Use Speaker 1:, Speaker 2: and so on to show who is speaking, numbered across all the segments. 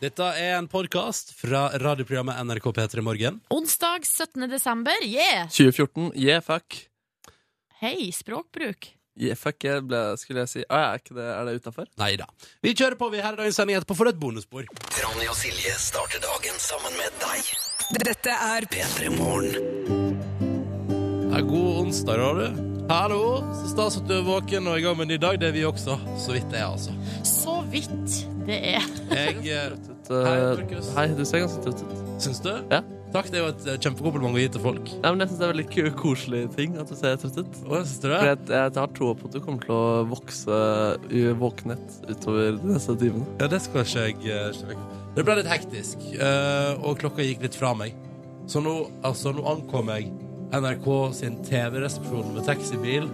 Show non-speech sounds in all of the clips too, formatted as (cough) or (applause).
Speaker 1: Dette er en podkast fra radioprogrammet NRK P3 Morgen.
Speaker 2: Onsdag 17. desember. Yeah!
Speaker 3: 2014. Yeah, fuck.
Speaker 2: Hei, språkbruk.
Speaker 3: Yeah, fuck, jeg ble, skulle jeg si. Ah, er, ikke det, er det utafor?
Speaker 1: Nei da. Vi kjører på, vi. Her er dagens sending etterpå for et bonusspor.
Speaker 4: Ronny og Silje starter dagen sammen med deg.
Speaker 5: Dette er
Speaker 4: P3 Morgen.
Speaker 1: Ja, god onsdag, da, du. Hallo. Så stas at du er våken og i gang med en ny dag. Det er vi også. Så vidt det er, altså.
Speaker 2: Så vidt det er.
Speaker 1: Jeg eh, Hei, Markus.
Speaker 3: uh, Hei, du ser ganske trøtt ut.
Speaker 1: syns du?
Speaker 3: Ja.
Speaker 1: Takk, det er jo et eh, kjempekompliment å gi til folk.
Speaker 3: Nei, men jeg syns det er veldig ku- koselig ting at du ser trøtt ut.
Speaker 1: Å, syns du det?
Speaker 3: For jeg, jeg har troa på at du kommer til å vokse u- våkenhet utover de neste timene.
Speaker 1: Ja, det skal ikke jeg eh, slippe vekk. Det ble litt hektisk, eh, og klokka gikk litt fra meg. Så nå, altså, nå ankom jeg NRK sin TV-resepsjon med taxibil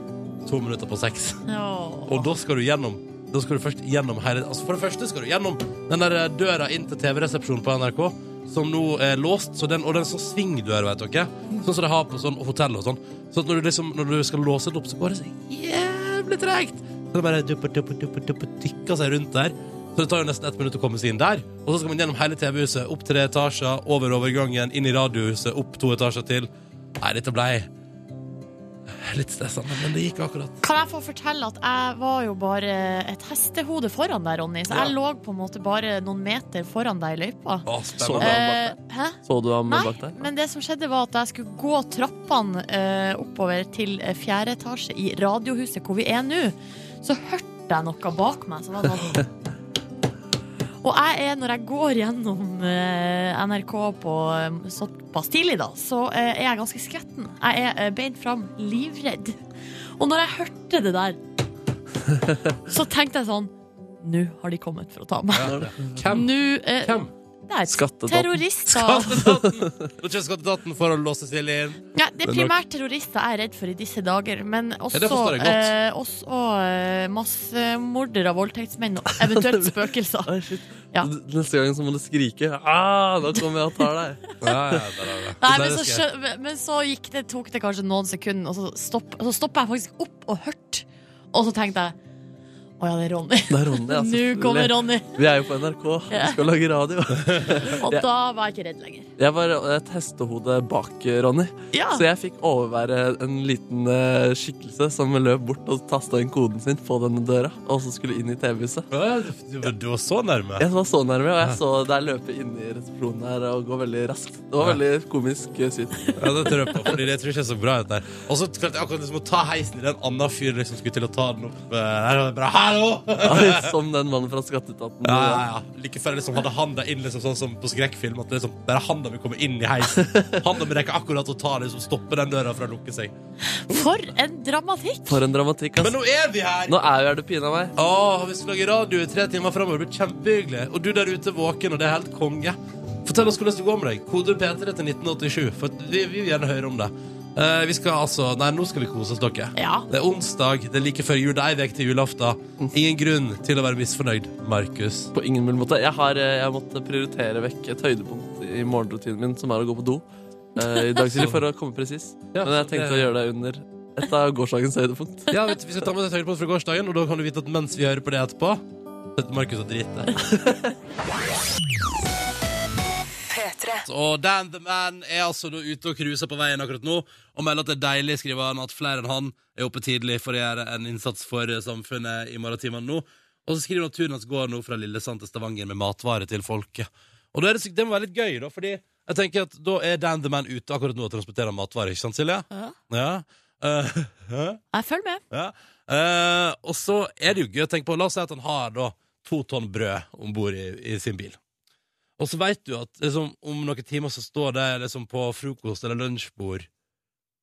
Speaker 1: to minutter på seks.
Speaker 2: Åh.
Speaker 1: Og da skal du gjennom Da skal du først gjennom hele Altså For det første skal du gjennom den der eh, døra inn til TV-resepsjonen på NRK, som nå er låst, så den, og den sånn svingdør, vet dere. Sånn som de har på sånn hotell og sånn. Så at når du, liksom, når du skal låse den opp, så går det så jævlig tregt. Så det bare dupper, dupper, dupper, dupper, dykker seg rundt der. Så det tar jo nesten ett minutt å komme seg inn der. Og så skal man gjennom hele TV-huset, opp tre etasjer, over overgangen, inn i radiohuset, opp to etasjer til. Nei, dette blei litt stressende, men det gikk akkurat.
Speaker 2: Kan jeg få fortelle at jeg var jo bare et hestehode foran deg, Ronny. Så jeg lå på en måte bare noen meter foran deg i løypa.
Speaker 1: Å,
Speaker 3: Så
Speaker 1: spennende.
Speaker 3: det.
Speaker 2: Eh, hæ?
Speaker 3: Så du ham
Speaker 2: Nei,
Speaker 3: bak deg?
Speaker 2: men det som skjedde var at jeg skulle gå trappene eh, oppover til eh, fjerde etasje i radiohuset hvor vi er nå. Så hørte jeg noe bak meg. Så var det
Speaker 1: (laughs)
Speaker 2: sånn. Og jeg er, når jeg går gjennom eh, NRK på eh, såpass tidlig, da, så eh, er jeg ganske skvetten. Jeg er eh, beint fram livredd. Og når jeg hørte det
Speaker 1: (laughs)
Speaker 2: der, så tenkte jeg sånn Nå har de kommet for å ta meg.
Speaker 1: Hvem?
Speaker 2: Nå eh,
Speaker 1: Hvem?
Speaker 2: Der.
Speaker 3: Skatteetaten.
Speaker 2: Terrorister.
Speaker 1: (laughs) Skatteetaten! Nå kjører skatteetaten for å låse Silje inn.
Speaker 2: Nei, det er
Speaker 1: Men nok-
Speaker 2: primært terrorister jeg er redd for i disse dager. Men også,
Speaker 1: det forstår jeg godt.
Speaker 2: eh, også eh, massemordere, voldtektsmenn og
Speaker 1: (laughs)
Speaker 2: eventuelt spøkelser.
Speaker 3: Oi, shit.
Speaker 2: Ja.
Speaker 3: Neste gang så må du skrike. Ah, da kommer jeg og tar deg.
Speaker 2: (laughs)
Speaker 1: Ja, ja, ja, ja, ja.
Speaker 2: Nei, men så,
Speaker 1: Det skal jeg.
Speaker 2: skjø- men- men så gikk det, tok det kanskje noen sekunder, og så, stopp, så stoppa jeg faktisk opp og hørte. Og så tenkte jeg å ja, det er
Speaker 1: (laughs)
Speaker 2: Ronny.
Speaker 3: Det er Ronny. altså.
Speaker 2: Nå kommer Ronny.
Speaker 3: Vi er jo på NRK. Vi skal lage radio.
Speaker 2: Og
Speaker 3: Ja.
Speaker 2: da var jeg ikke redd lenger.
Speaker 3: Jeg var et hestehode bak Ronny,
Speaker 2: Ja,
Speaker 3: så jeg fikk overvære en liten eh, skikkelse som løp bort og tasta inn koden sin på denne døra, og så skulle inn i TV-huset.
Speaker 1: Å, du- du- Du var så nærme.
Speaker 3: Jeg var så nærme, og jeg så deg løpe inn i resepsjonen her og gå veldig raskt. Det var veldig komisk eh,
Speaker 1: (laughs)
Speaker 3: syn.
Speaker 1: Ja, det tror jeg på, fordi det tror jeg ikke er så bra ut der. Og så klarte jeg akkurat liksom å ta heisen i den andre fyren liksom skulle til å ta den opp. eh, Der var det bare, hallo!
Speaker 3: Ja, Som den mannen fra Skatteetaten.
Speaker 1: Ja, (laughs) ja, ja. Like før jeg liksom hadde handa inn liksom sånn som på skrekkfilm, at det liksom bare handa mi kommer inn i (laughs) heisen. Handa mi rekker akkurat å ta liksom stoppe den døra fra å lukke seg.
Speaker 2: for en dramatikk!
Speaker 3: For en dramatikk,
Speaker 1: Men
Speaker 3: ass.
Speaker 1: nå er vi her!
Speaker 3: Nå er jo her du pina meg.
Speaker 1: Åh, vi skal lage radio i tre timer fremover. Det blir kjempehyggelig. Og du der ute er våken, og det er helt konge. Fortell oss hvordan det går med deg. Kode P3 til 1987, for vi, vi vil gjerne høre om det. Eh, vi skal altså Nei, nå skal vi kose oss, dere.
Speaker 2: Ja.
Speaker 1: Det er onsdag, det er like før jul. Det er ei uke til julaften. Ingen grunn til å være misfornøyd, Markus.
Speaker 3: På ingen mulig måte. Jeg har, eh, jeg har måttet prioritere vekk et høydepunkt i morgenrutinen min, som er å gå på do eh, i dag tidlig, for å komme presis.
Speaker 1: Ja,
Speaker 3: Men jeg tenkte å gjøre det under et av gårsdagens høydepunkt.
Speaker 1: Ja, vet, du, Vi skal ta med oss et høydepunkt fra gårsdagen, og da kan du vite at mens vi hører på det etterpå Setter Markus og driter. Og Dan the Man er altså da ute og cruiser på veien akkurat nå og melder at det er deilig, skriver han, at flere enn han er oppe tidlig for å gjøre en innsats for eh, samfunnet i morgentimene nå. Og så skriver han at turen hans går nå fra Lillesand til Stavanger med matvarer til folket. Og da er det, så- det må være litt gøy, da, fordi jeg tenker at da er Dan the Man ute akkurat nå og transporterer matvarer, ikke sant, Silje?
Speaker 2: Ja.
Speaker 1: Ja. Eh, (laughs)
Speaker 2: Jeg følger med.
Speaker 1: ja. Eh, og så er det jo gøy å tenke på La oss si at han har da to tonn brød om bord i, i sin bil. Og så veit du at liksom, om noen timer så står det liksom, på frokost- eller lunsjbord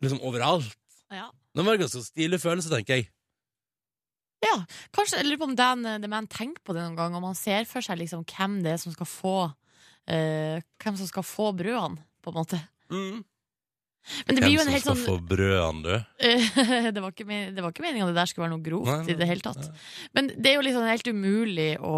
Speaker 1: liksom overalt.
Speaker 2: Ja.
Speaker 1: Det var en ganske stilig følelse, tenker jeg.
Speaker 2: Kanskje, jeg lurer på om Dan eh, The Man tenker på det noen gang Om han ser for seg liksom hvem det er som skal få eh, Hvem som skal få brødene På en måte Men det blir jo en helt sånn
Speaker 1: brødene, du?
Speaker 2: (laughs) det, var ikke, men- det var ikke meningen at det der skulle være noe grovt
Speaker 1: Nei, nei,
Speaker 2: I det hele tatt sånn Men det er jo liksom helt umulig å,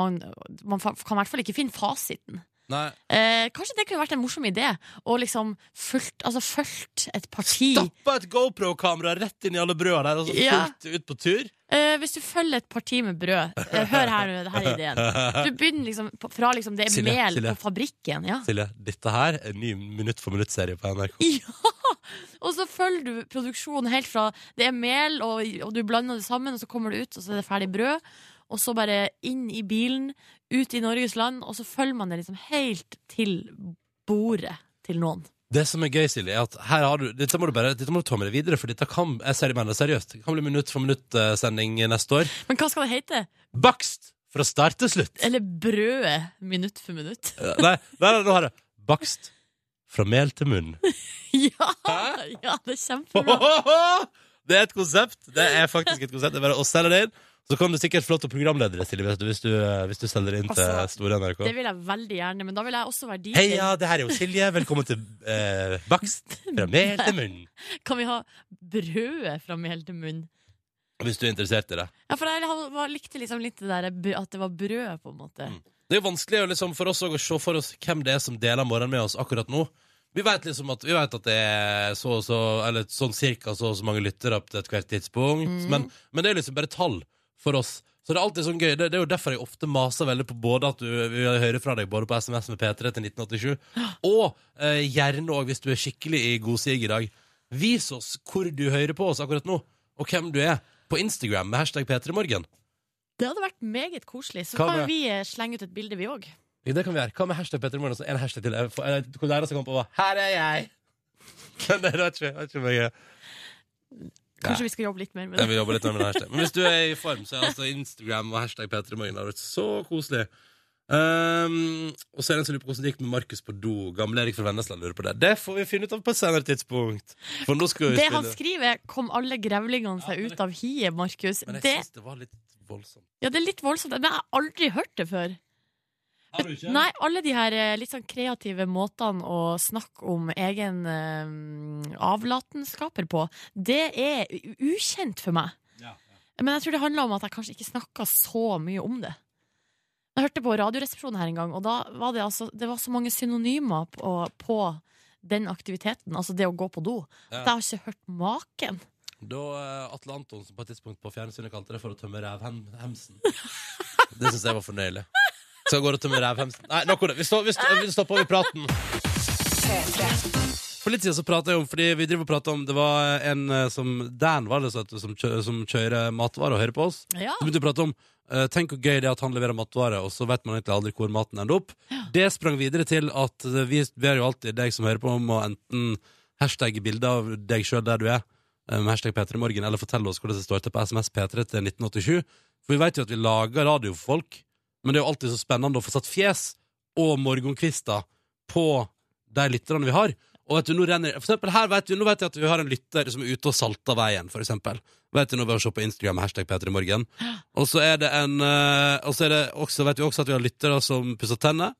Speaker 2: man, man fa- kan i hvert fall ikke finne fasiten
Speaker 1: Nei.
Speaker 2: Eh, kanskje det kunne vært en morsom idé? Å liksom fulgt, altså fulgt et parti.
Speaker 1: Stappa et GoPro-kamera rett inn i alle brøda der, og så
Speaker 2: Ja.
Speaker 1: fullt ut på tur.
Speaker 2: Eh, hvis du følger et parti med brød eh, Hør her nå, det her er ideen. Du begynner liksom på- fra liksom det er
Speaker 1: Silje,
Speaker 2: mel
Speaker 1: Silje.
Speaker 2: på fabrikken. Ja.
Speaker 1: (laughs) Silje, dette her er en ny minutt for minutt-serie på NRK.
Speaker 2: ja! Og så følger du produksjonen helt fra det er mel, og, og du blander det sammen, og så kommer det ut, og så er det ferdig brød. Og så bare inn i bilen, ut i Norges land, og så følger man det liksom helt til bordet til noen.
Speaker 1: Det som er gøy, Silje, er at her har du Dette må du bare dette må du ta med deg videre, for dette kan jeg ser, jeg mener, det seriøst. Det kan bli minutt for minutt-sending neste år.
Speaker 2: Men hva skal det hete?
Speaker 1: Bakst fra start til slutt.
Speaker 2: Eller brødet minutt for minutt? (laughs)
Speaker 1: Nei, nei, nei, nå har jeg Bakst fra mel til munn.
Speaker 2: ja,
Speaker 1: Hæ?
Speaker 2: ja, det er kjempebra.
Speaker 1: (laughs) Det er et konsept. Det er faktisk et konsept. Det er bare å selge det inn. Så kan du sikkert få lov til å programlede det, Silje, hvis du- hvis du, hvis du selger det inn til
Speaker 2: Altså,
Speaker 1: store NRK.
Speaker 2: Det vil jeg veldig gjerne, men da vil jeg også være DJ.
Speaker 1: Heia, det her er jo Silje. Velkommen til eh, Bakst fra mel til munn.
Speaker 2: (laughs) Kan vi ha brødet fra mel til munn?
Speaker 1: Hvis du er interessert i det.
Speaker 2: Ja, for jeg ha- var- likte liksom litt det der br- at det var brød, på en måte.
Speaker 1: Mm. Det er jo vanskelig å liksom, for oss også å se for oss hvem det er som deler morgenen med oss akkurat nå. Vi vet liksom at, vi vet at det er så og så, eller sånn cirka så og så mange lyttere opp til et hvert tidspunkt,
Speaker 2: Mm.
Speaker 1: men, men det er liksom bare tall for oss. Så det er alltid sånn gøy. Det, det er jo derfor jeg ofte maser veldig på både at du vi hører fra deg både på SMS med P3 til 1987, og eh, gjerne òg hvis du er skikkelig i god sig i dag. Vis oss hvor du hører på oss akkurat nå, og hvem du er, på Instagram med hashtag P3morgen.
Speaker 2: Det hadde vært meget koselig. Så
Speaker 1: Hva
Speaker 2: kan
Speaker 1: med-
Speaker 2: vi eh, slenge ut et bilde, vi òg.
Speaker 1: Ja, Det kan vi gjøre. Hva med hashtag Petter Morgen? En hashtag til. Jeg får- jeg- Hvor det er det som kommer på hva? Her er jeg! (laughs) Men det var ikke, det var ikke mye.
Speaker 2: Kanskje vi skal jobbe litt mer med
Speaker 1: Jeg
Speaker 2: det.
Speaker 1: vil jobbe litt med den hashtag. Men hvis du er i form, så er altså Instagram og hashtag Petter Morgen. Det har vært så koselig. Ehm, og så er det en som lurer på hvordan det gikk med Markus på do. Gamle Erik fra Vennesla lurer på det. Det får vi finne ut av på et senere tidspunkt. For nå skal vi
Speaker 2: Det han
Speaker 1: spille
Speaker 2: skriver, kom alle grevlingene
Speaker 1: Ja,
Speaker 2: seg
Speaker 1: men
Speaker 2: ut av hiet, Markus.
Speaker 1: Men jeg
Speaker 2: Det,
Speaker 1: syns det var litt voldsomt.
Speaker 2: ja, det er litt voldsomt, men jeg har aldri hørt det før.
Speaker 1: Har du ikke?
Speaker 2: Nei, alle de her eh, litt sånn kreative måtene å snakke om egen eh, avlatenskaper på, det er u- ukjent for meg.
Speaker 1: Ja,
Speaker 2: Men jeg tror det handler om at jeg kanskje ikke snakka så mye om det. Jeg hørte på Radioresepsjonen her en gang, og da var det, altså, det var så mange synonymer på, på den aktiviteten, altså det å gå på do.
Speaker 1: Ja.
Speaker 2: At jeg har ikke hørt maken.
Speaker 1: Da eh, Atle Antonsen på et tidspunkt på fjernsynet kalte det for å tømme rævhemsen. Det syns jeg var fornøyelig. Så jeg går og tømmer rævhemsen. Nei, nok om det. Vi, står, vi, står, vi stopper over praten. For litt siden så pratet jeg om Fordi vi driver og prater om Det var en eh, som Dan var det, så, som, kjø, som kjører matvarer og hører på oss.
Speaker 2: Ja.
Speaker 1: Så begynte vi å prate om eh, Tenk hvor gøy det er at han leverer matvarer, og så vet man egentlig aldri hvor maten ender opp. Det sprang videre til at eh, vi ber jo alltid deg som hører på, om å enten hashtagge bilder av deg sjøl der du er, eh, med hashtag P3morgen, eller fortelle oss hvordan det står til på SMS P3 til 1987. For vi vet jo at vi lager radio for folk, men det er jo alltid så spennende å få satt fjes og morgenkvister på de lytterne vi har. Og vet du, nå renner For eksempel her vet vi, nå vet jeg at vi har en lytter som er ute og salter veien, for eksempel. Vet du, nå ved å se på Instagram med hashtag P3morgen. Og så er det en eh, Og så er det også, vet vi også at vi har lyttere som pusser tenner.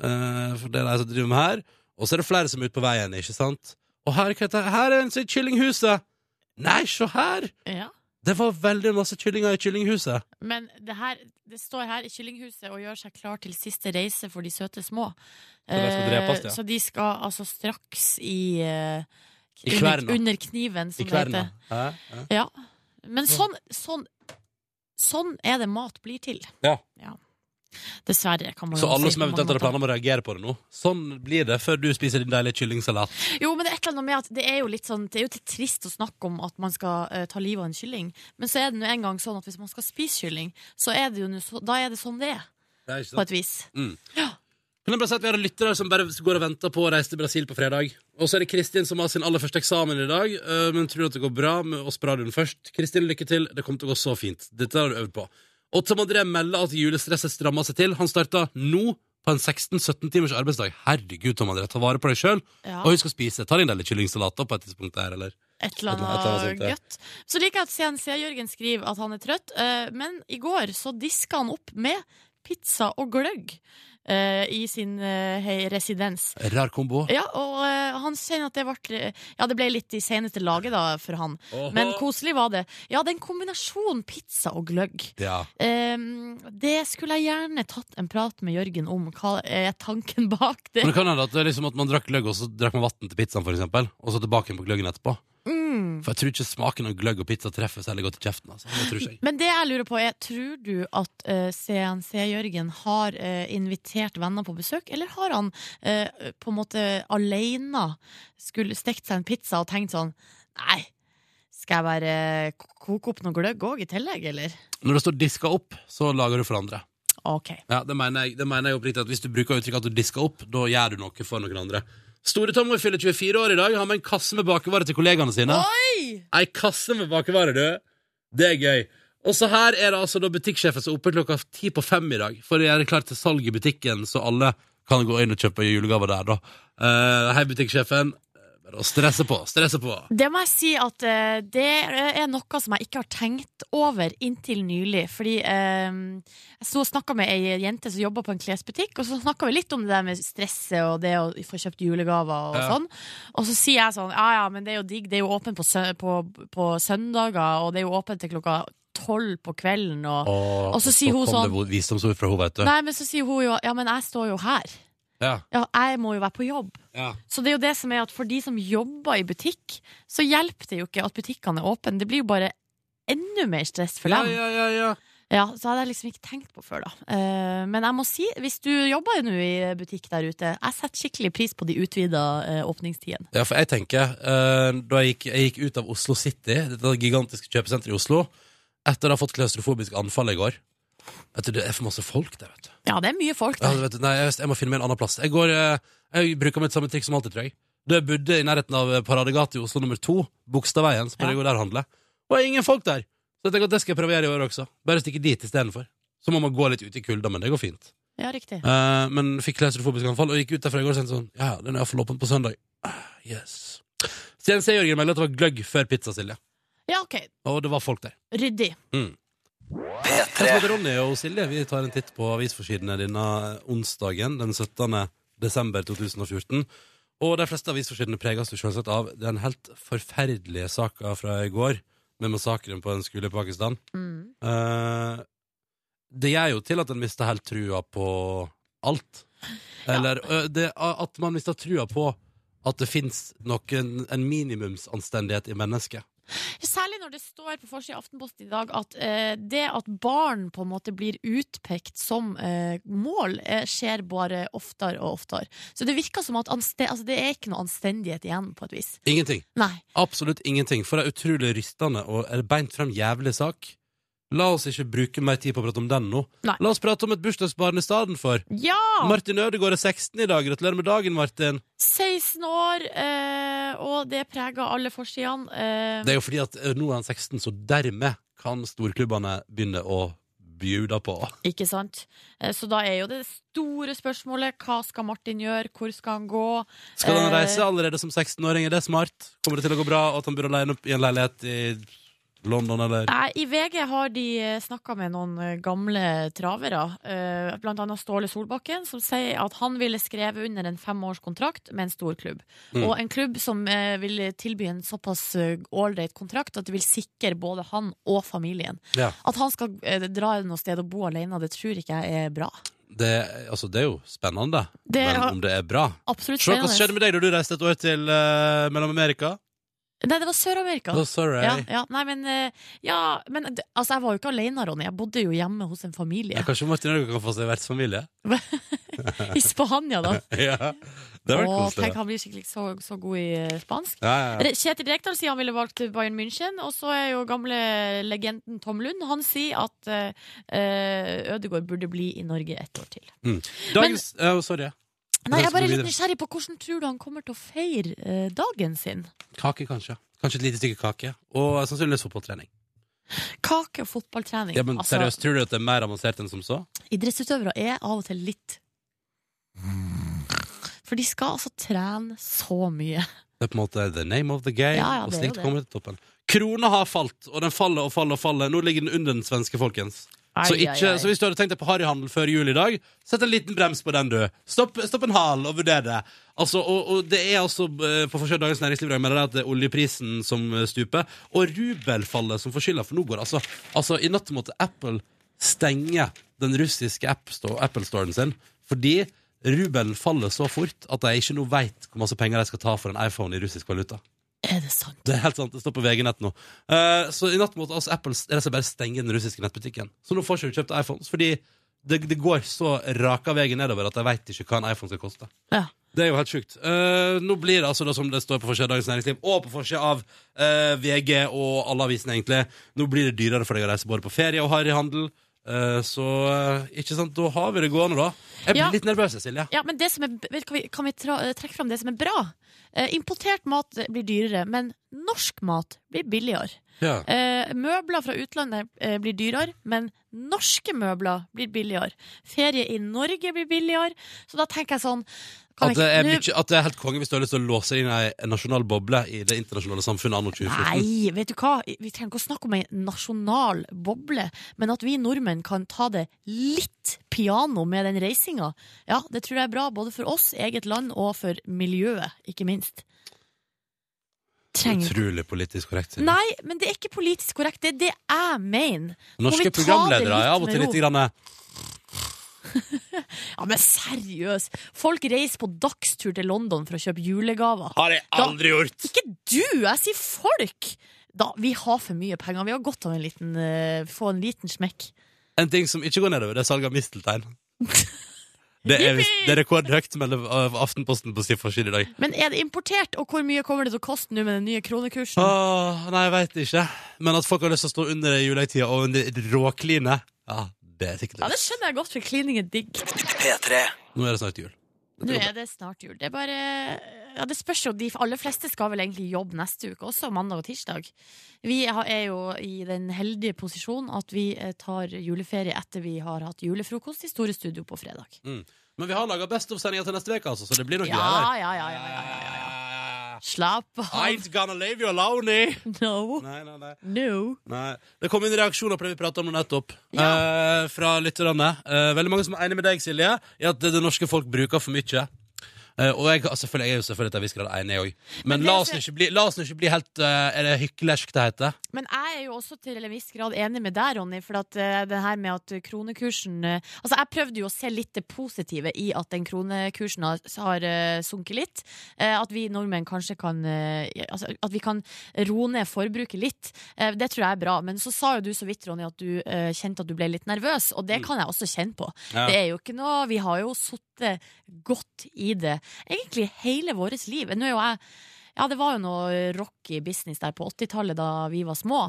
Speaker 1: eh, for det er de som driver med her. Og så er det flere som er ute på veien, ikke sant? Og her, hva heter det? her er en som er i Kyllinghuset! Nei, se her!
Speaker 2: ja.
Speaker 1: Det var veldig masse kyllinger i Kyllinghuset.
Speaker 2: Men det, her, det står her i Kyllinghuset og gjør seg klar til siste reise for de søte små.
Speaker 1: de skal
Speaker 2: Eh,
Speaker 1: drepes, ja.
Speaker 2: Så de skal altså straks i, eh,
Speaker 1: I kverna.
Speaker 2: under, under kniven, som
Speaker 1: I
Speaker 2: det
Speaker 1: kverna.
Speaker 2: heter.
Speaker 1: Hæ? Hæ?
Speaker 2: Ja. Men sånn, sånn, sånn er det mat blir til.
Speaker 1: Ja.
Speaker 2: Dessverre, kan man
Speaker 1: Så
Speaker 2: jo
Speaker 1: alle
Speaker 2: si
Speaker 1: som
Speaker 2: på mange
Speaker 1: eventuelt hadde
Speaker 2: måter.
Speaker 1: planer om å reagere på det nå, sånn blir det før du spiser din deilige kyllingsalat.
Speaker 2: Jo, men det er et eller annet med at det er jo litt sånn Det er jo litt trist å snakke om at man skal eh, ta livet av en kylling, men så er det nå en gang sånn at hvis man skal spise kylling, så er det jo nå så, da er det sånn det er,
Speaker 1: Det er ikke
Speaker 2: på et vis.
Speaker 1: Kan jeg bare si at Vi har en lytter her som bare går og venter på å reise til Brasil på fredag. Og så er det Kristin som har sin aller første eksamen i dag, øh, men tror at det går bra med oss på radioen først. Kristin, lykke til. Det kommer til å gå så fint. Dette har du øvd på. Og Tom André melder at julestresset strammer seg til. Han starter nå på en 16-17 timers arbeidsdag. Herregud, Tom André, ta vare på deg sjøl.
Speaker 2: Ja.
Speaker 1: Og husk å spise. Ta din del kyllingsalater på et tidspunkt der, eller?
Speaker 2: Et eller
Speaker 1: Et eller annet
Speaker 2: annet
Speaker 1: sånt, ja.
Speaker 2: gøtt. Så liker jeg at CNC-Jørgen skriver at han er trøtt, eh, men i går så diska han opp med pizza og gløgg. eh, i sin eh, hei- residens.
Speaker 1: Rar kombo.
Speaker 2: Ja, og eh, han sier at det ble, ja, det ble litt i seneste laget da, for han. Men koselig var det. Ja, det er en kombinasjon pizza og gløgg.
Speaker 1: Ja.
Speaker 2: Ehm, det skulle jeg gjerne tatt en prat med Jørgen om. Hva er tanken bak det?
Speaker 1: Men det kan hende at det er liksom at man drakk gløgg, og så drakk man vann til pizzaen, for eksempel. Og så tilbake igjen på gløggen etterpå.
Speaker 2: Mm.
Speaker 1: For jeg tror ikke smaken av gløgg og pizza treffer særlig godt i kjeften. Altså. Det tror ikke jeg.
Speaker 2: Men det jeg lurer på er, tror du at eh, CNC-Jørgen har eh, invitert venner på besøk, eller har han eh, på en måte alene skulle stekt seg en pizza og tenkt sånn Nei, skal jeg bare k- koke opp noe gløgg òg i tillegg, eller?
Speaker 1: Når det står 'diska opp', så lager du for andre.
Speaker 2: OK.
Speaker 1: Ja, det mener jeg, det mener jeg oppriktig at Hvis du bruker uttrykket at du disker opp, da gjør du noe for noen andre. Store Tom vil fylle 24 år i dag. Har med en kasse med bakervarer til kollegaene sine.
Speaker 2: Oi!
Speaker 1: Ei kasse med bakervarer, du. Det er gøy. Og så her er det altså da butikksjefen som er oppe klokka ti på fem i dag for å gjøre klart til salg i butikken, så alle kan gå inn og kjøpe julegaver der, da. Eh, hei, butikksjefen. Eh, Bare å stresse på, stresse på.
Speaker 2: Det må jeg si at eh, det er noe som jeg ikke har tenkt over inntil nylig. Fordi eh, jeg så snakka med ei jente som jobba på en klesbutikk, og så snakka vi litt om det der med stresset og det å få kjøpt julegaver og
Speaker 1: Ja.
Speaker 2: sånn. Og så sier jeg sånn ja ja, men det er jo digg, det er jo åpent på, sø- på, på søndager, og det er jo åpent til klokka tolv på kvelden. Og,
Speaker 1: Og,
Speaker 2: Og så sier hun sånn-
Speaker 1: kom det visdomsord fra henne, vet du.
Speaker 2: nei, men så sier hun jo ja, men jeg står jo her.
Speaker 1: Ja,
Speaker 2: Ja, jeg må jo være på jobb.
Speaker 1: ja.
Speaker 2: Så det er jo det som er at for de som jobber i butikk, så hjelper det jo ikke at butikkene er åpne. Det blir jo bare enda mer stress for
Speaker 1: Ja,
Speaker 2: dem. Ja,
Speaker 1: ja, ja, ja.
Speaker 2: Så hadde jeg liksom ikke tenkt på før, da. Eh, men jeg må si, hvis du jobber nå i butikk der ute, jeg setter skikkelig pris på de utvida eh, åpningstidene.
Speaker 1: Ja, for jeg tenker eh, Da jeg gikk, jeg gikk ut av Oslo City Dette gigantiske kjøpesenteret i Oslo Etter å ha fått klaustrofobisk anfall i går Vet du, det er for masse folk der, vet du
Speaker 2: Ja, det er mye folk
Speaker 1: ja,
Speaker 2: der.
Speaker 1: vet du, Nei, jeg, jeg må finne meg en annen plass Jeg, går, eh, jeg bruker mitt samme trikk som alltid, tror jeg Da jeg bodde i nærheten av eh, Paradegate i Oslo nummer 2 Bogstadveien, så
Speaker 2: Ja.
Speaker 1: bare jeg gå der og handle Og det er ingen folk der Så jeg tenker at det skal jeg prøve å gjøre i år også Bare stikke dit i stedet for Så må man gå litt ut i kulda, men det går fint
Speaker 2: Ja, riktig.
Speaker 1: Eh, men fikk klaustrofobisk anfall og gikk ut derfra i går og tenkte sånn Ja, den er iallfall åpen på søndag. Ah, Yes. CNC Jørgen melder at det var gløgg før pizza, Silje.
Speaker 2: Ja, OK.
Speaker 1: Og det var folk der.
Speaker 2: Ryddig.
Speaker 1: Jeg som
Speaker 4: P3.
Speaker 1: heter Ronny og Silje, vi tar en titt på avisforsidene denne onsdagen den 17. desember 2014. Og de fleste avisforsidene preges jo selvsagt av den helt forferdelige saka fra i går, med massakren på en skole i Pakistan.
Speaker 2: Mm.
Speaker 1: Eh, det gjør jo til at en mister helt trua på alt. Eller ø, det, at man mister trua på at det fins noen en minimumsanstendighet i mennesket.
Speaker 2: Særlig når det står på forsida i Aftenposten i dag at eh, det at barn på en måte blir utpekt som eh, mål, eh, skjer bare oftere og oftere. Så det virker som at anste altså, det er ikke noe anstendighet igjen, på et vis.
Speaker 1: Ingenting.
Speaker 2: Nei.
Speaker 1: Absolutt ingenting. For ei utrolig rystende og er beint fram jævlig sak. La oss ikke bruke mer tid på å prate om den nå.
Speaker 2: Nei.
Speaker 1: La oss prate om et bursdagsbarn i stedet for.
Speaker 2: Ja!
Speaker 1: Martin Ødegaard er 16 i dag. Gratulerer med dagen, Martin.
Speaker 2: 16 år, eh, og det preger alle forsidene. eh.
Speaker 1: Det er jo fordi at ø, nå er han 16, så dermed kan storklubbene begynne å bjuda på.
Speaker 2: Ikke sant? Eh, Så da er jo det store spørsmålet hva skal Martin gjøre, hvor skal han gå?
Speaker 1: Skal han
Speaker 2: Eh,
Speaker 1: reise allerede som 16-åring? Er det smart? Kommer det til å gå bra at han bor alene opp i en leilighet i London, eller?
Speaker 2: Nei, I VG har de snakka med noen eh, gamle travere, eh, blant annet Ståle Solbakken, som sier at han ville skrevet under en femårskontrakt med en stor klubb.
Speaker 1: Mm.
Speaker 2: Og en klubb som eh, vil tilby en såpass eh, ålreit kontrakt at det vil sikre både han og familien.
Speaker 1: Ja.
Speaker 2: At han skal eh, dra noe sted og bo alene, det tror ikke jeg er bra.
Speaker 1: Det, altså, det er jo spennende,
Speaker 2: Det
Speaker 1: men
Speaker 2: har-
Speaker 1: om det er bra
Speaker 2: Absolutt
Speaker 1: Se hva som skjedde
Speaker 2: spennende.
Speaker 1: med deg da du reiste et år til eh, Mellom-Amerika.
Speaker 2: Nei, det var Sør-Amerika.
Speaker 1: Oh, sorry.
Speaker 2: Ja, ja, nei, men, eh, ja, men det- altså, jeg var jo ikke alene, Ronny. Jeg bodde jo hjemme hos en
Speaker 1: Ja,
Speaker 2: familie.
Speaker 1: kanskje Martin Ødegaard kan få seg vertsfamilie?
Speaker 2: (laughs) I Spania, da.
Speaker 1: (laughs) ja. Det hadde vært
Speaker 2: Åh,
Speaker 1: koselig.
Speaker 2: tenk, han blir skikkelig så, så god i eh, spansk.
Speaker 1: Ja, ja, ja.
Speaker 2: Re- Kjetil Rekdal sier han ville valgt Bayern München, og så er jo gamle legenden Tom Lund. Han sier at eh, eh, Ødegaard burde bli i Norge et år til.
Speaker 1: Dagens eh, Sorry.
Speaker 2: Nei,
Speaker 1: skal
Speaker 2: jeg er bare
Speaker 1: vi
Speaker 2: litt
Speaker 1: videre.
Speaker 2: nysgjerrig på hvordan tror du han kommer til å feire eh, dagen sin?
Speaker 1: Kake, kanskje. Kanskje et lite stykke kake. Og sannsynligvis fotballtrening.
Speaker 2: Kake og fotballtrening.
Speaker 1: Ja, men
Speaker 2: Altså,
Speaker 1: seriøst, tror du at det er mer avansert enn som så?
Speaker 2: idrettsutøvere er av og til litt For de skal altså trene så mye.
Speaker 1: Det er på en måte the name of the game,
Speaker 2: Ja, ja,
Speaker 1: og
Speaker 2: det er
Speaker 1: slikt
Speaker 2: jo det.
Speaker 1: kommer til toppen. Krona har falt, og den faller og faller og faller. Nå ligger den under den svenske, folkens. Så,
Speaker 2: Ai, ai,
Speaker 1: ikke,
Speaker 2: ai.
Speaker 1: så hvis du hadde tenkt deg på harryhandel før jul i dag, sett en liten brems på den, du. Stopp, stopp en hal og vurder det. Altså, og, og det er altså eh, på forskjell Dagens Næringsliv i dag, mener jeg at det er oljeprisen som eh, stuper, og rubelfallet som får skylda for nå går. Altså, altså, i natt måtte Apple stenge den russiske App Store- Apple-storen sin fordi rubelen faller så fort at de ikke nå veit hvor masse penger de skal ta for en iPhone i russisk valuta.
Speaker 2: Er det sant?
Speaker 1: Det er helt sant, det står på VG-nett nå. Eh, så i natt måtte altså Apple rett og slett bare stenge den russiske nettbutikken. Så nå får ikke du kjøpt iPhones, fordi det, det går så raka veien nedover at de veit ikke hva en iPhone skal koste.
Speaker 2: Ja.
Speaker 1: Det er jo helt sjukt. Eh, nå blir det altså da som det står på forsida av Dagens Næringsliv, og på forsida av eh, VG og alle avisene, egentlig, nå blir det dyrere for deg å reise både på ferie og harryhandel. Uh, så eh, ikke sant, da har vi det gående, da. Jeg blir
Speaker 2: Ja.
Speaker 1: litt nervøs, Silje.
Speaker 2: Ja, men det som er, vet, du, kan vi, kan vi tra, trekke fram det som er bra? Eh, importert mat blir dyrere, men norsk mat blir billigere.
Speaker 1: Ja.
Speaker 2: Eh, møbler fra utlandet eh, blir dyrere, men norske møbler blir billigere. Ferie i Norge blir billigere. Så da tenker jeg sånn kan
Speaker 1: At
Speaker 2: vi
Speaker 1: det, er
Speaker 2: ikke- nå-
Speaker 1: mykje, at det er helt konge hvis du har lyst til å låse inn ei en nasjonal boble i det internasjonale samfunnet anno 2014.
Speaker 2: Nei, vet du hva? Vi trenger ikke å snakke om ei nasjonal boble, men at vi nordmenn kan ta det litt piano med den reisinga, ja, det tror jeg er bra både for oss, eget land, og for miljøet, ikke minst. Trenger
Speaker 1: Utrolig politisk korrekt. Silje.
Speaker 2: Nei, men det er ikke politisk korrekt. Det er det jeg mener.
Speaker 1: Norske
Speaker 2: må vi ta det
Speaker 1: programledere
Speaker 2: litt
Speaker 1: er av og til
Speaker 2: med
Speaker 1: litt
Speaker 2: ro?
Speaker 1: grann, eh,
Speaker 2: Ja, men seriøst! Folk reiser på dagstur til London for å kjøpe julegaver.
Speaker 1: Har jeg
Speaker 2: Da-
Speaker 1: aldri gjort!
Speaker 2: Ikke du, jeg sier folk! Da, vi har for mye penger. Vi har godt av en liten, eh, få en liten smekk.
Speaker 1: En ting som ikke går nedover, det er salg av
Speaker 2: (laughs)
Speaker 1: misteltein. Det er, visst- det er rekordhøyt, melder av Aftenposten på sin forside i dag.
Speaker 2: Men er det importert, og hvor mye kommer det til å koste nå med den nye kronekursen?
Speaker 1: Åh, nei, jeg veit ikke. Men at folk har lyst til å stå under i juletida og under råkline, ja, det er sikkert
Speaker 2: Ja,
Speaker 1: det.
Speaker 2: det skjønner jeg godt, for klining er digg.
Speaker 4: P3.
Speaker 1: Nå er det snart jul.
Speaker 2: Nå er det snart jul. Det er bare Ja, det spørs jo. De aller fleste skal vel egentlig jobbe neste uke, også mandag og tirsdag. Vi har- er jo i den heldige posisjon at vi eh, tar juleferie etter vi har hatt julefrokost i Store Studio på fredag.
Speaker 1: Mm. Men vi har laga Best of-sendinga til neste uke, altså, så det blir noe
Speaker 2: Mm. Ja, ja, ja, ja, ja, ja, ja.
Speaker 1: greier.
Speaker 2: Slapp
Speaker 1: I
Speaker 2: av.
Speaker 1: ain't gonna leave you alone!
Speaker 2: (laughs)
Speaker 1: eh.
Speaker 2: No.
Speaker 1: Nei, nei, nei.
Speaker 2: No.
Speaker 1: Nei. Det kom inn reaksjoner på det vi prata om nå nettopp.
Speaker 2: Ja.
Speaker 1: Eh, fra lytterne. Eh, veldig mange som er enig med deg, Silje, i at det, det norske folk bruker for mye. Eh, og jeg, selvfølgelig, jeg er jo selvfølgelig til en viss grad enig òg. Men,
Speaker 2: det
Speaker 1: la,
Speaker 2: er
Speaker 1: oss
Speaker 2: så-
Speaker 1: nå ikke bli, la oss nå ikke bli helt eh, Er det hyklersk det heter?
Speaker 2: Men jeg er jo også til en viss grad enig med deg, Ronny. For at eh, det her med at kronekursen eh, Altså, jeg prøvde jo å se litt det positive i at den kronekursen har, har eh, sunket litt. Eh, at vi nordmenn kanskje kan eh, altså, At vi kan roe ned forbruket litt. Eh, det tror jeg er bra. Men så sa jo du så vidt, Ronny, at du eh, kjente at du ble litt nervøs. Og det kan jeg også kjenne på.
Speaker 1: Ja.
Speaker 2: Det er jo ikke noe Vi har jo sittet godt i det egentlig hele vårt liv. Nå er jo jeg ja, det var jo noe rocky business der på 80-tallet da vi var små.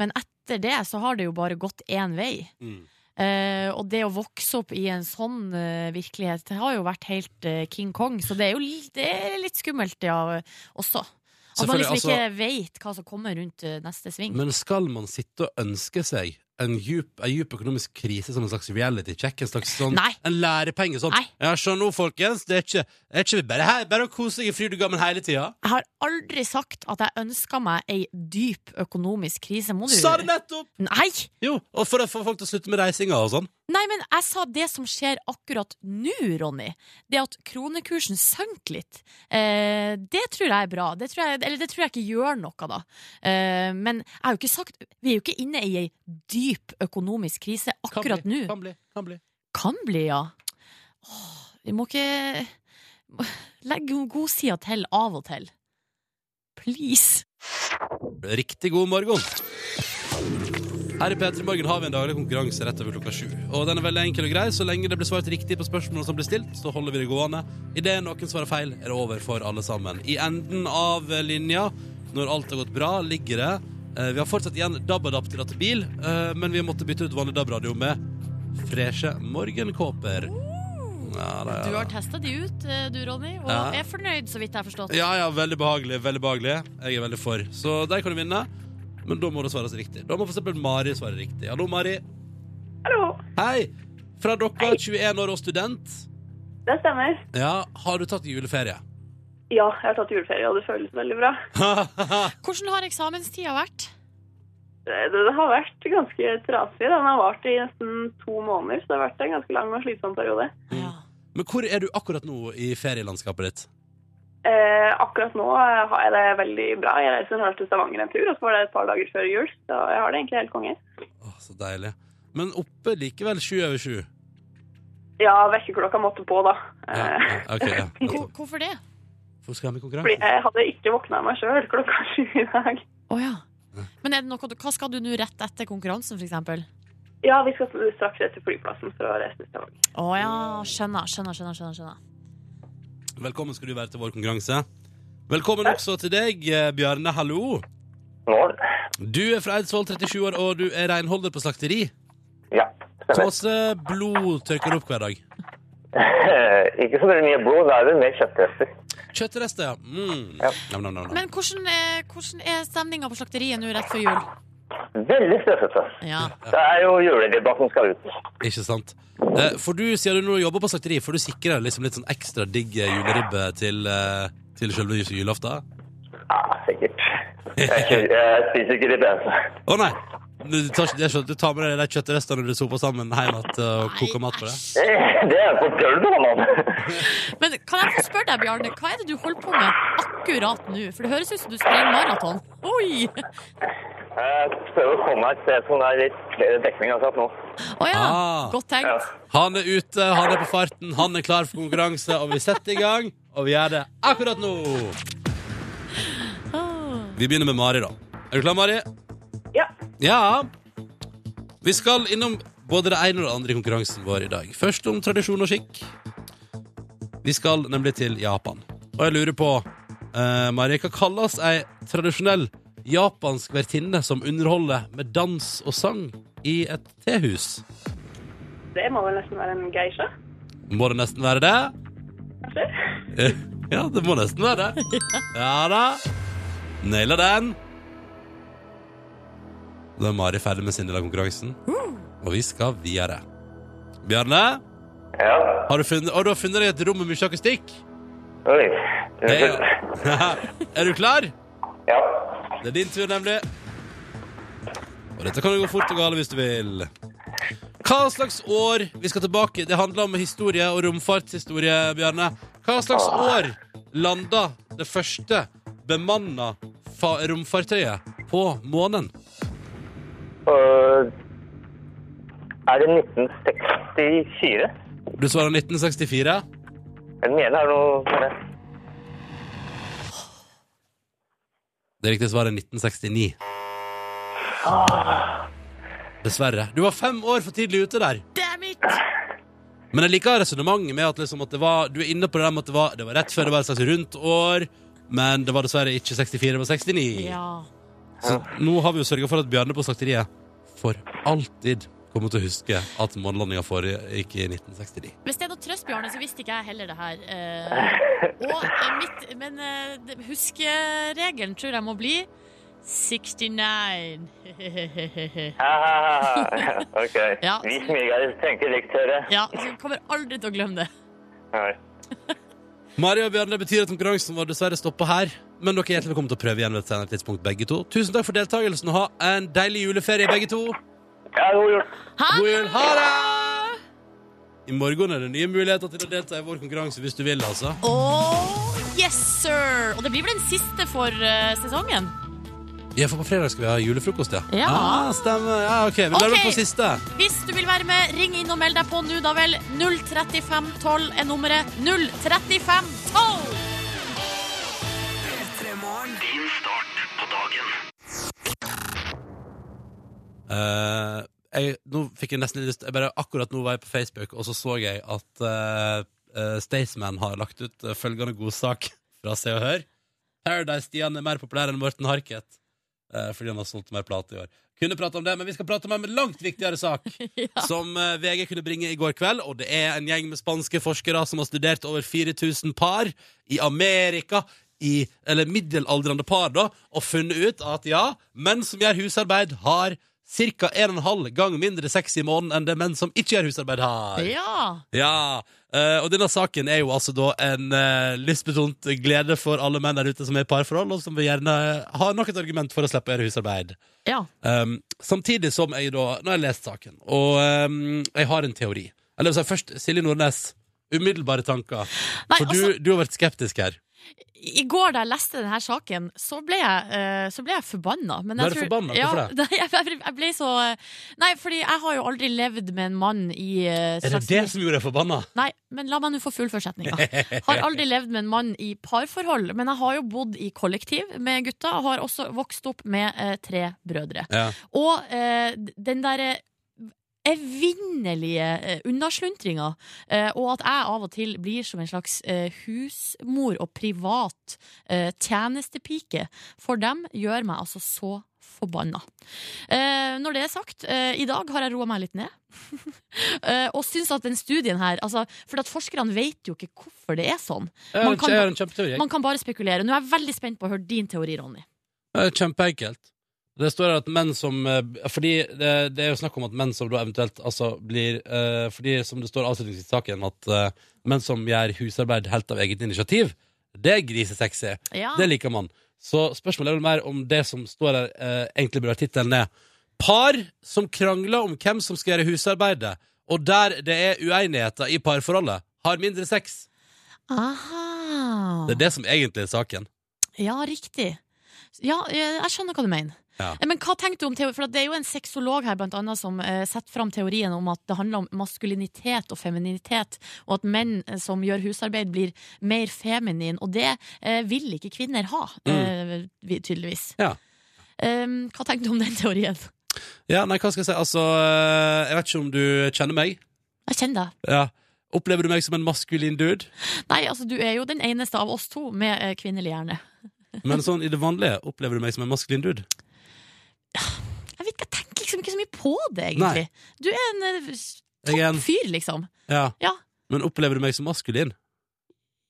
Speaker 2: Men etter det så har det jo bare gått én vei.
Speaker 1: Mm.
Speaker 2: Eh, og det å vokse opp i en sånn eh, virkelighet det har jo vært helt eh, King Kong, så det er jo li det er litt skummelt, ja, også. At man
Speaker 1: Selvfølgelig, altså-
Speaker 2: liksom ikke veit hva som kommer rundt eh, neste sving.
Speaker 1: Men skal man sitte og ønske seg en djup, en djup økonomisk krise som en slags reality check? En slags sånn,
Speaker 2: Nei.
Speaker 1: en lærepenge? Sånn.
Speaker 2: Nei.
Speaker 1: Ja, se nå, folkens. Det er ikke, det er ikke bare, her, bare å kose seg i fryd og gammen hele tida.
Speaker 2: Jeg har aldri sagt at jeg ønska meg ei dyp økonomisk krise. Må du
Speaker 1: Sa det nettopp!
Speaker 2: Nei!
Speaker 1: Jo, og for å få folk til å slutte med reisinga og sånn.
Speaker 2: Nei, men jeg sa det som skjer akkurat nå, Ronny. Det at kronekursen sank litt. Eh, det tror jeg er bra. Det tror jeg, eller det tror jeg ikke gjør noe, da. Eh, men jeg har jo ikke sagt Vi er jo ikke inne i ei dyp økonomisk krise
Speaker 1: Kan
Speaker 2: akkurat
Speaker 1: bli,
Speaker 2: nå.
Speaker 1: Kan bli, kan bli.
Speaker 2: Kan bli, ja. Åh, vi må ikke (laughs) må- Legge godsida til av og til. Please.
Speaker 1: Riktig god morgen. Her i P3 Morgen har vi en daglig konkurranse rett over klokka sju. Og den er veldig enkel og grei. Så lenge det blir svart riktig på spørsmålene som blir stilt, så holder vi det gående. Idet noen svarer feil, er det over for alle sammen. I enden av linja, når alt har gått bra, ligger det eh, Vi har fortsatt igjen DAB-adap til at bil, eh, men vi måtte bytte ut vanlig DAB-radio med freshe morgenkåper. Ja, da, ja,
Speaker 2: Du
Speaker 1: da.
Speaker 2: har testa de ut, eh, du, Ronny, og
Speaker 1: Ja.
Speaker 2: er fornøyd, så vidt jeg har forstått.
Speaker 1: Ja, ja, veldig behagelig, veldig behagelig Jeg er veldig for Så der kan du vinne Men da må det svares riktig Da må for eksempel Mari svare riktig Hallo Mari
Speaker 5: Hallo.
Speaker 1: Hei Fra dere 21 år og student
Speaker 5: Det stemmer.
Speaker 1: Ja, har du tatt juleferie? (laughs)
Speaker 5: Ja, jeg har tatt juleferie, og det føles veldig bra.
Speaker 1: Å
Speaker 2: Hvordan har eksamenstida vært?
Speaker 5: Det, det har vært ganske trasig. Den har vart i nesten to måneder, så det har vært en ganske lang og slitsom periode.
Speaker 2: Ja.
Speaker 1: Men hvor er du akkurat nå i ferielandskapet ditt?
Speaker 5: Eh, akkurat nå eh, har jeg det veldig bra. Jeg reiser snart til Stavanger en tur, og så var det et par dager før jul. Så jeg har det egentlig helt konge.
Speaker 1: Åh, så deilig. Men oppe likevel sju over sju.
Speaker 5: Ja, vekkerklokka måtte på, da.
Speaker 1: Ja,
Speaker 5: Eh,
Speaker 1: ja, ok, ja.
Speaker 2: Hvor,
Speaker 1: nettopp.
Speaker 2: hvorfor det?
Speaker 1: Hvorfor skal jeg ha med
Speaker 5: fordi
Speaker 1: konkurranse?
Speaker 5: jeg hadde ikke våkna av meg sjøl klokka sju i dag.
Speaker 2: Å ja. Men er det noe, du- hva skal du nå rett etter konkurransen, for eksempel?
Speaker 5: Ja, vi skal straks rett til flyplassen for å reise til Stavanger.
Speaker 2: Å ja, skjønner, skjønner, skjønner. skjønner, skjønner.
Speaker 1: Velkommen skal du være til vår konkurranse. Velkommen også til deg, eh, Bjarne. Hallo.
Speaker 6: Morgen.
Speaker 1: Du er fra Eidsvoll, 37 år, og du er renholder på slakteri.
Speaker 6: Ja,
Speaker 1: Hvor
Speaker 6: stemmer.
Speaker 1: masse blod tørker du opp hver dag?
Speaker 6: (laughs) ikke så veldig mye blod, da er det mer kjøttrester.
Speaker 1: Kjøttrester, ja. Mm.
Speaker 6: Ja.
Speaker 1: Nam, nam, nam, nam.
Speaker 2: Men hvordan er, hvordan er stemninga på slakteriet nå rett før jul?
Speaker 6: Veldig stressete.
Speaker 2: Ja.
Speaker 6: Det er jo juleribba som skal ut.
Speaker 1: Ikke sant. Eh, For du, siden du nå jobber på slakteri, får du sikre deg liksom litt sånn ekstra digg eh, juleribbe til, eh, til selve jul- julaften?
Speaker 6: Ja, sikkert. Jeg, kjø-
Speaker 1: (laughs)
Speaker 6: jeg spiser ikke ribbe. altså.
Speaker 1: Å nei! Du tar, ikke- det er sånn, du tar med deg de kjøttrestene du soper sammen hjem igjen eh, og koker mat på det?
Speaker 2: æsj.
Speaker 6: Eh, Det er på gulvet, mann.
Speaker 2: Men kan jeg få spørre deg, Bjarne, hva er det du holder på med akkurat nå? For det høres ut som du springer maraton. Oi!
Speaker 6: Jeg prøver å komme meg et sted som det er litt flere dekning akkurat nå.
Speaker 2: Å ja,
Speaker 1: Ah.
Speaker 2: godt
Speaker 6: Ja.
Speaker 2: tenkt.
Speaker 1: Han er ute, han er på farten, han er klar for konkurranse, og vi setter i gang. Og vi gjør det akkurat nå.
Speaker 2: Ah.
Speaker 1: Vi begynner med Mari, da. Er du klar, Mari?
Speaker 5: Ja.
Speaker 1: Ja. Vi skal innom både det ene og det andre i konkurransen vår i dag. Først om tradisjon og skikk. Vi skal nemlig til Japan. Og jeg lurer på, eh, Mari, hva kalles ei tradisjonell japansk vertinne som underholder med dans og sang i et tehus?
Speaker 5: Det må vel nesten være en geisha,
Speaker 1: Må det nesten være det?
Speaker 5: kanskje?
Speaker 1: (laughs) Ja, det må nesten være det. Ja da. Naila den. Da er Mari ferdig med sin del av konkurransen, og vi skal videre. Bjarne,
Speaker 6: Ja.
Speaker 1: har du funnet, og du har funnet deg et rom med mye akustikk?
Speaker 6: Oi.
Speaker 1: Ja.
Speaker 6: Unnskyld.
Speaker 1: (laughs) er du klar?
Speaker 6: Ja.
Speaker 1: Det er din tur, nemlig. Og dette kan jo gå fort og gale hvis du vil. Hva slags år Vi skal tilbake. Det handler om historie og romfartshistorie, Bjarne. Hva slags år landa det første bemanna fa- romfartøyet på månen?
Speaker 6: Og er det 1964?
Speaker 1: Du svarer 1964.
Speaker 6: Jeg mener det er noe med
Speaker 1: Det riktige svaret er 1969. Dessverre. Du var fem år for tidlig ute der.
Speaker 2: Damn it!
Speaker 1: Men jeg liker resonnementet med at, liksom at det var, du er inne på det der med at det var, det var rett før det var et slags rundt år, men det var dessverre ikke 64, det var 69.
Speaker 2: Ja.
Speaker 1: Så nå har vi jo sørga for at Bjarne på slakteriet for alltid kommer til å huske at månelandinga foregikk i 1969.
Speaker 2: Hvis det er noe trøst, Bjarne, så visste ikke jeg heller det her. Eh, og eh, mitt, men eh, det- huskeregelen tror jeg må bli 69.
Speaker 6: Ah, (laughs) ok.
Speaker 2: Ja.
Speaker 6: Vi smigere tenker likt, hører jeg.
Speaker 2: (laughs) ja, så kommer aldri til å glemme det.
Speaker 6: Nei.
Speaker 1: Mari og Bjarne, det betyr at konkurransen vår dessverre stopper her. Men dere er hjertelig velkommen til å prøve igjen ved et senere tidspunkt, begge to. Tusen takk for deltakelsen, og ha en deilig juleferie, begge to.
Speaker 6: Ja, god jul.
Speaker 1: God jul, ha det! I morgen er det nye muligheter til å delta i vår konkurranse hvis du vil, altså.
Speaker 2: Oh, yes, sir! Og det blir vel den siste for eh, sesongen?
Speaker 1: Ja, for på fredag skal vi ha julefrokost, ja.
Speaker 2: Ja.
Speaker 1: Ah, stemmer. Ja, ok. Vi lar
Speaker 2: Ok.
Speaker 1: det på siste.
Speaker 2: Hvis du vil være med, ring inn og meld deg på nå, da vel. 03512 er nummeret. 03512!
Speaker 4: Din start på dagen.
Speaker 1: Eh, jeg, nå fikk jeg nesten litt lyst jeg bare, Akkurat nå var jeg på Facebook, og så så jeg at uh, Staysman har lagt ut eh, følgende godsak fra Se og Hør. Paradise-Stian er mer populær enn Morten Harket eh, fordi han har solgt mer plate i år. Kunne prate om det, men vi skal prate om en langt viktigere sak som eh, VG kunne bringe i går kveld. Og det er en gjeng med spanske forskere som har studert over 4000 par i Amerika. I, eller middelaldrende par, da, og funnet ut at ja, menn som gjør husarbeid, har ca. 1,5 gang mindre sex i måneden enn det menn som ikke gjør husarbeid, har.
Speaker 2: Ja.
Speaker 1: Ja, Eh, og denne saken er jo altså da en eh, lystbetont glede for alle menn der ute som er i parforhold, og som vil gjerne eh, ha nok et argument for å slippe å gjøre husarbeid.
Speaker 2: Ja.
Speaker 1: Um, samtidig som jeg da Nå har jeg lest saken, og um, jeg har en teori. Eller altså, først Silje Nordnes. Umiddelbare tanker.
Speaker 2: Nei,
Speaker 1: For
Speaker 2: altså,
Speaker 1: du, du har vært skeptisk her.
Speaker 2: I går da jeg leste denne saken, så ble jeg, eh, så ble jeg forbanna. Men
Speaker 1: Ble
Speaker 2: jeg
Speaker 1: du
Speaker 2: tror-
Speaker 1: forbanna?
Speaker 2: Ja,
Speaker 1: Hvorfor
Speaker 2: nei, (laughs) jeg, jeg, jeg ble så Nei, fordi jeg har jo aldri levd med en mann i eh,
Speaker 1: Er det
Speaker 2: slags-
Speaker 1: det som gjorde deg forbanna?
Speaker 2: Nei, men la meg nå få fullføre setninga. Har aldri levd med en mann i parforhold, men jeg har jo bodd i kollektiv med gutta. Og har også vokst opp med eh, tre brødre.
Speaker 1: Ja.
Speaker 2: Og eh, den derre evinnelige eh, unnasluntringer, eh, og at jeg av og til blir som en slags eh, husmor og privat eh, tjenestepike for dem, gjør meg altså så forbanna. Eh, når det er sagt, eh, i dag har jeg roa meg litt ned. (laughs) eh, og syns at den studien her altså, For at forskerne vet jo ikke hvorfor det er sånn.
Speaker 1: Jeg har
Speaker 2: Man
Speaker 1: en-
Speaker 2: kan-
Speaker 1: jeg har en kjempeteori. jeg.
Speaker 2: Man kan bare spekulere. Nå er jeg veldig spent på å høre din teori, Ronny.
Speaker 1: Det er kjempeenkelt. Det står at menn som eh, Fordi det, det er jo snakk om at menn som da eventuelt altså blir eh, Fordi som det står avslutningsvis i saken, at eh, menn som gjør husarbeid helt av eget initiativ, det er grisesexy.
Speaker 2: Ja.
Speaker 1: Det liker man. Så spørsmålet er vel mer om det som står der, eh, egentlig burde vært tittelen er Par som krangler om hvem som skal gjøre husarbeidet, og der det er uenigheter i parforholdet, har mindre sex.
Speaker 2: Aha.
Speaker 1: Det er det som egentlig er saken.
Speaker 2: Ja, riktig. Ja, eh, jeg skjønner hva du mener.
Speaker 1: Ja.
Speaker 2: Eh, Men hva tenker du om teori? For at det er jo en sexolog her blant annet, som eh, setter fram teorien om at det handler om maskulinitet og femininitet, og at menn eh, som gjør husarbeid, blir mer feminin. Og det eh, vil ikke kvinner ha, eh, vi- tydeligvis.
Speaker 1: Mm. Ja.
Speaker 2: Eh, hva tenker du om den teorien?
Speaker 1: Ja, nei, hva skal jeg si? Altså, eh, jeg vet ikke om du kjenner meg.
Speaker 2: Jeg kjenner deg.
Speaker 1: Ja. Opplever du meg som en maskulin dude?
Speaker 2: Nei, altså, du er jo den eneste av oss to med eh, kvinnelig hjerne.
Speaker 1: Men sånn i det vanlige, opplever du meg som en maskulin dude?
Speaker 2: Jeg vet ikke, jeg tenker liksom ikke så mye på det, egentlig. Du er en eh, s-
Speaker 1: Jeg er en-
Speaker 2: topp fyr, liksom.
Speaker 1: Ja.
Speaker 2: Ja.
Speaker 1: Men opplever du meg som maskulin?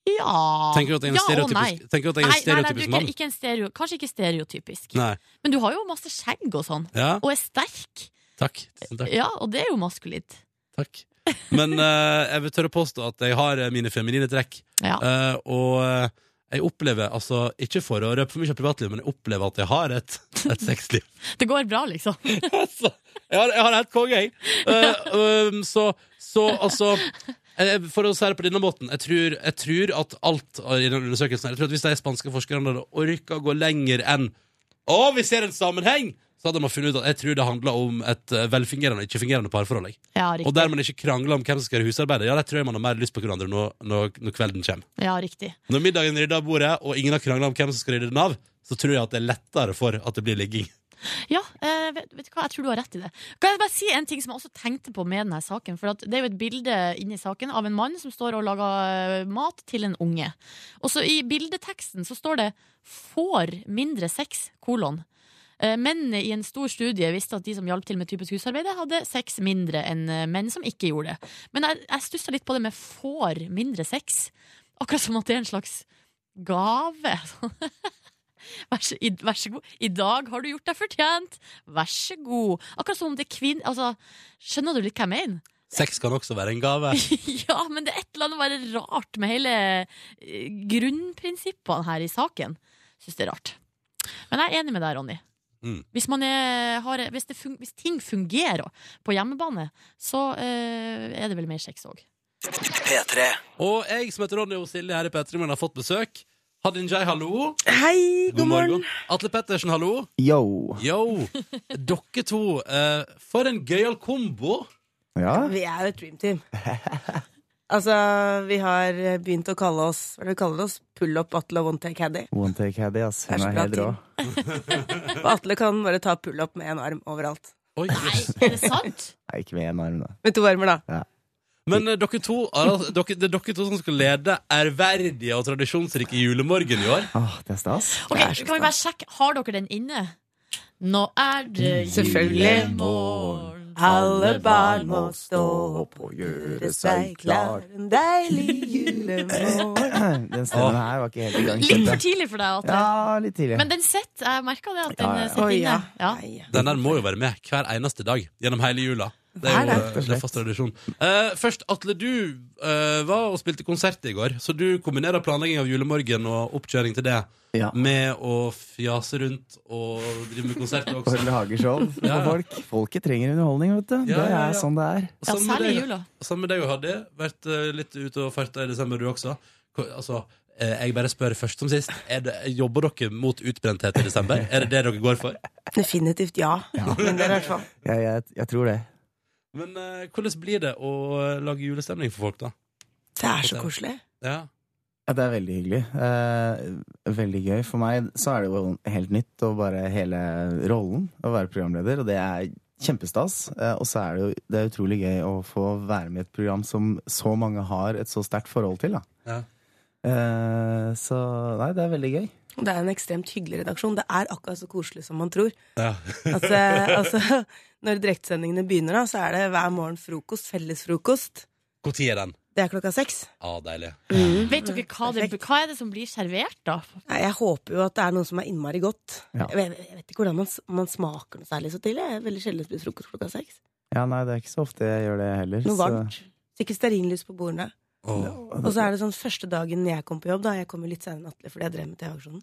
Speaker 2: Ja
Speaker 1: Tenker du at jeg er en
Speaker 2: Ja og
Speaker 1: stereotypisk, tenker du at jeg er en
Speaker 2: Nei, nei, nei, du
Speaker 1: stereotypisk
Speaker 2: er ikke,
Speaker 1: mann?
Speaker 2: ikke en stereo, kanskje ikke stereotypisk.
Speaker 1: Nei.
Speaker 2: Men du har jo masse skjegg og sånn.
Speaker 1: Ja,
Speaker 2: Og er sterk.
Speaker 1: takk. Tusen takk.
Speaker 2: Ja, og det er jo maskulint. (laughs)
Speaker 1: takk. Men eh, jeg vil tørre påstå at jeg har eh, mine feminine trekk.
Speaker 2: Ja.
Speaker 1: Eh, og eh, jeg opplever, altså, ikke for å røpe for mye av privatlivet, men jeg opplever at jeg har et, et sexliv.
Speaker 2: Det går bra, liksom.
Speaker 1: altså, jeg har, jeg har helt konge, jeg. Eh, um, så, så altså eh, For å si det på denne måten, jeg tror, jeg tror at alt i den undersøkelsen her, Jeg tror at Hvis de spanske forskerne hadde orka å gå lenger enn Å, vi ser en sammenheng! Så hadde man funnet ut at jeg tror det handla om et eh, velfungerende og ikke-fungerende parforhold. jeg.
Speaker 2: Ja,
Speaker 1: Og
Speaker 2: riktig.
Speaker 1: der man ikke krangler om hvem som skal gjøre husarbeidet. Ja, der tror jeg man har mer lyst på hverandre når, når, når kvelden kommer.
Speaker 2: Ja, riktig.
Speaker 1: Når middagen er rydda av bordet, og ingen har krangla om hvem som skal rydde den av, så tror jeg at det er lettere for at det blir ligging.
Speaker 2: Ja, eh, vet, vet du hva, jeg tror du har rett i det. Kan jeg bare si en ting som jeg også tenkte på med denne saken? For at det er jo et bilde inni saken av en mann som står og lager eh, mat til en unge. Og så i bildeteksten så står det 'får mindre sex', kolon. Eh, Menn i en stor studie visste at de som hjalp til med typisk husarbeid, hadde sex mindre enn eh, menn som ikke gjorde det. Men jeg, jeg stussa litt på det med 'får mindre sex'. Akkurat som at det er en slags gave. (laughs) Vær så, i, vær så god. I dag har du gjort deg fortjent. Vær så god. Akkurat som om det er kvinn... Altså, skjønner du litt hva jeg mener? (laughs)
Speaker 1: Sex kan også være en gave.
Speaker 2: ja, men det er et eller annet bare rart med hele eh, grunnprinsippene her i saken. Syns det er rart. Men jeg er enig med deg, Ronny.
Speaker 1: Mm.
Speaker 2: Hvis, man er, har, hvis, det fun, hvis ting fungerer på hjemmebane, så eh, er det vel mer sex òg.
Speaker 1: Og jeg som heter Ronny og Silje her i Petremorgen har fått besøk. Hadin Jai, hallo.
Speaker 7: Hei, god morgen.
Speaker 1: Atle Pettersen, hallo.
Speaker 8: Yo.
Speaker 7: (laughs)
Speaker 1: Yo. Dere to, eh, for en gøyal kombo.
Speaker 8: Ja.
Speaker 7: Vi er jo et dream (laughs) team. Altså, vi har begynt å kalle oss Hva er det vi kaller oss? Pull up Atle og one take Haddy.
Speaker 8: One take Haddy, ass.
Speaker 7: Det er
Speaker 8: Hun
Speaker 7: så
Speaker 8: er
Speaker 7: bra
Speaker 8: helt rå.
Speaker 7: Og Atle kan bare ta pull up med én arm overalt.
Speaker 1: Oi, jøss.
Speaker 2: Er det sant?
Speaker 8: Nei, ikke med én arm, da.
Speaker 7: Med to armer, da.
Speaker 1: Men eh, dere to, altså, dere, det er dere to som skal lede ærverdige og tradisjonsrike julemorgen i år.
Speaker 8: Åh, Ah, det er stas.
Speaker 2: Ok, Kan vi bare sjekke, har dere den inne? Nå er det
Speaker 7: Selvfølgelig.
Speaker 2: julemorgen.
Speaker 7: Alle barn må stå opp og gjøre seg klar en deilig (laughs) julemorgen.
Speaker 8: (clears throat) Den stemmen her var ikke helt i gang.
Speaker 2: Litt
Speaker 8: skjønte
Speaker 2: for
Speaker 8: jeg.
Speaker 2: tidlig for deg, Atle.
Speaker 8: Ja, litt tidlig.
Speaker 2: Men den sitter. Jeg merka det. at den
Speaker 8: Ja, ja, ja.
Speaker 2: sitter
Speaker 7: Oi,
Speaker 2: inne
Speaker 7: ja.
Speaker 2: ja.
Speaker 7: Nei, ja.
Speaker 1: Den der må jo være med hver eneste dag gjennom hele jula. Det
Speaker 7: Det
Speaker 1: er
Speaker 7: er
Speaker 1: jo
Speaker 7: det.
Speaker 1: det er fast tradisjon. Eh, først, Atle, du eh, var og spilte konsert i går, så du kombinerer planlegging av julemorgen og oppkjøring til det
Speaker 8: Ja.
Speaker 1: med å fjase rundt og drive med konsert
Speaker 8: Og (laughs)
Speaker 1: også.
Speaker 8: lagershow for
Speaker 1: Ja, ja.
Speaker 8: folk. Folket trenger underholdning, vet du.
Speaker 1: Ja,
Speaker 8: det er
Speaker 1: ja, ja.
Speaker 8: sånn det er.
Speaker 2: Ja,
Speaker 1: Sammen med
Speaker 2: særlig i
Speaker 1: deg-
Speaker 2: jula.
Speaker 1: Sammen med deg og Haddy. Vært eh, litt ute og farta i desember, du også. Ko- Altså, eh, jeg bare spør først som sist. Er det, jobber dere mot utbrenthet i desember? Er det det dere går for?
Speaker 7: Definitivt ja. Men det er i hvert fall.
Speaker 8: Jeg, jeg, jeg tror det.
Speaker 1: Men eh, hvordan blir det å eh, lage julestemning for folk, da?
Speaker 7: Det er så koselig.
Speaker 1: Ja.
Speaker 8: Ja, det er veldig hyggelig. Eh, veldig gøy. For meg så er det jo helt nytt å bare hele rollen å være programleder, og det er kjempestas. Eh, og så er det jo det er utrolig gøy å få være med i et program som så mange har et så sterkt forhold til, da.
Speaker 1: Ja.
Speaker 8: Eh, så nei, det er veldig gøy.
Speaker 7: Og Det er en ekstremt hyggelig redaksjon. Det er akkurat så koselig som man tror.
Speaker 1: ja.
Speaker 7: Altså, (laughs) altså, når direktsendingene begynner, da, så er det hver morgen frokost, fellesfrokost.
Speaker 1: Når er den?
Speaker 7: Det er klokka seks.
Speaker 1: Ah, deilig.
Speaker 2: Vet dere hva, det, hva er det som blir servert, da?
Speaker 7: Nei, Jeg håper jo at det er noe som er innmari godt.
Speaker 8: Ja.
Speaker 7: Jeg, vet, jeg vet ikke hvordan man, s- man smaker noe særlig så tidlig. Jeg er veldig sjelden spiser frokost klokka seks.
Speaker 8: Ja, nei, det er ikke så ofte jeg gjør det heller.
Speaker 7: Noe
Speaker 8: så-
Speaker 7: varmt. Sikkert stearinlys på bordene.
Speaker 1: Åh.
Speaker 7: Og så er det sånn første dagen jeg kom på jobb, da jeg kom jo litt senere enn Atle fordi jeg drev med TV-aksjonen,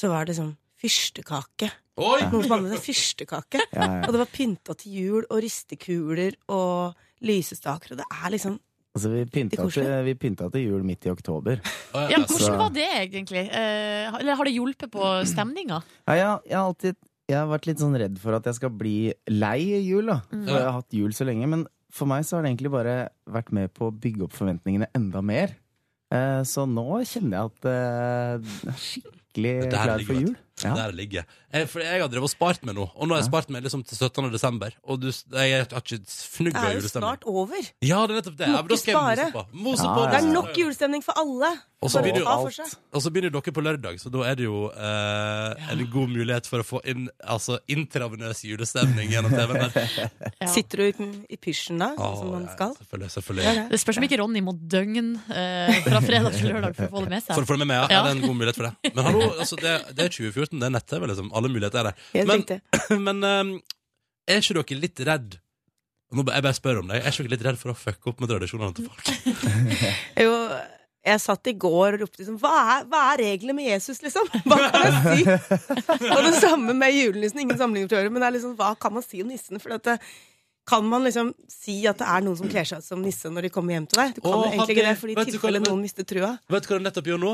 Speaker 7: så var det sånn fyrstekake.
Speaker 1: Oi!
Speaker 7: Noen som hadde fyrstekake.
Speaker 8: Ja,
Speaker 7: (laughs)
Speaker 8: ja.
Speaker 7: Og det var pynta til jul og ristekuler og lysestaker, og det er liksom
Speaker 8: Altså, vi pynta,
Speaker 7: Koselig.
Speaker 8: til, vi pynta til jul midt i oktober.
Speaker 1: Å,
Speaker 2: Ja,
Speaker 1: ja, altså.
Speaker 2: hvordan var det, egentlig? Eh, har- eller har det hjulpet på stemninga?
Speaker 8: Nei, jeg, jeg, har alltid, jeg har vært litt sånn redd for at jeg skal bli lei i jul, da. For jeg har hatt jul så lenge. Men for meg så har det egentlig bare vært med på å bygge opp forventningene enda mer. Eh, så nå kjenner jeg at eh, jeg er skikkelig
Speaker 1: Det der
Speaker 8: klar
Speaker 1: ligger
Speaker 8: for
Speaker 1: godt.
Speaker 8: jul. Ja.
Speaker 1: Der ligger jeg. For jeg har drevet og spart meg nå, og nå har jeg spart meg liksom til 17. desember. Og du, jeg har ikke fnugg
Speaker 7: Det
Speaker 1: av
Speaker 7: er jo
Speaker 1: julestemning.
Speaker 7: snart over.
Speaker 1: Ja, det er nettopp det.
Speaker 7: Må
Speaker 1: Ja, men da
Speaker 7: ikke
Speaker 1: skal jeg mose
Speaker 7: spare.
Speaker 1: på. Mose
Speaker 8: Ja,
Speaker 1: på
Speaker 8: ja,
Speaker 7: Det
Speaker 8: ja.
Speaker 7: er nok julestemning for alle.
Speaker 1: Og så
Speaker 7: Bare
Speaker 1: blir det jo
Speaker 7: ta for seg.
Speaker 1: Og så begynner dere på lørdag, så da er det jo eh, en god mulighet for å få inn altså, intravenøs julestemning gjennom
Speaker 7: (laughs)
Speaker 1: TV-en. der.
Speaker 2: Ja.
Speaker 7: Sitter du uten i pysjen da,
Speaker 1: Å,
Speaker 7: som man
Speaker 1: ja,
Speaker 7: skal?
Speaker 1: Selvfølgelig.
Speaker 7: Ja,
Speaker 1: selvfølgelig.
Speaker 7: ja.
Speaker 2: Det spørs om ikke Ronny må døgn eh, fra fredag til lørdag for å få det med
Speaker 1: For
Speaker 2: seg.
Speaker 1: å få det med meg, ja.
Speaker 2: Ja.
Speaker 1: Er det en god mulighet for det? Men hallo, altså, det, det er 2014, det er nett-TV, liksom. Alle muligheter er der.
Speaker 7: Helt
Speaker 1: Men-
Speaker 7: riktig.
Speaker 1: Men eh, er ikke dere litt redd Nå ba- Jeg bare spør om det. Er ikke dere litt redd for å fucke opp med tradisjonene til folk?
Speaker 7: Jo, jeg satt i går og ropte liksom Hva er, hva er reglene med Jesus, liksom? (laughs) Hva kan jeg si? Og det samme med julenissen. Ingen sammenligning for øvrig, men det er liksom Hva kan man si om nissen? For at det, kan man liksom si at det er noen som kler seg ut som nisse når de kommer hjem til deg? Du kan
Speaker 1: Å,
Speaker 7: jo egentlig
Speaker 1: Hadde,
Speaker 7: ikke det, fordi
Speaker 1: vet
Speaker 7: i
Speaker 1: du hva
Speaker 7: tilfelle
Speaker 1: det-
Speaker 7: noen mister trua.
Speaker 1: Vet du hva du nettopp gjør nå?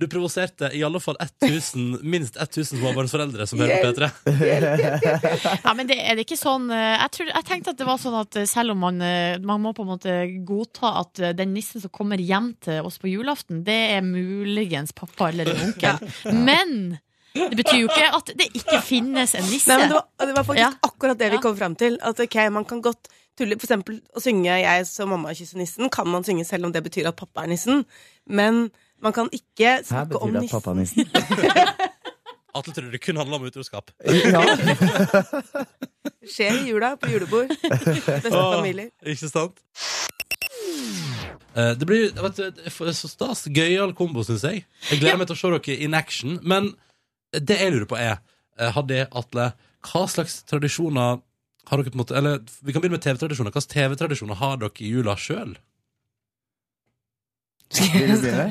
Speaker 1: Du provoserte i alle fall 1000, minst 1000 småbarnsforeldre som hører på P3.
Speaker 2: Ja, men det, er det ikke sånn eh, jeg, tror, jeg tenkte at det var sånn at eh, selv om man eh, Man må på en måte godta at eh, den nissen som kommer hjem til oss på julaften, det er muligens pappa eller en
Speaker 7: (laughs)
Speaker 2: onkel. Men det betyr jo ikke at det ikke finnes en nisse.
Speaker 7: Nei, men det, var, det var faktisk
Speaker 2: Ja.
Speaker 7: akkurat det vi
Speaker 2: Ja.
Speaker 7: kom fram til. At ok, man kan godt tulle For eksempel å synge 'Jeg som mamma kysser nissen' kan man synge selv om det betyr at pappa er nissen. Men man kan ikke
Speaker 8: Her
Speaker 7: snakke om
Speaker 8: betyr det at
Speaker 7: nissen.
Speaker 8: pappanissen
Speaker 1: Atle trodde det kun handla om utroskap.
Speaker 8: (laughs) ja.
Speaker 7: Det skjer i jula, på
Speaker 8: (laughs)
Speaker 7: julebord. Beste familier.
Speaker 1: Ah, Ikke sant? Eh, Det blir vet du, det er så stas. Gøyal kombo, syns jeg. Jeg gleder meg til å se dere in action. Men det jeg lurer på, er eh, Hadde Atle, hva slags tradisjoner har dere på en måte Eller vi kan begynne med TV-tradisjoner. Hva slags TV-tradisjoner har dere i jula sjøl?
Speaker 8: Vil du begynne?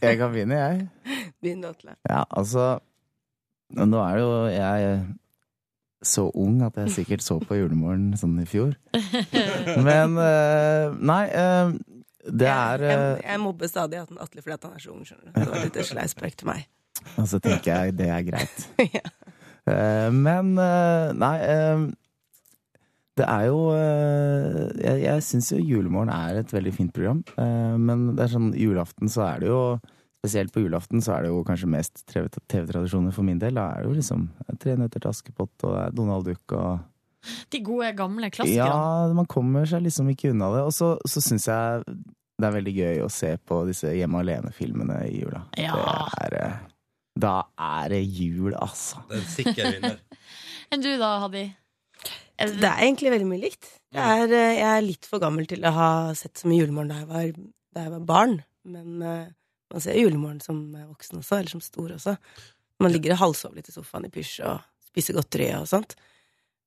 Speaker 8: Jeg kan begynne, jeg.
Speaker 7: Begynn, Atle.
Speaker 8: Ja, altså Nå er jo jeg så ung at jeg sikkert så på Julemorgen sånn i fjor. Men eh, Nei, eh, det er
Speaker 7: jeg,
Speaker 8: eh,
Speaker 7: jeg, jeg mobber stadig at Atle fordi at han er så ung, skjønner du. Det var litt sleisprek til meg.
Speaker 8: Og så tenker jeg det er greit.
Speaker 7: Ja.
Speaker 8: Eh, men eh, nei eh, Det er jo eh, Jeg, jeg syns jo Julemorgen er et veldig fint program. eh, men det er sånn julaften så er det jo Spesielt på julaften så er det jo kanskje mest TV- TV-tradisjoner for min del. Da er det jo liksom Tre nøtter til Askepott og det er Donald Duck og
Speaker 2: De gode, gamle klassikerne.
Speaker 8: ja, man kommer seg liksom ikke unna det. Og så, så syns jeg det er veldig gøy å se på disse Hjemme alene-filmene i jula.
Speaker 2: Ja.
Speaker 8: Det er, eh, da er det jul, altså.
Speaker 1: Det er en sikker vinner.
Speaker 2: Enn du da, Hadi? Er det-
Speaker 7: Det er egentlig veldig mye likt. Det er, eh, jeg er litt for gammel til å ha sett så mye julemorgen da jeg var, da jeg var barn. Men eh, man ser jo julemorgen som eh, voksen også, eller som stor også. Man ligger og halvsover litt i Ehm, sofaen i pysj og spiser godteri og sånt.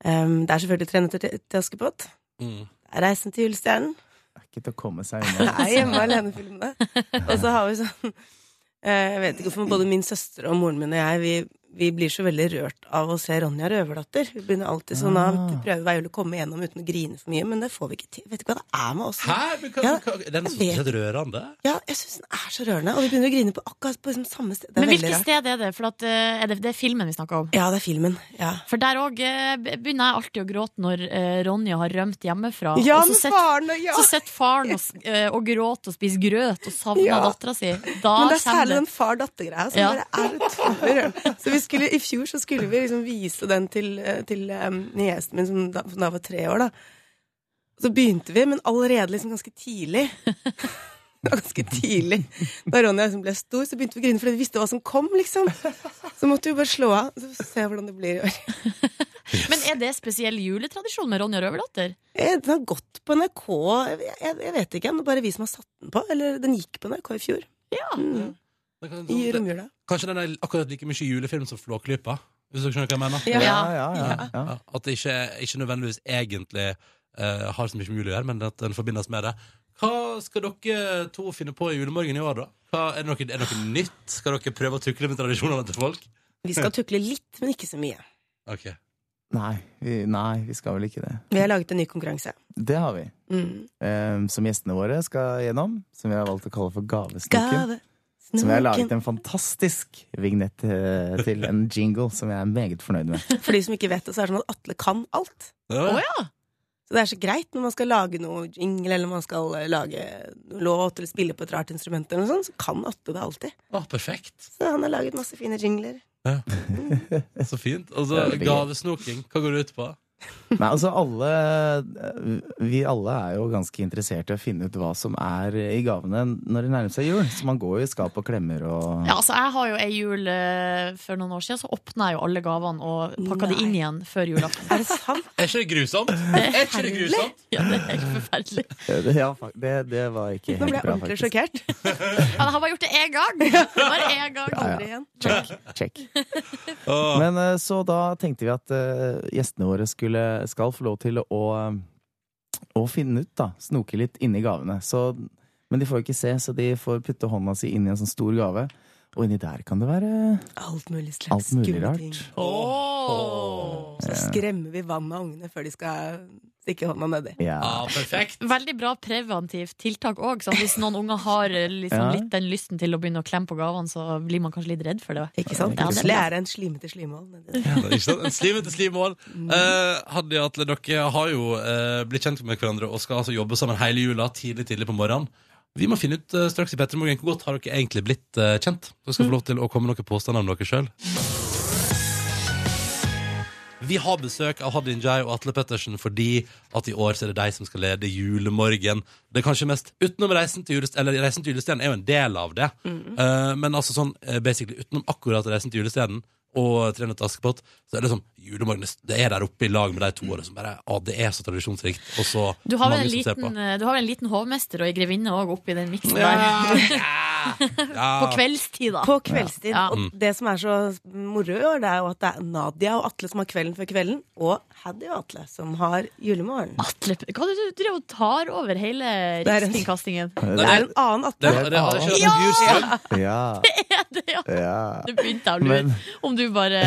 Speaker 7: Em, det er selvfølgelig Tre nøtter til til Askepott.
Speaker 1: Mm.
Speaker 7: Reisen til julestjernen.
Speaker 8: Det er ikke til å komme seg (laughs) unna.
Speaker 7: Nei, hjemme alene-filmene. Og så har vi sånn eh, Jeg vet ikke hvorfor, men både min søster og moren min og jeg, vi, vi blir så veldig rørt av å se Ronja Røverdatter. Vi begynner alltid sånn av
Speaker 8: Ah.
Speaker 7: prøver hver jul å komme gjennom uten å grine for mye, men det får vi ikke til. Vet ikke hva det er med oss.
Speaker 1: Hæ? Men hva,
Speaker 7: Ja,
Speaker 1: hva, den er så
Speaker 7: jeg vet.
Speaker 1: helt rørende.
Speaker 7: Ja, jeg syns den er så rørende, og vi begynner å grine på akkurat på liksom samme sted. Det er
Speaker 2: Men
Speaker 7: veldig
Speaker 2: hvilket
Speaker 7: rart.
Speaker 2: sted er det? For at, eh, er det, det er filmen vi snakker om.
Speaker 7: Ja, det er filmen. Ja.
Speaker 2: For der òg begynner jeg alltid å gråte når eh, Ronja har rømt hjemmefra.
Speaker 7: Ja,
Speaker 2: og så
Speaker 7: men
Speaker 2: sitter
Speaker 7: faren, ja.
Speaker 2: så sitter faren og, s- eh, og gråter og spiser grøt og savner
Speaker 7: Ja.
Speaker 2: dattera si. Da
Speaker 7: Men det er
Speaker 2: kommer
Speaker 7: særlig
Speaker 2: det
Speaker 7: den far-datter-greia som
Speaker 2: Ja.
Speaker 7: bare er utrolig rørende. Så vi skulle, I fjor så skulle vi liksom vise den til, eh, til eh, niesen min, som da, som da var tre år. da. Så begynte vi, men allerede liksom ganske tidlig (laughs) Ganske tidlig. Da Ronja liksom ble stor, så begynte vi å grine fordi vi visste hva som kom. liksom. Så måtte vi bare slå av så se hvordan det blir i år.
Speaker 2: Men er det spesiell juletradisjon med Ronja Røverdatter?
Speaker 7: Eh, Den har gått på NRK, jeg, jeg, jeg vet ikke, men bare vi som har satt den på. Eller den gikk på NRK i fjor. Mm,
Speaker 1: Men kan-
Speaker 7: I
Speaker 1: sånn-
Speaker 7: romjula.
Speaker 1: Kanskje den er akkurat like mye julefilm som Flåklypa? Hvis dere skjønner hva jeg mener?
Speaker 7: Ja.
Speaker 8: Ja, ja, ja, ja.
Speaker 1: Ja, at det ikke, ikke nødvendigvis egentlig eh, har så mye med jul å gjøre, men at den forbindes med det. Hva skal dere to finne på i julemorgen i år, da? Hva, er, det noe, er det noe nytt? Skal dere prøve å tukle med tradisjonene til folk?
Speaker 7: Vi skal tukle litt, men ikke så mye.
Speaker 1: Ok,
Speaker 8: Nei, vi, nei, vi skal vel ikke det.
Speaker 7: Vi har laget en ny konkurranse.
Speaker 8: Det har vi.
Speaker 7: Mm.
Speaker 8: Ehm, som gjestene våre skal gjennom. Som vi har valgt å kalle for Gavesnoken.
Speaker 7: Gave.
Speaker 8: Som jeg har laget en fantastisk vignett eh, til. En jingle som jeg er meget fornøyd med.
Speaker 7: For de som ikke vet det, så er det sånn at Atle kan alt.
Speaker 1: Ja.
Speaker 2: Å ja!
Speaker 7: Så det er så greit når man skal lage noe jingle, eller man skal eh, lage noe låt, eller spille på et rart instrument, eller noe sånt, så kan Atle det alltid.
Speaker 1: Å, perfekt.
Speaker 7: Så han har laget masse fine jingler.
Speaker 1: Så fint. Og så
Speaker 8: Veldig gøy.
Speaker 1: gavesnoking. Hva går det ut på?
Speaker 8: Nei, altså alle eh, Vi alle er jo ganske interessert i å finne ut hva som er i gavene når det nærmer seg jul. Så man går jo i skap og klemmer og
Speaker 2: Ja, altså Jeg har jo ei jul eh, for noen år siden, så åpna jeg jo alle gavene og pakka de
Speaker 7: Nei.
Speaker 2: inn igjen før julaften.
Speaker 7: (laughs) Er det sant?
Speaker 1: Er ikke det grusomt? Er ikke det grusomt?
Speaker 2: Ja, det er helt forferdelig.
Speaker 8: Eh, Ja, fak- det, det var ikke
Speaker 7: Nå ble
Speaker 8: helt
Speaker 7: jeg
Speaker 8: bra,
Speaker 7: ordentlig
Speaker 8: faktisk.
Speaker 7: sjokkert.
Speaker 2: Ja, jeg har bare gjort det én gang!
Speaker 7: (laughs)
Speaker 2: Bare én gang.
Speaker 8: Ja, ja.
Speaker 7: Aldri igjen.
Speaker 8: Check.
Speaker 1: Åh.
Speaker 8: Men eh, så da tenkte vi at eh, gjestene våre skulle, skal få lov til å, å finne ut, da. Snoke litt inni gavene. Så, men de får jo ikke se, så de får putte hånda si inn i en sånn stor gave. Og inni der kan det være
Speaker 7: Alt mulig slags
Speaker 8: alt mulig
Speaker 7: skumle ting.
Speaker 8: rart.
Speaker 2: Åh.
Speaker 7: Så skremmer vi vann av ungene før de skal stikke hånda nedi.
Speaker 8: Ja.
Speaker 1: Ja, perfekt.
Speaker 2: Veldig bra preventivt tiltak òg. Hvis noen unger har eh, liksom,
Speaker 8: Ja.
Speaker 2: litt den lysten til å begynne å klemme på gavene, så blir man kanskje litt redd for det.
Speaker 7: Ikke sant?
Speaker 2: Ja, det er
Speaker 7: Plutselig er det en slimete slimål nedi der.
Speaker 1: Ja, det er ikke sant? En slim etter slimål. Eh, Hadia og Atle, dere har jo eh, blitt kjent med hverandre og skal altså jobbe sammen hele jula, tidlig tidlig på morgenen. Vi må finne ut eh, straks i Petter Morgen hvor godt har dere egentlig blitt eh, kjent. Dere skal få lov til å komme med noen påstander om dere sjøl. Vi har besøk av Hadia Njay og Atle Pettersen fordi at i år så er det de som skal lede Julemorgen. Det er kanskje mest utenom Reisen til julestjernen, eller Reisen til julestjernen er jo en del av det,
Speaker 2: Mm.
Speaker 1: Eh, men altså sånn eh, basically utenom akkurat Reisen til julestjernen og Tre nøtter til Askepott, så er det sånn Julemorgen det er der oppe i lag med de to årene som bare ah, Det er så tradisjonsrikt, og så
Speaker 2: Du har vel
Speaker 1: mange
Speaker 2: en
Speaker 1: som ser på.
Speaker 2: liten, eh, du har vel en liten hovmester og ei grevinne òg oppi den miksen der.
Speaker 1: Ja, ja,
Speaker 2: (laughs)
Speaker 1: ja.
Speaker 2: På kveldstid, da.
Speaker 7: På kveldstid.
Speaker 2: Ja.
Speaker 1: Mm.
Speaker 7: Og det som er så moro, i år, det er jo at det er Nadia og Atle som har Kvelden før kvelden, og Haddy og Atle som har Julemorgen.
Speaker 2: Atle, hva er det du drev og tar over hele
Speaker 7: er en-
Speaker 2: rikskringkastingen?
Speaker 7: Det er en annen
Speaker 1: Det,
Speaker 7: Atle.
Speaker 1: det, det hadde ikke vært Bjurstrøm.
Speaker 8: Ja,
Speaker 2: (laughs) Ja,
Speaker 8: ja.
Speaker 2: det begynte jeg å
Speaker 8: Men-
Speaker 2: lure. Om du bare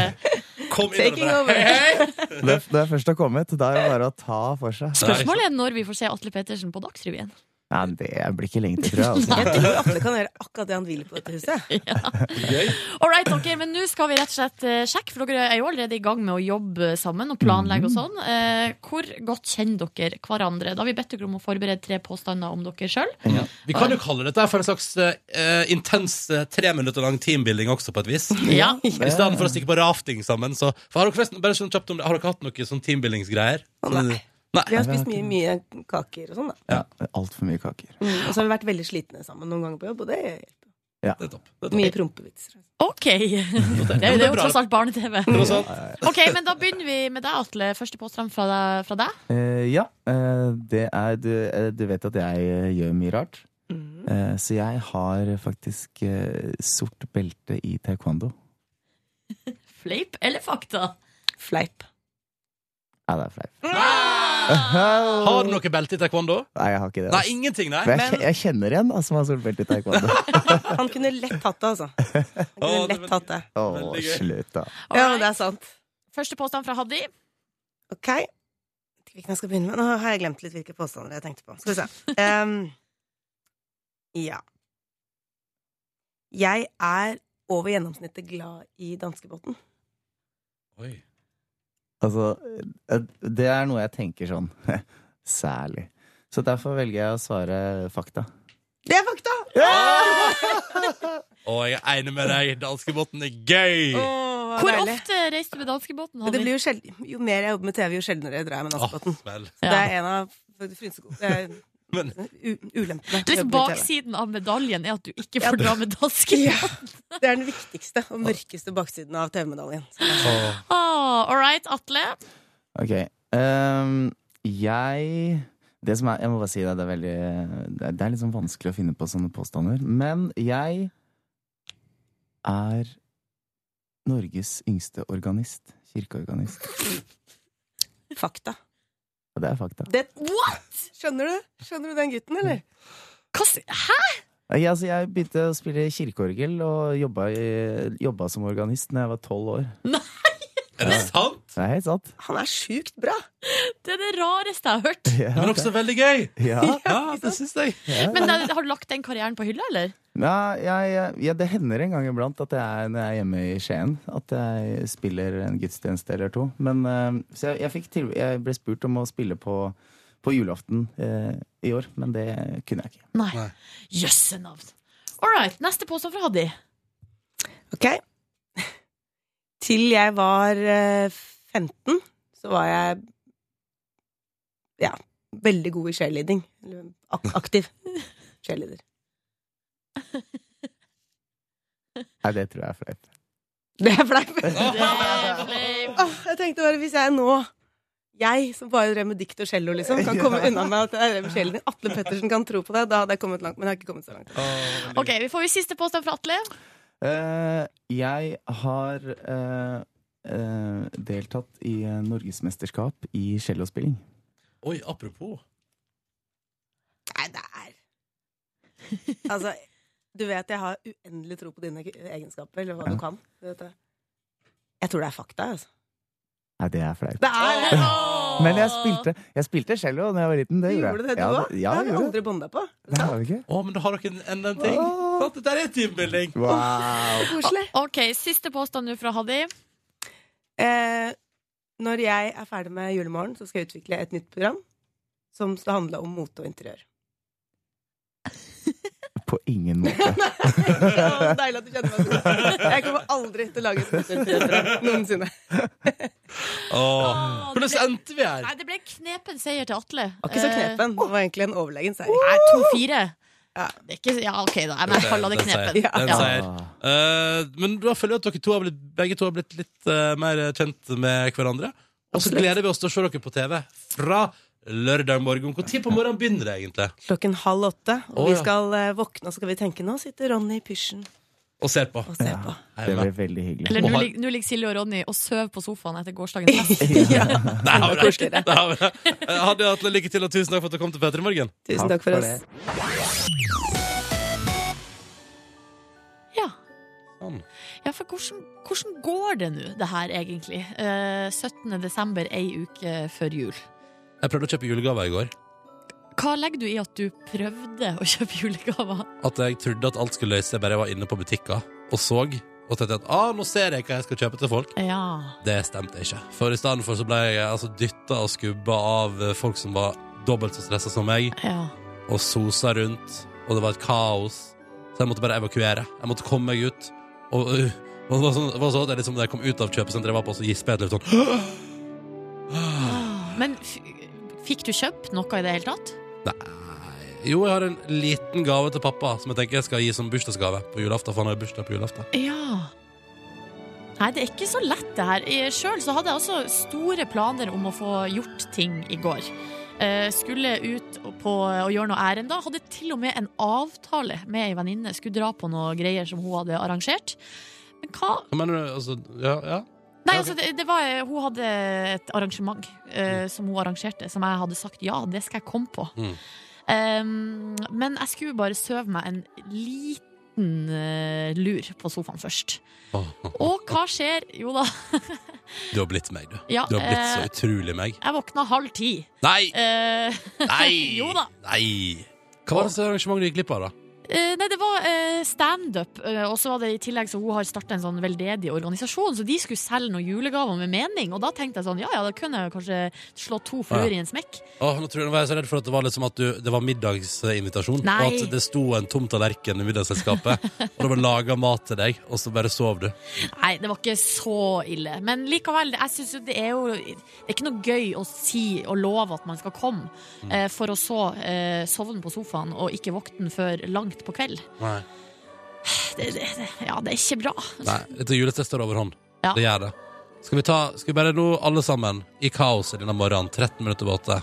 Speaker 1: Kom inn
Speaker 7: Taking
Speaker 1: og bare
Speaker 7: over.
Speaker 1: hei, hei.
Speaker 8: Når når jeg først har kommet, da er det bare å ta for seg.
Speaker 2: Spørsmålet er når vi får se Atle Pettersen på Dagsrevyen.
Speaker 8: Nei, det blir ikke lenge til, tror jeg.
Speaker 7: (laughs)
Speaker 8: Altså.
Speaker 7: Jeg tror Atle kan gjøre akkurat det han vil på dette huset.
Speaker 1: Gøy.
Speaker 2: All right, ok, men nå skal vi rett og slett eh, sjekke, for dere er jo allerede i gang med å jobbe sammen og planlegge og sånn. Eh, hvor godt kjenner dere hverandre? Da har vi bedt dere om å forberede tre påstander om dere sjøl.
Speaker 1: Vi kan jo kalle dette for en slags eh, intens eh, tre minutter lang teambuilding også, på et vis.
Speaker 2: Ja.
Speaker 1: I stedet for å stikke på rafting sammen. Så, for har, dere forresten, bare sånn kjapt om det, har dere hatt noe sånn teambuildingsgreier?
Speaker 7: Å, nei. Vi
Speaker 1: Nei.
Speaker 7: har spist mye, mye kaker og sånn, da.
Speaker 8: Ja, Altfor mye kaker.
Speaker 7: Mm, Og så har vi vært veldig slitne sammen noen ganger på jobb, og det hjelper.
Speaker 1: Det er topp. Det er topp.
Speaker 7: Mye prompevitser.
Speaker 2: Ok. (laughs) Det, er jo- det er jo tross alt barne-TV.
Speaker 1: Det var sant.
Speaker 2: Ok, men da begynner vi med deg, Atle. Første påstand fra, deg- fra deg.
Speaker 8: Eh, ja, eh, det er du, eh, du vet at jeg eh, gjør mye rart.
Speaker 1: Mm.
Speaker 8: Eh, så jeg har faktisk eh, sort belte i taekwondo.
Speaker 2: Fleip eller fakta?
Speaker 7: Fleip.
Speaker 8: Ja, det er fleip.
Speaker 1: Har du noe belte i taekwondo?
Speaker 8: Nei, jeg har ikke det.
Speaker 1: Nei,
Speaker 8: ass.
Speaker 1: ingenting, Ah! nei.
Speaker 8: Men jeg, kje- jeg kjenner en da, som har sort belte i
Speaker 1: (laughs)
Speaker 8: taekwondo.
Speaker 7: Han kunne lett hatt det, altså. Han
Speaker 1: Å,
Speaker 7: kunne
Speaker 1: det er
Speaker 7: lett hatt det.
Speaker 8: Å,
Speaker 1: Veldig gøy.
Speaker 8: slutt, da.
Speaker 7: Ja, men
Speaker 2: Alright.
Speaker 7: det er sant.
Speaker 2: Første påstand fra Haddy.
Speaker 7: Ok. Jeg vet ikke Hvilken jeg skal begynne med? Nå har jeg glemt litt hvilke påstander jeg tenkte på. Skal vi se. Ehm, ja. Jeg er over gjennomsnittet glad i danskebåten.
Speaker 1: Oi.
Speaker 8: Altså, eh, det er noe jeg tenker sånn (laughs) særlig. Så derfor velger jeg å svare fakta.
Speaker 7: Det er fakta!
Speaker 1: Ah! Å, jeg er enig med deg. Danskebåten er gøy!
Speaker 7: Åh,
Speaker 2: Hvor
Speaker 7: deilig.
Speaker 2: ofte reiste du med danskebåten?
Speaker 7: Men Det
Speaker 2: Haddy?
Speaker 7: blir jo, sjeld- jo mer jeg jobber med TV, jo sjeldnere drar jeg med
Speaker 1: Åh,
Speaker 7: danskebåten.
Speaker 1: vel.
Speaker 7: Så
Speaker 2: Ah, Ja.
Speaker 7: Det er en av frynsegodene
Speaker 2: (laughs)
Speaker 7: eh,
Speaker 1: Men-
Speaker 7: u- Ulempene.
Speaker 2: Det er liksom
Speaker 7: med å jobbe med TV.
Speaker 2: baksiden av medaljen er at du ikke får
Speaker 7: (laughs)
Speaker 2: dra med danskebåten.
Speaker 7: Det er den viktigste og mørkeste baksiden av TV-medaljen.
Speaker 1: Åh.
Speaker 2: Ah, All right, Atle.
Speaker 8: Ok. ehm, jeg det som er, Jeg må bare si det, det er veldig Det er- det er litt sånn vanskelig å finne på sånne påstander. Men jeg er Norges yngste organist. Kirkeorganist.
Speaker 2: Ah.
Speaker 7: Fakta.
Speaker 8: Og det er fakta.
Speaker 7: Det, Skjønner du? Skjønner du den gutten, eller?
Speaker 2: Hva s- Hæ?
Speaker 8: Nei, altså, jeg begynte å spille kirkeorgel og jobba, i, jobba som organist da jeg var tolv år.
Speaker 1: Er det sant?
Speaker 8: Det er helt sant.
Speaker 7: Han er sjukt bra!
Speaker 2: Det er det rareste jeg har hørt.
Speaker 1: Men
Speaker 8: Ja,
Speaker 1: også veldig gøy!
Speaker 8: (laughs) ja,
Speaker 1: Ja, det syns jeg.
Speaker 8: ja.
Speaker 2: Men eh, har du lagt den karrieren på hylla, eller?
Speaker 8: Ja, jeg, jeg- ja, det hender en gang iblant at jeg er, når jeg er hjemme i Skien, at jeg spiller en gudstjeneste eller to. Men, eh, så jeg, jeg, fikk til, jeg ble spurt om å spille på, på julaften eh, i år, men det kunne jeg ikke.
Speaker 2: Nei.
Speaker 1: Nei.
Speaker 2: Jøsse navn. All right, neste påstand fra Haddy.
Speaker 7: Ok. (laughs) Til jeg var eh, 15, så var jeg ja, veldig god i cheerleading. Eller ak- aktiv cheerleader.
Speaker 8: Nei, det tror jeg er flaut.
Speaker 7: (laughs) Det er fleip.
Speaker 2: Det
Speaker 7: Åh, jeg tenkte bare, hvis jeg nå jeg som bare drev med dikt og cello, liksom, kan komme unna med at jeg drev med cheerleading. Atle Pettersen kan tro på det. Da hadde jeg kommet langt, men jeg har ikke kommet så langt.
Speaker 2: ble- Ok, Vi får jo siste påstand fra Atle.
Speaker 8: Eh, jeg har eh, eh, deltatt i eh, norgesmesterskap i cellospilling.
Speaker 1: Oi, apropos.
Speaker 7: Nei, det er Altså, du vet jeg har uendelig tro på dine egenskaper, eller hva
Speaker 8: Ja.
Speaker 7: du kan. Du vet det. Jeg tror det er fakta, altså.
Speaker 8: Nei, det er flaut.
Speaker 7: Det er det!
Speaker 2: Åh.
Speaker 8: Men jeg spilte, jeg spilte cello da jeg var liten. Det
Speaker 7: Du
Speaker 8: gjorde jeg.
Speaker 7: gjorde det, du
Speaker 8: Ja,
Speaker 7: òg?
Speaker 8: det- Ja,
Speaker 7: det har
Speaker 8: jeg
Speaker 7: vi
Speaker 8: gjorde det.
Speaker 7: aldri bånda på.
Speaker 8: Det har vi ikke.
Speaker 1: Å, men da har dere en, en, en ting.
Speaker 8: Åh.
Speaker 1: Sant? Dette er teambuilding.
Speaker 8: Wow.
Speaker 7: Koselig.
Speaker 2: Ok, Siste påstand nå fra Haddy.
Speaker 7: Eh, når jeg er ferdig med Julemorgen, så skal jeg utvikle et nytt program som skal handle om mote og (laughs) interiør.
Speaker 8: På ingen måte.
Speaker 7: Det var Deilig at du kjenner meg sånn. Jeg kommer aldri til å lage et mote- og interiørprogram noensinne.
Speaker 1: Åh. Hvordan endte vi her?
Speaker 2: Nei, Det ble knepen seier til Atle. Eh,
Speaker 7: Det var ikke så knepen. Eh, Det var egentlig en overlegen seier.
Speaker 2: Nei, to-fire.
Speaker 7: Ja.
Speaker 2: Det er ikke, ja, ok, da. Nei, Men jeg kaller det
Speaker 1: Den seier.
Speaker 2: knepen.
Speaker 1: Den
Speaker 2: Ja.
Speaker 1: seier. Eh, men da føler jeg at dere to har blitt, begge to har blitt litt eh, mer kjent med hverandre. Og så gleder vi oss til å se dere på TV fra lørdag morgen. Hvor tid på morgenen begynner det egentlig?
Speaker 7: Klokken halv åtte, og
Speaker 1: Å,
Speaker 7: vi
Speaker 1: ja.
Speaker 7: skal eh, våkne og så skal vi tenke nå sitter Ronny i pysjen
Speaker 1: Og ser på.
Speaker 7: og ser på.
Speaker 8: Det
Speaker 1: Hjemme.
Speaker 8: blir veldig hyggelig.
Speaker 2: Eller nå lig- nå ligger Silje og Ronny og sover på sofaen etter gårsdagens
Speaker 7: (laughs)
Speaker 2: fest.
Speaker 1: Der har vi det.
Speaker 7: koseligere.
Speaker 1: Der har vi det. Eh, Hadia Atle, lykke til, og tusen takk for at du kom til Petter i morgen.
Speaker 7: Tusen takk for oss.
Speaker 2: Ja.
Speaker 1: Sånn.
Speaker 2: Ja, for hvordan, hvordan går det nå, det her egentlig? Eh, 17. desember, ei uke før jul.
Speaker 1: Jeg prøvde å kjøpe julegaver i går.
Speaker 2: Hva legger du i at du prøvde å kjøpe julegaver?
Speaker 1: At jeg trodde at alt skulle løse seg bare jeg var inne på butikker og så. Og tenkte at ah, nå ser jeg hva jeg skal kjøpe til folk.
Speaker 2: Ja.
Speaker 1: Det stemte ikke. For i stedet for så ble jeg altså, dytta og skubba av eh, folk som var dobbelt så stressa som meg.
Speaker 2: ja.
Speaker 1: og sosa rundt, og det var et kaos. Så jeg måtte bare evakuere. Jeg måtte komme meg ut. Og, øh, og det var sånn, det var sånn at jeg liksom, da jeg kom ut av kjøpesenteret, jeg var på, så gispa jeg et løft sånn.
Speaker 2: Ah, Men f fikk du kjøpt noe i det hele tatt?
Speaker 1: Nei. Jo, jeg har en liten gave til pappa som jeg tenker jeg skal gi som bursdagsgave på julaften. For han har jo bursdag på julaften.
Speaker 2: Ja. Nei, det er ikke så lett det her. Sjøl så hadde jeg også store planer om å få gjort ting i går. Eh, skulle ut og på og gjøre noe ærend. da. Hadde til og med en avtale med ei venninne. Skulle dra på noe greier som hun hadde arrangert. Men hva
Speaker 1: Hva mener du? Altså, ja, ja.
Speaker 2: Nei, altså, det, det var, hun hadde et arrangement eh, som hun arrangerte, som jeg hadde sagt ja, det skal jeg komme på.
Speaker 1: Mm.
Speaker 2: Um, men jeg skulle bare søve meg en liten eh, lur på sofaen
Speaker 1: (laughs)
Speaker 2: først. Og hva skjer? Jo da,
Speaker 1: Du har blitt meg, du.
Speaker 2: Ja,
Speaker 1: du har blitt så
Speaker 2: eh,
Speaker 1: utrolig meg.
Speaker 2: jeg våkna halv ti. (laughs)
Speaker 1: Nei!
Speaker 2: Eh,
Speaker 1: Nei!
Speaker 2: jo da.
Speaker 1: Nei! Hva var det slags arrangement du gikk glipp av, da?
Speaker 2: Eh, nei, det var eh, standup, eh, og så var det i tillegg så hun har starta en sånn veldedig organisasjon, så de skulle selge noen julegaver med mening, og da tenkte jeg sånn, ja ja, da kunne jeg kanskje slå to fluer i en smekk.
Speaker 1: Åh, nå tror jeg, nå var jeg så redd for at det var liksom at du, det var middagsinvitasjon,
Speaker 2: Nei.
Speaker 1: og at det sto en tom tallerken i middagsselskapet, og det var laga mat til deg, og så bare sov du.
Speaker 2: Nei, det var ikke så ille, men likevel, jeg synes jo det er jo Det er ikke noe gøy å si og love at man skal komme, eh, for å så eh, sovne på sofaen og ikke våkne før langt på kveld.
Speaker 1: Nei.
Speaker 2: Det, det, det, ja, det er ikke bra.
Speaker 1: Nei, dette juletestet er overhånd.
Speaker 2: Ja.
Speaker 1: Det gjør det. Skal vi ta Skal vi bare nå alle sammen i kaoset denne morgenen, 13 minutter på 8?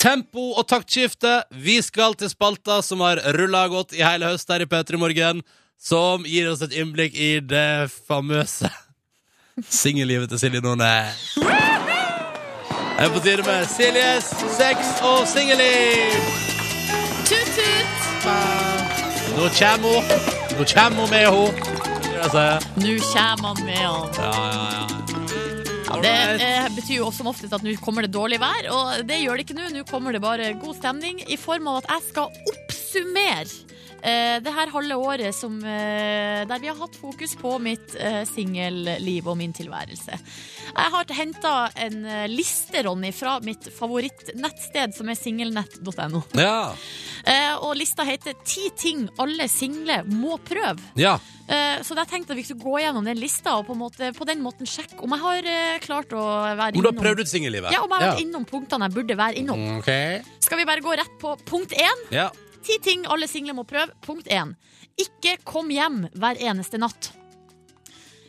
Speaker 1: Tempo og taktskifte. Vi skal til spalta som har rulla godt i hele høst her i P3 Morgen, som gir oss et innblikk i det famøse singellivet til Silje Nordnes. Jeg er på tide med Siljes sex og singelliv.
Speaker 2: Tut-tut!
Speaker 1: Nå kommer hun. Nå kommer hun med henne. Jeg sier.
Speaker 2: Nå kommer han med han.
Speaker 1: Ja, ja, ja.
Speaker 2: Det
Speaker 1: Alright.
Speaker 2: eh, betyr jo som oftest at nå kommer det dårlig vær, og det gjør det ikke nå. Nå kommer det bare god stemning i form av at jeg skal oppsummere eh, det her halve året som, eh, der vi har hatt fokus på mitt eh, singelliv og min tilværelse. Jeg har henta en eh, liste, Ronny, fra mitt favorittnettsted, som er singelnett.no.
Speaker 1: Ja,
Speaker 2: Eh, og lista heter 'Ti ting alle single må prøve'.
Speaker 1: ja.
Speaker 2: Eh, Så da tenkte jeg vi skulle gå gjennom den lista og på, en måte, på den måten sjekke om jeg har eh, klart å være
Speaker 1: Om du har
Speaker 2: innom
Speaker 1: prøvd ut singellivet?
Speaker 2: ja, om jeg har vært innom punktene jeg burde være innom.
Speaker 1: Mm, Ok.
Speaker 2: Skal vi bare gå rett på punkt én?
Speaker 1: Ja.
Speaker 2: Ti ting alle single må prøve. Punkt én. Ikke kom hjem hver eneste natt.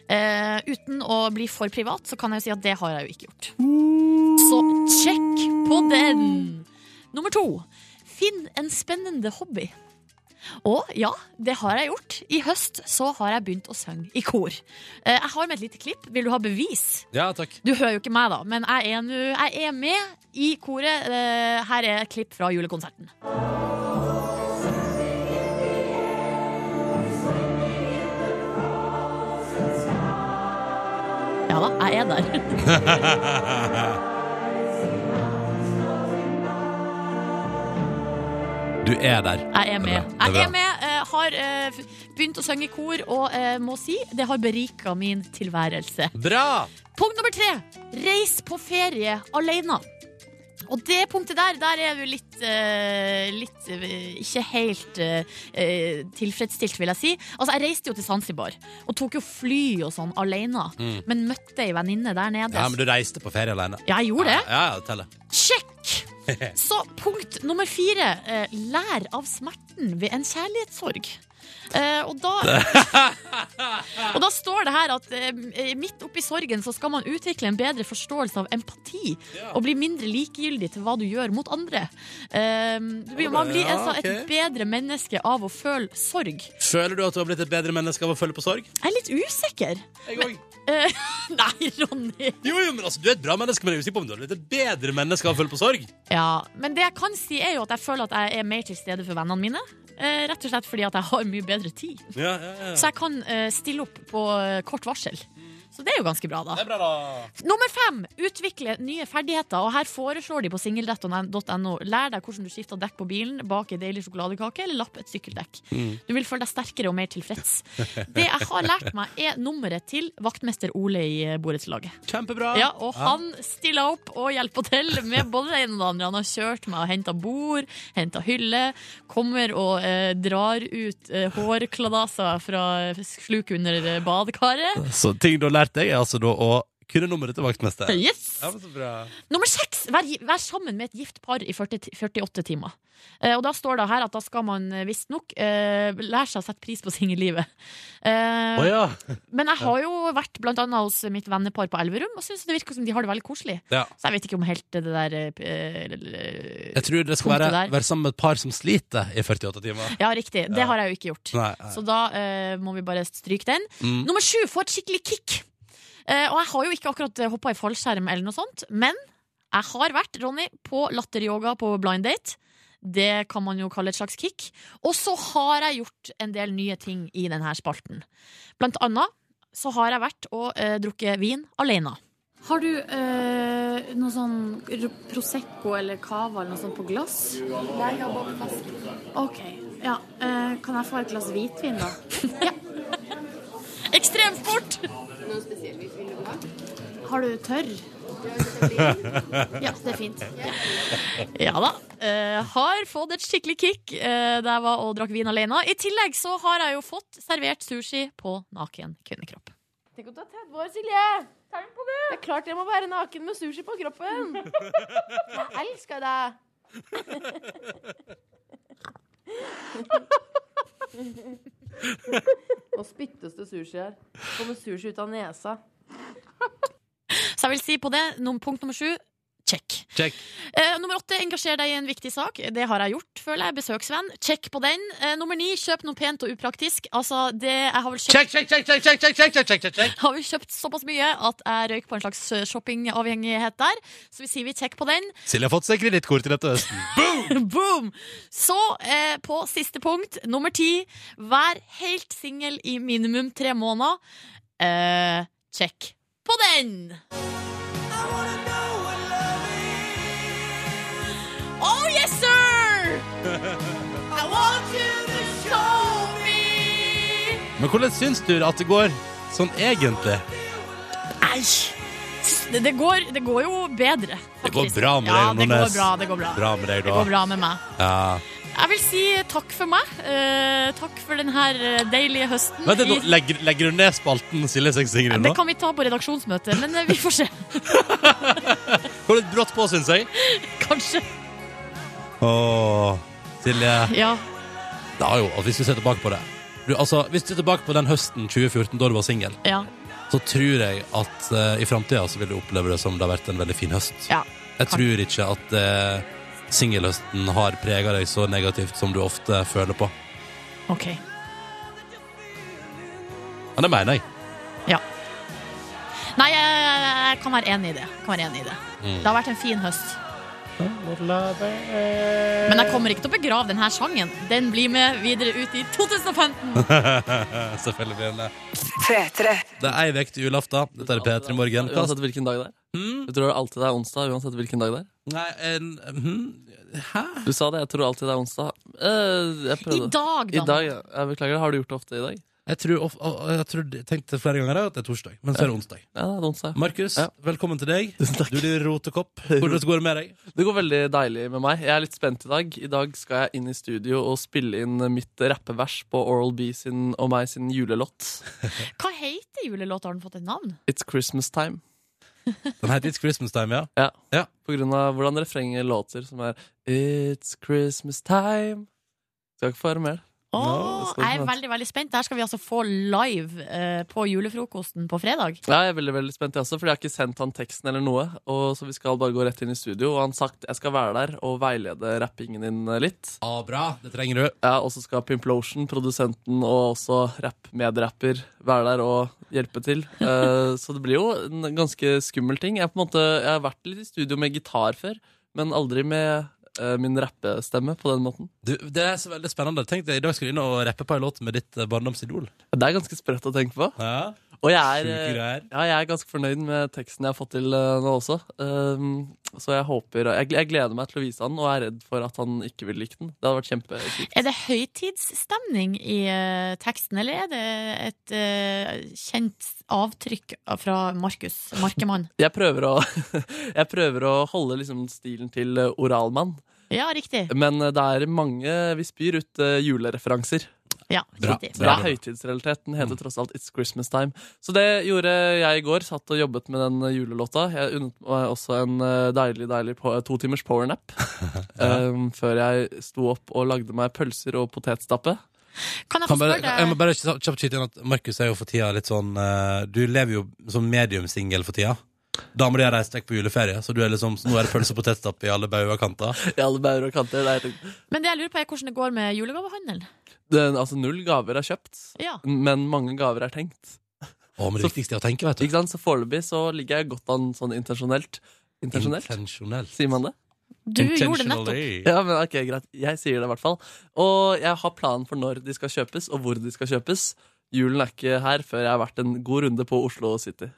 Speaker 2: Eh, uten å bli for privat, så kan jeg jo si at det har jeg jo ikke gjort. Så sjekk på den! Nummer to. Finn en spennende hobby. Og ja, det har jeg gjort. I høst så har jeg begynt å synge i kor. Eh, jeg har med et lite klipp. Vil du ha bevis?
Speaker 1: ja, takk.
Speaker 2: Du hører jo ikke meg, da, men jeg er, nu, jeg er med i koret. Eh, Her er et klipp fra julekonserten. Ja da, jeg er der. (laughs)
Speaker 1: Du er der.
Speaker 2: Jeg er
Speaker 1: Det er bra, det
Speaker 2: med.
Speaker 1: er
Speaker 2: Jeg
Speaker 1: bra.
Speaker 2: er med, eh, har eh, f- begynt å synge i kor, og eh, må si det har berika min tilværelse.
Speaker 1: Bra!
Speaker 2: Punkt nummer tre. Reis på ferie alene. Og det punktet der, der er du litt, eh, litt eh, Ikke helt eh, eh, tilfredsstilt, vil jeg si. Altså, jeg reiste jo til Zanzibar og tok jo fly og sånn alene. Men møtte ei venninne der nede.
Speaker 1: Mm. Ja, men du reiste på ferie alene.
Speaker 2: Ja, jeg gjorde det.
Speaker 1: Ja, ja, det teller. (laughs)
Speaker 2: Sjekk! Så punkt nummer fire. eh, Lær av smerten ved en kjærlighetssorg. Eh, og,
Speaker 1: (laughs)
Speaker 2: da, og da står det her at eh, midt oppi sorgen så skal man utvikle en bedre forståelse av empati. Og bli mindre likegyldig til hva du gjør mot andre. Eh, du blir- man blir
Speaker 1: Ja,
Speaker 2: altså
Speaker 1: ok.
Speaker 2: et bedre menneske av å føle sorg.
Speaker 1: Føler du at du har blitt et bedre menneske av å følge på sorg?
Speaker 2: Jeg er litt usikker.
Speaker 1: Jeg òg.
Speaker 2: Eh, (laughs) nei, Ronny.
Speaker 1: Jo, jo, men altså, du er et bra menneske, men jeg er usikker på om du har blitt et bedre menneske av å følge på sorg.
Speaker 2: Ja, men det jeg kan si er jo at jeg føler at jeg er mer til stede for vennene mine. Eh, rett og slett fordi at jeg har mye bedre tid.
Speaker 1: Ja, ja, ja.
Speaker 2: Så jeg kan eh, stille opp på eh, kort varsel. Så det er jo ganske bra, da.
Speaker 1: Det er bra, da.
Speaker 2: Nummer fem! Utvikle nye ferdigheter. Og her foreslår de på singeldett.no lær deg hvordan du skifter dekk på bilen, bak en deilig sjokoladekake eller lapp et sykkeldekk. Du vil føle deg sterkere og mer tilfreds. Det jeg har lært meg, er nummeret til vaktmester Ole i eh, borettslaget.
Speaker 1: Kjempebra.
Speaker 2: Ja, og han stilla opp og hjelper til med både det ene og det andre. Han har kjørt meg og henta bord, henta hylle. Kommer og eh, drar ut eh, hårkladaser fra sluk under eh, badekaret.
Speaker 1: Så ting du har lært deg, er altså da å Kunne nummeret til vaktmester.
Speaker 2: Yes!
Speaker 1: Ja, men så bra.
Speaker 2: Nummer seks! Vær, vær sammen med et gift par i 40, ti- 48 timer. Eh, og da står det her at da skal man eh, visstnok eh, lære seg å sette pris på singellivet. Eh,
Speaker 1: Å ja.
Speaker 2: Men jeg har jo vært blant annet hos mitt vennepar på Elverum, og syns det virker som de har det veldig koselig.
Speaker 1: ja.
Speaker 2: Så jeg vet ikke om helt det der eh, p- eh,
Speaker 1: Jeg tror det skal
Speaker 2: Punktet
Speaker 1: være,
Speaker 2: der.
Speaker 1: være sammen med et par som sliter i 48 timer.
Speaker 2: Ja, riktig. Det har jeg jo ikke gjort.
Speaker 1: Nei, nei.
Speaker 2: Så da eh, må vi bare stryke den.
Speaker 1: Mm.
Speaker 2: Nummer sju, få et skikkelig kick. Eh, og jeg har jo ikke akkurat hoppa i fallskjerm eller noe sånt, men jeg har vært, Ronny, på latteryoga på blind date. Det kan man jo kalle et slags kick. Og så har jeg gjort en del nye ting i denne spalten. Blant annet så har jeg vært og eh, drukket vin alene. Har du noe sånn Prosecco eller Cava eller noe sånt på glass? Nei, jeg har bare flaske. Ok, ja. eh, kan jeg få et glass hvitvin, da? (laughs) ja. Ekstremsport! Har du tørr? ja, det er fint. Ja da. eh, har fått et skikkelig kick eh, da jeg var og drakk vin alene. I tillegg så har jeg jo fått servert sushi på naken kvinnekropp.
Speaker 9: Tenk å ta 30 år, Silje! Det er klart jeg må være naken med sushi på kroppen. Jeg elsker deg. Nå spyttes det sushi her. Det Kommer sushi ut av nesa.
Speaker 2: Så jeg vil si på det, num- punkt nummer sju, check.
Speaker 1: Check.
Speaker 2: Eh, nummer åtte, engasjer deg i en viktig sak. Det har jeg gjort, føler jeg. Besøksvenn. Check på den. Eh, nummer ni, kjøp noe pent og upraktisk. Altså, det, jeg har vel kjøpt,
Speaker 1: Check, check, check, check, check, check, check, check, check, check, check.
Speaker 2: har vel kjøpt såpass mye at jeg røyk på en slags eh, shoppingavhengighet der. Så vi sier vi check på den.
Speaker 1: Silje har fått seg kredittkort til dette høsten.
Speaker 2: (laughs) Boom! Så, eh, på siste punkt, nummer ti, vær helt singel i minimum tre måneder. Eh, check på den! Oh yes, sir! I want you to show me
Speaker 1: Men hvordan syns du at det går sånn egentlig?
Speaker 2: Nei, det, det, går, det går jo bedre.
Speaker 1: Det går
Speaker 2: faktisk.
Speaker 1: bra med
Speaker 2: ja,
Speaker 1: deg,
Speaker 2: det
Speaker 1: Nordnes.
Speaker 2: går bra, det går bra.
Speaker 1: Bra med deg,
Speaker 2: Det går
Speaker 1: da.
Speaker 2: bra med meg.
Speaker 1: Ja.
Speaker 2: Jeg vil si takk for meg. Eh, takk for denne deilige høsten.
Speaker 1: Vent litt, nå.
Speaker 2: I-
Speaker 1: Legger, legger du ned spalten Silje seg Sigrid nå?
Speaker 2: det kan vi ta på redaksjonsmøtet, men eh, vi får se. (laughs)
Speaker 1: Går litt brått på, syns jeg.
Speaker 2: Kanskje.
Speaker 1: Åh, Silje.
Speaker 2: Ja.
Speaker 1: Det har jo, altså, hvis du ser tilbake på det du, altså, Hvis du ser tilbake på den høsten 2014 da du var singel,
Speaker 2: ja.
Speaker 1: så tror jeg at eh, i framtida så vil du oppleve det som det har vært en veldig fin høst.
Speaker 2: Ja,
Speaker 1: jeg
Speaker 2: kan-
Speaker 1: tror ikke at eh, singelhøsten har prega deg så negativt som du ofte føler på.
Speaker 2: OK.
Speaker 1: Men det mener jeg.
Speaker 2: Nei, jeg, jeg kan være enig i det. Kan være enig i det.
Speaker 1: Mm.
Speaker 2: det har vært en fin høst. Men jeg kommer ikke til å begrave denne sangen. Den blir med videre ut i 2015.
Speaker 1: (laughs) Selvfølgelig eh, blir det det. Det er ei uke til julaften. Dette er P3 Morgen. Hva-
Speaker 3: Uansett hvilken dag det er.
Speaker 1: Hmm?
Speaker 3: Jeg tror alltid det er onsdag, uansett hvilken dag det er.
Speaker 1: Nei, en, hm? Hæ?
Speaker 3: Du sa det, jeg tror alltid det er onsdag. Eh, jeg
Speaker 2: I
Speaker 3: prøvde.
Speaker 2: dag,
Speaker 3: I
Speaker 2: da.
Speaker 3: dag, ja. jeg beklager. Har du gjort det ofte i dag?
Speaker 1: Jeg, tror, of- å, jeg, tror, jeg tenkte flere ganger at det er torsdag, men så er det onsdag.
Speaker 3: Ja, det er onsdag.
Speaker 1: Markus,
Speaker 3: Ja.
Speaker 1: velkommen til deg.
Speaker 3: Tusen takk.
Speaker 1: Du blir rotekopp. Hvordan går det med deg?
Speaker 3: Det går veldig deilig med meg. Jeg er litt spent i dag. I dag skal jeg inn i studio og spille inn mitt rappevers på Oral B sin og meg sin julelåt.
Speaker 2: Hva heter julelåta? Har den fått et navn?
Speaker 3: It's Christmas Time.
Speaker 1: Den heter It's Christmas Time, ja.
Speaker 3: På grunn av hvordan refrenget låter, som er It's Christmas Time. Skal ikke få høre mer.
Speaker 2: Åh,
Speaker 3: det skal
Speaker 2: jeg er
Speaker 3: sant.
Speaker 2: veldig veldig spent. Der skal vi altså få live eh, på julefrokosten på fredag.
Speaker 3: Ja, jeg er veldig veldig spent, jeg også, for jeg har ikke sendt han teksten eller noe. Og så vi skal bare gå rett inn i studio. Og han sagt jeg skal være der og veilede rappingen din eh, litt.
Speaker 1: Ah, bra, det trenger du.
Speaker 3: Ja, og så skal Pimplotion, produsenten og også rapp-medrapper være der og hjelpe (laughs) til. Eh, så det blir jo en ganske skummel ting. Jeg, på en måte, jeg har vært litt i studio med gitar før, men aldri med eh, min rappestemme på den måten.
Speaker 1: du det er så veldig spennende. Tenk deg, I dag skal du inn og rappe på en låt med ditt eh, barndomsidol.
Speaker 3: Det er ganske sprøtt å tenke på.
Speaker 1: Ja,
Speaker 3: Og jeg er,
Speaker 1: Sjuke
Speaker 3: eh,
Speaker 1: greier.
Speaker 3: ja, jeg er ganske fornøyd med teksten jeg har fått til eh, nå også. Um, så jeg håper jeg, jeg gleder meg til å vise han, og jeg er redd for at han ikke vil like den. Det hadde vært kjempekjipt.
Speaker 2: Er det høytidsstemning i eh, teksten, eller er det et eh, kjent avtrykk fra Markus, Markemann?
Speaker 3: Jeg prøver å, (laughs) jeg prøver å holde liksom stilen til eh, oralmann.
Speaker 2: Ja, riktig.
Speaker 3: Men eh, det er mange Vi spyr ut eh, julereferanser.
Speaker 2: Ja,
Speaker 1: Bra.
Speaker 2: riktig.
Speaker 3: Det er høytidsrealitet. Den heter tross alt It's Christmas Time. Så det gjorde jeg i går. Satt og jobbet med den julelåta. Jeg unnet meg også en eh, deilig deilig po to timers powernap um, før jeg sto opp og lagde meg pølser og potetstappe. (laughs)
Speaker 2: Kan jeg få
Speaker 1: Kan bare,
Speaker 2: spørre
Speaker 1: jeg må
Speaker 2: deg
Speaker 1: bare kjapt skyte inn at Markus er jo for tida litt sånn eh, Du lever jo som mediumsingel for tida. Damer de har reist vekk på juleferie, så du er liksom, så nå er det pølse og potetstappe i alle bauger og kanter.
Speaker 3: I alle bauger og kanter. Det er,
Speaker 2: Men det jeg lurer på, er hvordan det går med julegavehandelen.
Speaker 3: den- altså, null gaver er kjøpt,
Speaker 2: Ja.
Speaker 3: men mange gaver er tenkt.
Speaker 1: Å, men det viktigste er å tenke, vet du.
Speaker 3: Ikke sant? Så foreløpig så ligger jeg godt an sånn intensjonelt. Intensjonelt?
Speaker 1: Intensjonelt.
Speaker 3: Sier man det?
Speaker 2: Du gjorde det nettopp.
Speaker 1: Intentionally.
Speaker 3: Ja, men ok, greit. Jeg sier det i hvert fall. Og jeg har planen for når de skal kjøpes, og hvor de skal kjøpes. Julen er ikke her før jeg har vært en god runde på Oslo
Speaker 1: (laughs)
Speaker 3: City.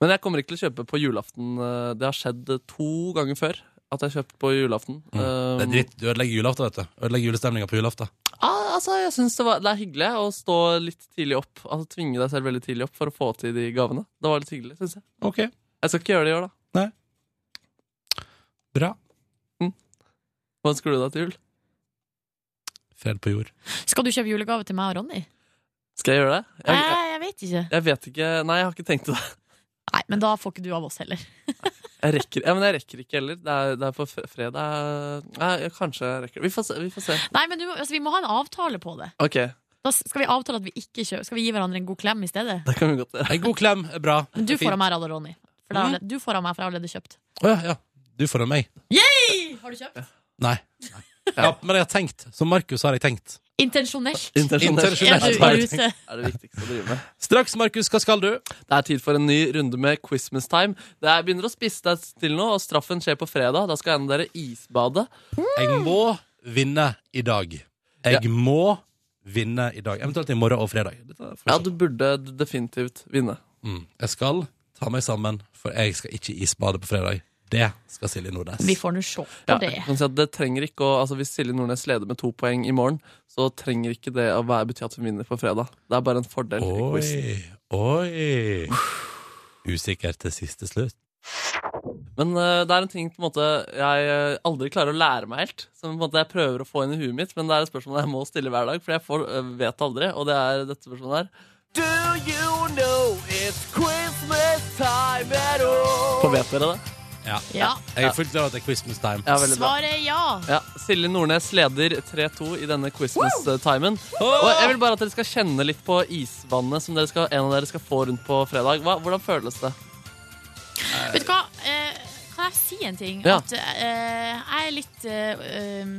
Speaker 3: men jeg kommer ikke til å kjøpe på julaften. Eh, Det har skjedd to ganger før at jeg har kjøpt på julaften.
Speaker 1: Mm.
Speaker 3: Eh,
Speaker 1: Det er dritt. Du ødelegger julaften, vet du. Ødelegger julestemninga på julaften.
Speaker 3: Ah, altså, jeg synes det, var, det er hyggelig å stå litt tidlig opp. Altså Tvinge deg selv veldig tidlig opp for å få til de gavene. Det var litt hyggelig, synes jeg.
Speaker 1: Ok,
Speaker 3: Jeg skal ikke gjøre det i år, da.
Speaker 1: bra.
Speaker 3: Hva ønsker du deg til jul?
Speaker 1: Fred på jord.
Speaker 2: Skal du kjøpe julegave til meg og Ronny?
Speaker 3: Skal jeg gjøre det?
Speaker 2: Nei,
Speaker 3: Jeg, jeg,
Speaker 2: jeg vet ikke.
Speaker 3: jeg vet ikke. Nei, jeg har ikke tenkt det.
Speaker 2: Nei, Men da får ikke du av oss heller.
Speaker 3: Jeg rekker, ja, men jeg rekker ikke heller. Det er, det er på fre- fredag Nei, jeg- kanskje jeg rekker Vi får se. Vi får se.
Speaker 2: Nei, men du, må- altså, Vi må ha en avtale på det.
Speaker 3: Ok, det
Speaker 2: Da skal vi avtale at vi ikke kjøper Skal vi gi hverandre en god klem i stedet?
Speaker 3: kan vi godt gjøre.
Speaker 1: En god klem er bra.
Speaker 2: Men du
Speaker 1: Fint.
Speaker 2: får av meg, Radar Ronny. For det har allerede- du får av meg, for jeg har allerede kjøpt.
Speaker 1: Å ja, ja. Du får av meg.
Speaker 2: Har du kjøpt?
Speaker 1: Nei. Ja, men jeg har tenkt. Som Markus har jeg tenkt.
Speaker 2: Intensjonelt. Er
Speaker 1: Intensjonelt.
Speaker 2: du i rute?
Speaker 3: er det viktigste å drive med.
Speaker 1: Straks, Markus, hva skal du?
Speaker 3: Det er tid for en ny runde med Christmas time. Det er, begynner å spisse deg til nå, og straffen skjer på fredag. Da skal en av dere isbade.
Speaker 1: Jeg må vinne i dag. Jeg må vinne i dag. Eventuelt i morgen og fredag. Dette får vi
Speaker 3: Ja,
Speaker 1: se.
Speaker 3: du burde d- definitivt vinne.
Speaker 1: Mm. Jeg skal ta meg sammen, for jeg skal ikke isbade på fredag. Det skal Silje Nordnes.
Speaker 2: Vi får nå se
Speaker 3: Ja,
Speaker 2: på
Speaker 3: jeg
Speaker 2: det.
Speaker 3: kan si at det trenger ikke å, altså Hvis Silje Nordnes leder med to poeng i morgen, så trenger ikke det å være bety at hun vinner på fredag. Det er bare en fordel. i quizen.
Speaker 1: Oi, oi. Usikker til siste slutt.
Speaker 3: Men eh, det er en ting på en måte jeg eh, aldri klarer å lære meg helt. Som på en måte jeg prøver å få inn i huet mitt, men det er et spørsmål jeg må stille hver dag. For jeg får, eh, vet aldri, og det er dette spørsmålet her. Do you know it's Christmas time at all? vet dere det?
Speaker 1: Ja.
Speaker 2: Ja.
Speaker 1: Jeg er fullt klar over at det er Christmas time.
Speaker 3: Ja, veldig bra.
Speaker 2: Svaret er ja.
Speaker 3: Ja, Silje Nordnes leder 3-2 i denne Christmas-timen. Og jeg vil bare at dere skal kjenne litt på isvannet som dere skal, en av dere skal få rundt på fredag. Hva, hvordan føles det?
Speaker 2: Vet du hva, eh, kan jeg si en ting?
Speaker 3: Ja.
Speaker 2: At eh, jeg er litt eh, um,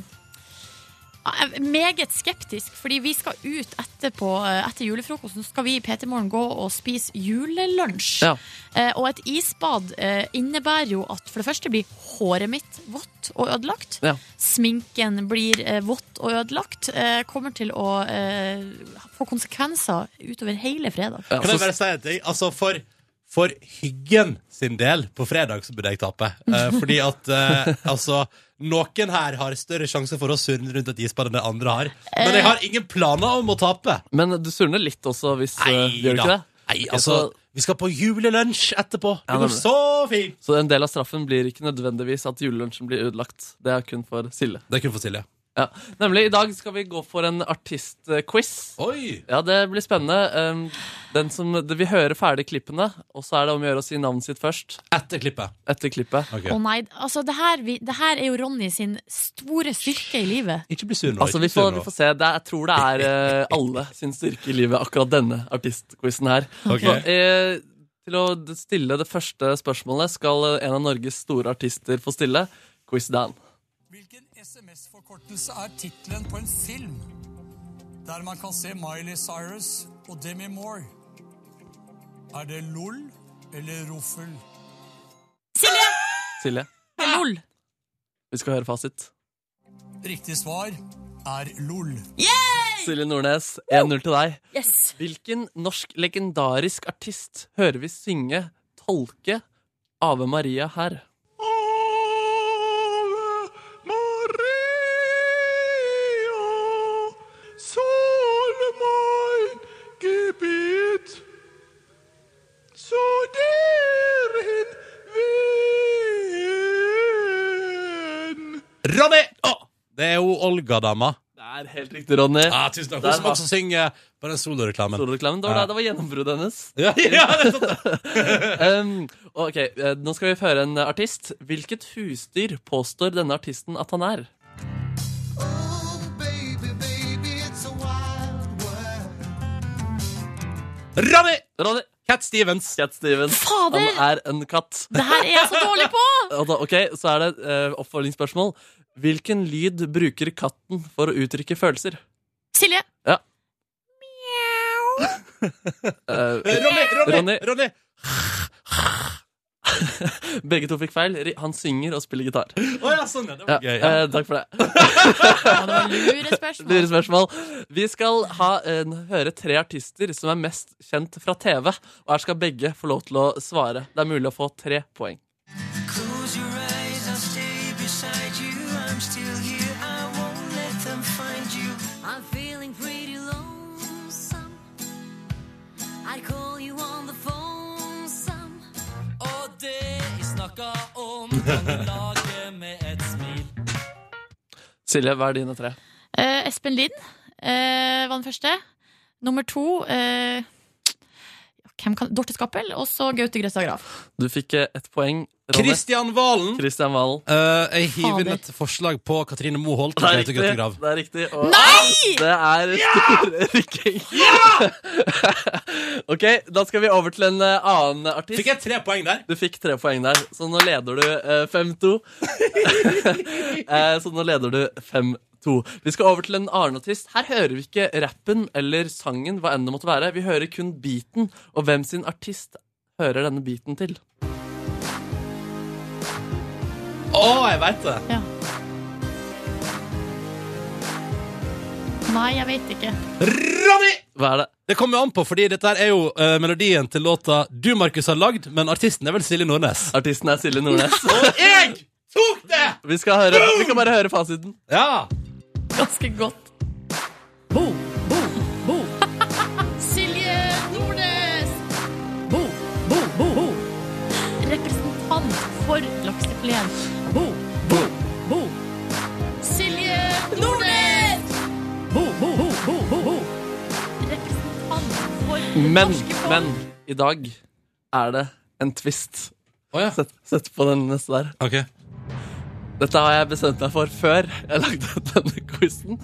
Speaker 2: jeg er meget skeptisk, fordi vi skal ut etterpå, eh, etter julefrokosten så skal vi i PT Morgen gå og spise julelunsj.
Speaker 3: Ja.
Speaker 2: Eh, og et isbad eh, innebærer jo at for det første blir håret mitt vått og ødelagt.
Speaker 3: Ja.
Speaker 2: Sminken blir eh, vått og ødelagt. Eh, kommer til å eh, få konsekvenser utover hele fredag.
Speaker 3: Ja,
Speaker 1: Kan jeg
Speaker 3: så-
Speaker 1: bare si en ting? Altså, for, for hyggen sin del på fredag så burde jeg tape.
Speaker 3: (laughs)
Speaker 1: Eh, fordi at eh, altså noen her har større sjanse for å surne rundt et isbad enn det andre har. Men jeg
Speaker 3: Eh.
Speaker 1: har ingen planer om å tape.
Speaker 3: men du surner litt også hvis eh, Gjør du ikke det?
Speaker 1: Nei, altså,
Speaker 3: så-
Speaker 1: vi skal på julelunsj etterpå.
Speaker 3: Ja,
Speaker 1: Det går
Speaker 3: nemlig.
Speaker 1: så fint!
Speaker 3: Så en del av straffen blir ikke nødvendigvis at julelunsjen blir ødelagt. Det er kun for Silje.
Speaker 1: Det kunne for Silje.
Speaker 3: Ja. Nemlig, i dag skal vi gå for en artistquiz.
Speaker 1: Oi!
Speaker 3: Ja, det blir spennende. Um, den som, det, vi hører ferdig klippene, og så er det om å gjøre å si navnet sitt først.
Speaker 1: Etter klippet.
Speaker 3: Etter klippet.
Speaker 1: Ok.
Speaker 2: Å nei, altså det her, vi, det her er jo Ronny sin store styrke i livet.
Speaker 1: Ikke bli sur nå.
Speaker 3: Altså,
Speaker 1: ikke
Speaker 3: vi
Speaker 1: bli sur
Speaker 3: får,
Speaker 1: nå.
Speaker 3: vi får se. Det er, jeg tror det er eh, alle sin styrke i livet, akkurat denne artistquizen her.
Speaker 1: Ok.
Speaker 3: Så, eh, til å d- stille det første spørsmålet skal eh, en av Norges store artister få stille. Quiz Dan.
Speaker 10: Hvilken SMS-forkortelse er tittelen på en film der man kan se Miley Cyrus og Demi Moore? Er det LOL eller Roffel?
Speaker 3: Silje,
Speaker 2: Lol.
Speaker 3: vi skal høre fasit.
Speaker 10: Riktig svar er LOL.
Speaker 3: Silje Nordnes, 1-0 til deg.
Speaker 2: Yes.
Speaker 3: Hvilken norsk legendarisk artist hører vi synge, tolke Ave Maria her?
Speaker 1: Ronny! Å, det er jo Olga-dama.
Speaker 3: Det er helt riktig, Ronny.
Speaker 1: Ja, tusen takk.
Speaker 3: Der
Speaker 1: Hun som
Speaker 3: var-
Speaker 1: også synger på den soloreklamen.
Speaker 3: Soloreklamen, det var,
Speaker 1: Ja.
Speaker 3: da- det var gjennombruddet hennes.
Speaker 1: Ja, (laughs) ja, det er
Speaker 3: um, ok, eh, Nå skal vi høre en eh, artist. Hvilket husdyr påstår denne artisten at han er?
Speaker 1: Ronny!
Speaker 3: Ronny.
Speaker 1: Cat Stevens.
Speaker 3: Cat Stevens.
Speaker 2: Fader!
Speaker 3: Han er en katt.
Speaker 2: Det her er jeg så dårlig på!
Speaker 3: Og da- ok, Så er det et eh, oppfølgingsspørsmål. Hvilken lyd bruker katten for å uttrykke følelser?
Speaker 2: Silje.
Speaker 3: Ja. Eh,
Speaker 1: Eh, Ronny, Ronny, Ronny,
Speaker 3: Ronny. Begge to fikk feil. Ri- Han synger og spiller gitar.
Speaker 1: Å ja, sånn, ja. Det
Speaker 3: Ja,
Speaker 1: var gøy. Ja.
Speaker 3: eh, takk for det.
Speaker 2: Lure spørsmål.
Speaker 3: Lure spørsmål. Vi skal ha, eh, høre tre artister som er mest kjent fra TV. Og her skal begge få lov til å svare. Det er mulig å få tre poeng. Silje, hva er dine tre?
Speaker 2: Eh, Espen Lind eh, var den første. Nummer to eh, hvem kan, Dorte Skappel, og så Gaute Grøtta Grav.
Speaker 3: Du fikk eh, ett poeng. Ronny.
Speaker 1: Kristian Valen.
Speaker 3: Kristian Valen.
Speaker 1: Eh, jeg hiver inn
Speaker 2: Fader.
Speaker 1: et forslag på Katrine Moholt.
Speaker 3: Det
Speaker 1: Grete
Speaker 3: er riktig.
Speaker 1: Grøttegrav.
Speaker 3: Det er riktig og
Speaker 2: Nei!
Speaker 3: Det er store rykking. (laughs) ok, da skal vi over til en eh, annen artist.
Speaker 1: Fikk jeg tre poeng der?
Speaker 3: Du fikk tre poeng der, så nå leder du eh, 5-2.
Speaker 2: (laughs)
Speaker 3: eh, så nå leder du 5-2. Vi skal over til en annen artist. Her hører vi ikke rappen eller sangen, hva enn det måtte være. Vi hører kun beaten, og hvem sin artist hører denne beaten til.
Speaker 1: Å, jeg veit det.
Speaker 2: Ja. Nei, jeg vet ikke.
Speaker 1: Ronny!
Speaker 3: Hva er det?
Speaker 1: Det kommer jo an på, fordi dette her er jo eh, melodien til låta du, Markus, har lagd, men artisten er vel Silje Nordnes.
Speaker 3: Artisten er Silje
Speaker 2: (laughs)
Speaker 3: Nordnes.
Speaker 1: Og jeg tok det!
Speaker 3: (laughs) Vi, skal høre, vi kan bare høre fasiten.
Speaker 1: Ja.
Speaker 2: Ganske godt. Bo, bo, bo. Silje Nordnes! Bo, bo, bo, bo. Representant for laksefileten. Bo, bo, bo. Silje Nordnes! Bo, bo, bo, bo, bo, bo. Representant for det
Speaker 3: Men,
Speaker 2: norske folk.
Speaker 3: men i dag er det en twist.
Speaker 1: Å ja.
Speaker 3: Sett, sett på den neste der.
Speaker 1: Ok.
Speaker 3: Dette har jeg bestemt meg for før jeg lagde denne quizen.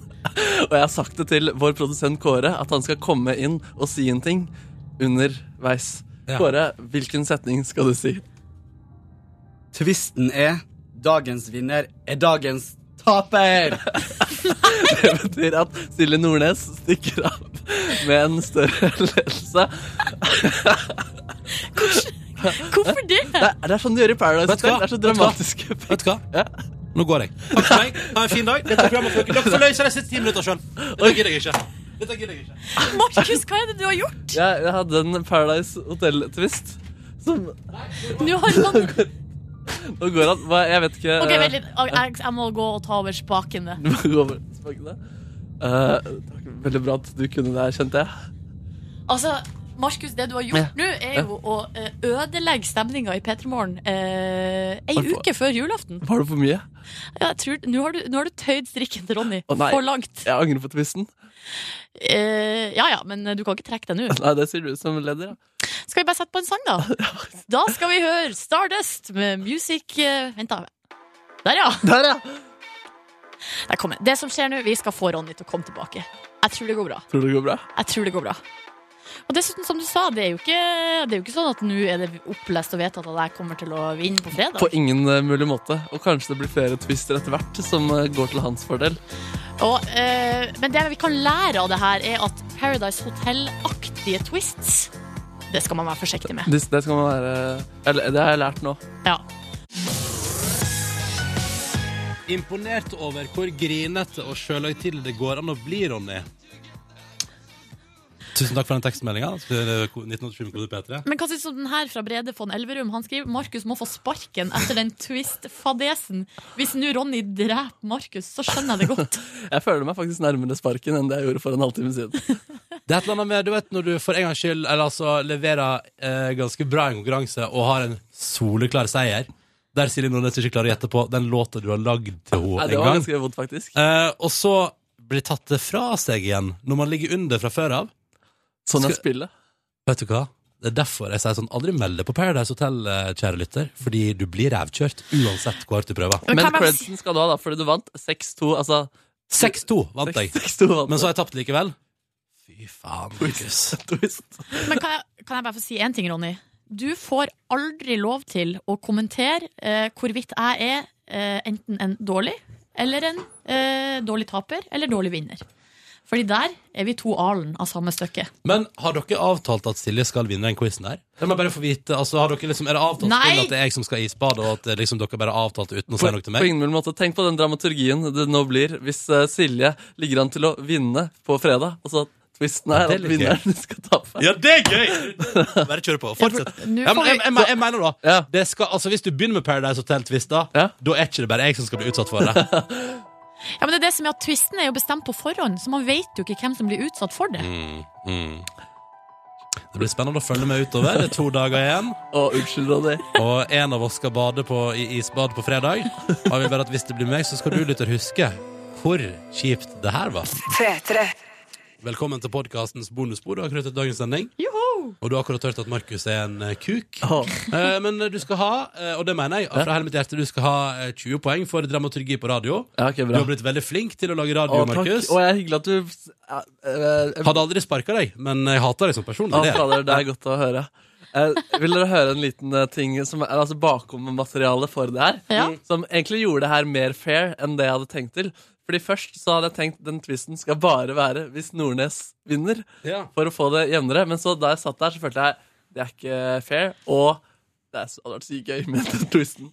Speaker 3: Og jeg har sagt det til vår produsent Kåre, at han skal komme inn og si en ting underveis.
Speaker 1: Ja.
Speaker 3: Kåre, hvilken setning skal du si?
Speaker 11: Tvisten er dagens vinner er dagens taper.
Speaker 3: Det betyr at Silje Nordnes stikker av med en større ledelse.
Speaker 2: Hvorfor det?
Speaker 3: Det er, det er sånn du gjør i Paradise
Speaker 1: Vet du hva?
Speaker 3: Hotel. Det er så
Speaker 1: Vet du hva?
Speaker 3: dramatiske
Speaker 1: Vet du hva? Nå går jeg. Takk for meg. Ha en fin dag. Dette programmet får dere får løse de siste ti minutter sjøl. Dette gidder jeg ikke. Dette gidder jeg ikke.
Speaker 2: Markus, hva er det du har gjort?
Speaker 3: Jeg, jeg hadde en Paradise Hotel-twist. Som,
Speaker 2: Nå har
Speaker 3: (laughs)
Speaker 2: man...
Speaker 3: nå går han hva- Jeg vet ikke eh,
Speaker 2: Ok, vent litt. Jeg, jeg må gå og ta over spakene.
Speaker 3: (laughs) Du må gå over spakene. Eh, takk, veldig bra at du kunne det her, kjente jeg.
Speaker 2: Altså, Markus, det du har gjort nå, er
Speaker 3: Ja.
Speaker 2: jo å eh, ødelegge stemninga i P3 Morgen eh, ei
Speaker 3: Hvorfor?
Speaker 2: uke før julaften.
Speaker 3: Var det for mye?
Speaker 2: Ja, jeg tror, nå, har du, nå har du tøyd strikken til Ronny
Speaker 3: Å, nei.
Speaker 2: for langt.
Speaker 3: Jeg angrer på twisten.
Speaker 2: Eh, ja ja, men du kan ikke trekke den nå.
Speaker 3: Nei, det sier du som leder, ja.
Speaker 2: Skal vi bare sette på en sang,
Speaker 3: (laughs)
Speaker 2: da? Da skal vi høre Stardust med Music eh, Vent, da. Der, ja.
Speaker 3: Der, ja!
Speaker 2: Der kom den. Det som skjer nå, vi skal få Ronny til å komme tilbake. Jeg tror det går bra.
Speaker 3: Tror du det går bra?
Speaker 2: Jeg tror det går bra. Og dessuten, som du sa, det er jo ikke, det er jo ikke sånn at nå er det opplest og vedtatt at jeg kommer til å vinne på fredag.
Speaker 3: På ingen eh, mulig måte. Og kanskje det blir flere twister etter hvert som eh, går til hans fordel.
Speaker 2: Og, eh, men det vi kan lære av det her, er at Paradise Hotel-aktige twists, det skal man være forsiktig med.
Speaker 3: Det, det skal man være Eller det har jeg lært nå.
Speaker 2: Ja.
Speaker 1: Imponert over hvor grinete og sjølhøytidelig det går an å bli, Ronny. Tusen takk for den tekstmeldinga. 1987 med kode P3.
Speaker 2: Men hva syns du om den her fra Brede von Elverum? Han skriver Markus må få sparken etter den twist-fadesen. Hvis nå Ronny dreper Markus, så skjønner jeg det godt.
Speaker 3: Jeg føler meg faktisk nærmere sparken enn det jeg gjorde for en halvtime siden.
Speaker 1: Det er et eller annet med, du vet, når du for en gangs skyld eller altså, leverer eh, ganske bra i en konkurranse og har en soleklar seier, der Silje Nordnes ikke klarer å gjette på den låta du har lagd til
Speaker 3: Nei,
Speaker 1: henne
Speaker 3: det
Speaker 1: en
Speaker 3: var
Speaker 1: gang,
Speaker 3: ganske vondt, faktisk.
Speaker 1: eh, og så blir- blir tatt det fra seg igjen når man ligger under fra før av.
Speaker 3: Sånn er
Speaker 1: Skal- Vet du hva? Det er derfor jeg sier sånn, aldri meld deg på Paradise Hotel, eh, kjære lytter, fordi du blir revkjørt uansett hvor hardt du prøver.
Speaker 3: Men credsen skal du ha, da, fordi du vant 6-2. Altså
Speaker 1: 6-2 vant jeg. Men så har jeg tapt likevel. Fy faen, Markus.
Speaker 2: Men kan jeg, kan jeg bare få si én ting, Ronny? Du får aldri lov til å kommentere eh, hvorvidt jeg er eh, enten en dårlig eller en eh, dårlig taper eller dårlig vinner. Fordi der er vi to alen av samme stykke.
Speaker 1: Men har dere avtalt at Silje skal vinne den quizen der? Jeg må bare få vite, altså, har dere liksom, Er det avtalt
Speaker 2: Nei!
Speaker 1: spill at det er jeg som skal i isbad, og at eh, liksom, dere bare har avtalt det uten å si noe til
Speaker 3: På
Speaker 1: meg?
Speaker 3: ingen mulig måte. Tenk på den dramaturgien det nå blir hvis eh, Silje ligger an til å vinne på fredag. Og så at twisten
Speaker 1: det er
Speaker 3: er at
Speaker 1: litt gøy.
Speaker 3: vinneren (laughs) skal tape.
Speaker 1: Ja, det er gøy! (laughs) Bare kjør på. Fortsett.
Speaker 3: nå
Speaker 1: Ja, men
Speaker 3: får vi-
Speaker 1: jeg, jeg, jeg, jeg mener da det skal, altså, Hvis du begynner med Paradise Hotel-twist, da Da er ikke det bare jeg som skal bli utsatt (laughs) for det.
Speaker 2: Ja, men det er det som er at Twisten er jo bestemt på forhånd, så man vet jo ikke hvem som blir utsatt for det.
Speaker 1: Mm, mm. Det blir spennende å følge med utover. Det er to dager igjen.
Speaker 3: Og unnskyld, Ronny.
Speaker 1: Og en av oss skal bade på, i isbad på fredag. Og jeg vil bare at hvis det blir meg, så skal du lytter huske hvor kjipt det her var. Velkommen til podkastens bonusbord. Du har akkurat hørt dagens sending. Og du har akkurat hørt at Markus er en eh, kuk. Eh, men du skal ha, eh, og det mener jeg, fra hele mitt hjerte, du skal ha eh, 20 poeng for dramaturgi på radio. Du har blitt veldig flink til å lage radio,
Speaker 3: Å, takk.
Speaker 1: Markus.
Speaker 3: Og jeg er hyggelig at du eh, eh, eh,
Speaker 1: Hadde aldri sparka deg, men jeg hater deg som person.
Speaker 3: Ja,
Speaker 1: det er det.
Speaker 3: fader, det er godt å høre. Eh, vil dere høre en liten eh, ting som er altså bakom-materialet for det her?
Speaker 2: Ja.
Speaker 1: Mm.
Speaker 3: Som egentlig gjorde det her mer fair enn det jeg hadde tenkt til. Fordi Først så hadde jeg tenkt den twisten skal bare være hvis Nordnes vinner.
Speaker 1: Ja.
Speaker 3: For å få det jevnere. Men så da jeg satt der, så følte jeg det er ikke fair. Og det er så- hadde vært sykt gøy med den twisten.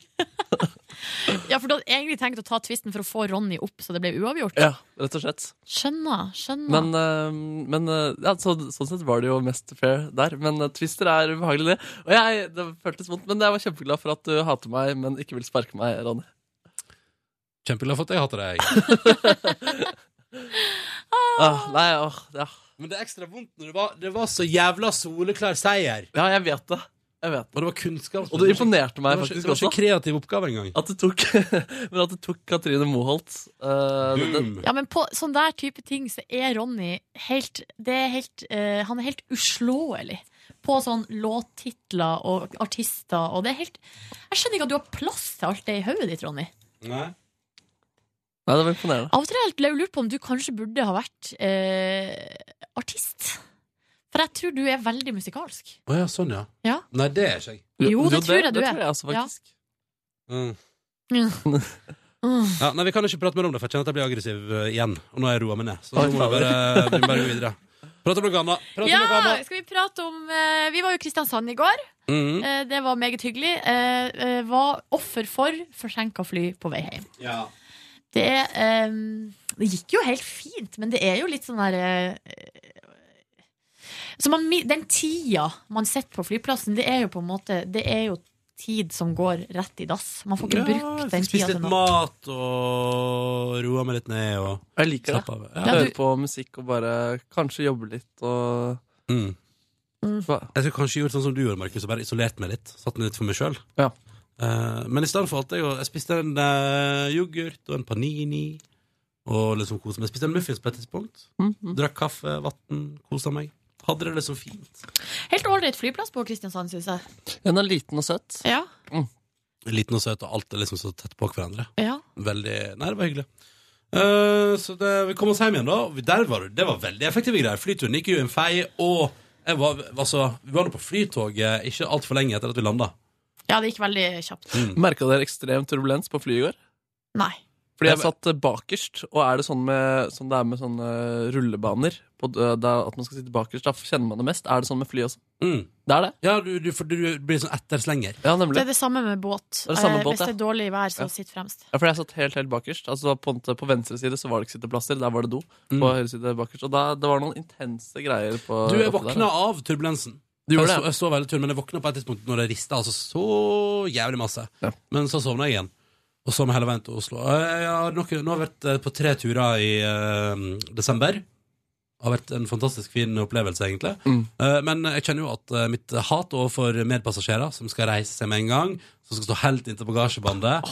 Speaker 2: Ja, for du hadde egentlig tenkt å ta Twisten for å få Ronny opp, så det ble uavgjort.
Speaker 3: Ja, rett og slett.
Speaker 2: Skjønner, skjønner.
Speaker 3: Men, eh, men eh, ja, så, sånn sett var det jo mest fair der. Men eh, twister er ubehagelig, det. Og jeg, det føltes vondt, men jeg var kjempeglad for at du hater meg, men ikke vil sparke meg, Ronny.
Speaker 1: Kjempeglad for at jeg hater deg.
Speaker 3: ah, nei, åh, ja.
Speaker 1: Men det er ekstra vondt når det var, det var så jævla soleklar seier.
Speaker 3: Ja, jeg vet det. Jeg vet.
Speaker 1: Og det var kunnskap.
Speaker 3: Og det imponerte meg
Speaker 1: Det var ikke-
Speaker 3: faktisk
Speaker 1: Det var ikke
Speaker 3: også.
Speaker 1: kreativ oppgave engang.
Speaker 3: At det tok, (laughs) men at det tok Katrine Moholt eh, den-
Speaker 2: Ja, men på sånn der type ting så er Ronny helt, det er helt eh, Han er helt uslåelig på sånn låttitler og artister, og det er helt Jeg skjønner ikke at du har plass til alt det i hodet ditt, Ronny.
Speaker 1: Nei.
Speaker 3: Nei, det var imponerende.
Speaker 2: Av og til har jeg helt lurt på om du kanskje burde ha vært eh, artist. For jeg tror du er veldig musikalsk.
Speaker 1: Å ja, sånn, ja.
Speaker 2: Ja.
Speaker 1: Nei, det er ikke jeg.
Speaker 2: Jo, det tror jeg du er.
Speaker 1: Mm.
Speaker 2: Ja. Mm.
Speaker 1: Ja, nei, Vi kan ikke prate mer om det, for jeg kjenner at jeg blir aggressiv eh, igjen. Og nå har jeg roa meg ned. Så
Speaker 3: Oi,
Speaker 1: nå må vi bare,
Speaker 3: fader.
Speaker 1: vi må bare gå videre. Prate om noe annet. Prate
Speaker 2: Ja,
Speaker 1: om noe annet.
Speaker 2: skal vi prate om eh, Vi var jo i Kristiansand i går.
Speaker 1: Mhm.
Speaker 2: (laughs) Eh, det var meget hyggelig. Eh, eh, var offer for forsinka fly på vei hjem.
Speaker 1: Ja.
Speaker 2: Det, er, ehm, det gikk jo helt fint, men det er jo litt sånn derre så man, mi- den tida man sitter på flyplassen, det er jo på en måte Det er jo tid som går rett i dass. Man får ikke brukt den
Speaker 1: Spist
Speaker 2: tida til
Speaker 1: litt
Speaker 2: noe.
Speaker 1: mat og roa meg litt ned. Og
Speaker 3: Jeg liker
Speaker 1: Slapp av.
Speaker 3: det.
Speaker 1: Ja.
Speaker 3: Høre på musikk og bare kanskje jobbe litt og
Speaker 1: Mm. Jeg skulle kanskje gjort sånn som du gjorde, Markus, og bare isolert meg litt. Satt meg litt for meg sjøl. men i stedet for alt jeg, jeg spiste en eh, yoghurt og en panini og liksom koset meg. Jeg spiste en muffins på et tidspunkt. Drakk kaffe, vann, kosa meg. Hadde det liksom fint.
Speaker 2: Helt ålreit flyplass på Kristiansand, syns jeg.
Speaker 3: Den er liten og søt.
Speaker 2: Ja.
Speaker 1: Liten og søt, og alt er liksom så tett på hverandre.
Speaker 2: Ja.
Speaker 1: Veldig Nei, det var hyggelig. Eh, så det, vi kom oss hjem igjen, da. Og vi- Der var, det- det var veldig effektive greier. Flyturen gikk jo i en fei, og jeg var, altså, vi var nå på flytoget ikke altfor lenge etter at vi landa.
Speaker 2: ja, det gikk veldig kjapt.
Speaker 1: Mm.
Speaker 3: Merka dere ekstrem turbulens på flyet i går?
Speaker 2: Nei.
Speaker 3: Fordi jeg satt eh, bakerst, og er det sånn med, som det er med sånne eh, rullebaner på, dø- da, At man skal sitte bakerst, da kjenner man det mest. Er det sånn med fly også?
Speaker 1: Mm.
Speaker 3: Det er det?
Speaker 1: Ja, du, for du blir sånn etterslenger.
Speaker 3: Ja,
Speaker 2: Det
Speaker 3: nemlig.
Speaker 2: er det samme med båt.
Speaker 3: Det er det samme
Speaker 2: Eh,
Speaker 3: båt,
Speaker 2: Hvis det er
Speaker 3: ja.
Speaker 2: dårlig vær, så
Speaker 3: Ja.
Speaker 2: sitt fremst.
Speaker 3: Ja, for jeg satt helt helt bakerst. Altså På, en måte på venstre side så var det ikke sitteplasser, der var det do. På høyre side bakerst Og da, det var noen intense greier på
Speaker 1: Du, jeg
Speaker 3: oppe der.
Speaker 1: våkna av turbulensen.
Speaker 3: Du gjorde
Speaker 1: jeg, så,
Speaker 3: det?
Speaker 1: jeg så veldig tur, men jeg våkna på et tidspunkt når det rista altså så jævlig masse. Men så sovna jeg igjen. Og så med hele veien til Oslo. Jeg har nok, nå har jeg vært eh, på tre turer i eh, desember. Det har vært en fantastisk fin opplevelse, egentlig.
Speaker 3: Mm.
Speaker 1: Eh, men jeg kjenner jo at eh, mitt hat overfor medpassasjerer som skal reise seg med en gang, som skal stå helt inntil bagasjebandet,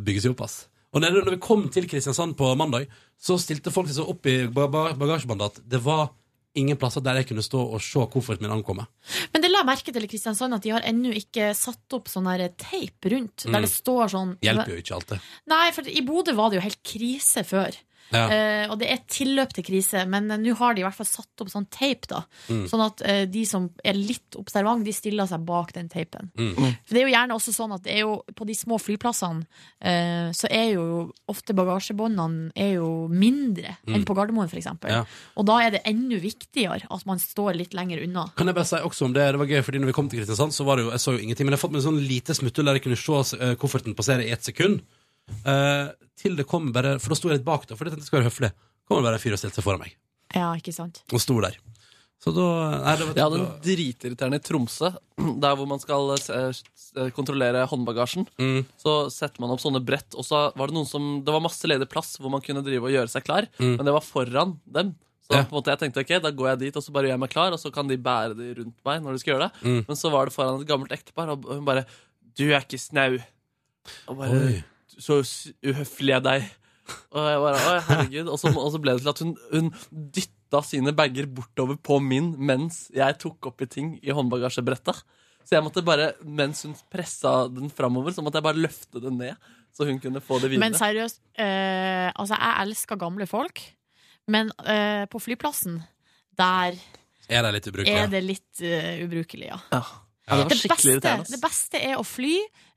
Speaker 1: bygger seg opp, ass. Og når, når vi kom til Kristiansand på mandag, så stilte folk seg så opp i ba- ba- bagasjebandet at det var ingen plasser der jeg kunne stå og se kofferten min ankomme.
Speaker 2: Men det la jeg merke til i Kristiansand, at de har ennå ikke satt opp sånn her teip rundt,
Speaker 1: Mm.
Speaker 2: der det står sånn
Speaker 1: Hjelper jo ikke alltid.
Speaker 2: Nei, for i Bodø var det jo helt krise før.
Speaker 1: Ja.
Speaker 2: Eh, og det er tilløp til krise, men eh, nå har de i hvert fall satt opp sånn teip, da.
Speaker 12: Mm.
Speaker 2: Sånn at eh, de som er litt observant, de stiller seg bak den teipen.
Speaker 12: Mm.
Speaker 2: For det er jo gjerne også sånn at det er jo, på de små flyplassene eh, så er jo ofte bagasjebåndene er jo mindre
Speaker 1: Mm.
Speaker 2: enn på Gardermoen, f.eks. eksempel
Speaker 1: Ja.
Speaker 2: Og da er det enda viktigere at man står litt lenger unna.
Speaker 1: Kan jeg bare si også om det, det var gøy, fordi når vi kom til Kristiansand, så var det jo, jeg så jo ingenting, men jeg har fått meg en sånn lite smutthull der jeg kunne se eh, kofferten passere i et sekund. Eh, til det kom bare, for da sto jeg litt bak da, for jeg tenkte jeg skulle være høflig. Kom det bare en fyr og stilte seg foran meg,
Speaker 2: Ja, ikke sant?
Speaker 1: og sto der. Så da, nei, det var
Speaker 3: Jeg hadde en dritirriterende i Tromsø, (clears throat) der hvor man skal eh, s- eh, kontrollere håndbagasjen.
Speaker 1: mm.
Speaker 3: Så setter man opp sånne brett, og så var det noen som Det var masse ledig plass hvor man kunne drive og gjøre seg klar,
Speaker 1: Mm.
Speaker 3: men det var foran dem. Så på en måte jeg tenkte ok, da går jeg dit, og så bare gjør jeg meg klar, og så kan de bære de rundt meg når de skal gjøre det.
Speaker 1: Mm.
Speaker 3: Men så var det foran et gammelt ektepar, og hun bare Du er ikke snau. Og bare
Speaker 1: Oi.
Speaker 3: Så s- uhøflig jeg deg. Og jeg bare, «Oi, herregud og så, og så ble det til at hun, hun dytta sine bager bortover på min mens jeg tok oppi ting i håndbagasjebrettet. Så jeg måtte bare, mens hun pressa den framover, så måtte jeg bare løfte den ned. Så hun kunne få det videre.
Speaker 2: Men seriøst, eh, altså jeg elsker gamle folk, men eh, på flyplassen, der
Speaker 1: Er det litt ubrukelig?
Speaker 2: er det litt eh, ubrukelig, ja.
Speaker 3: Ja. Ja, det var skikkelig
Speaker 2: beste,
Speaker 3: irriterende.
Speaker 2: det beste er å fly,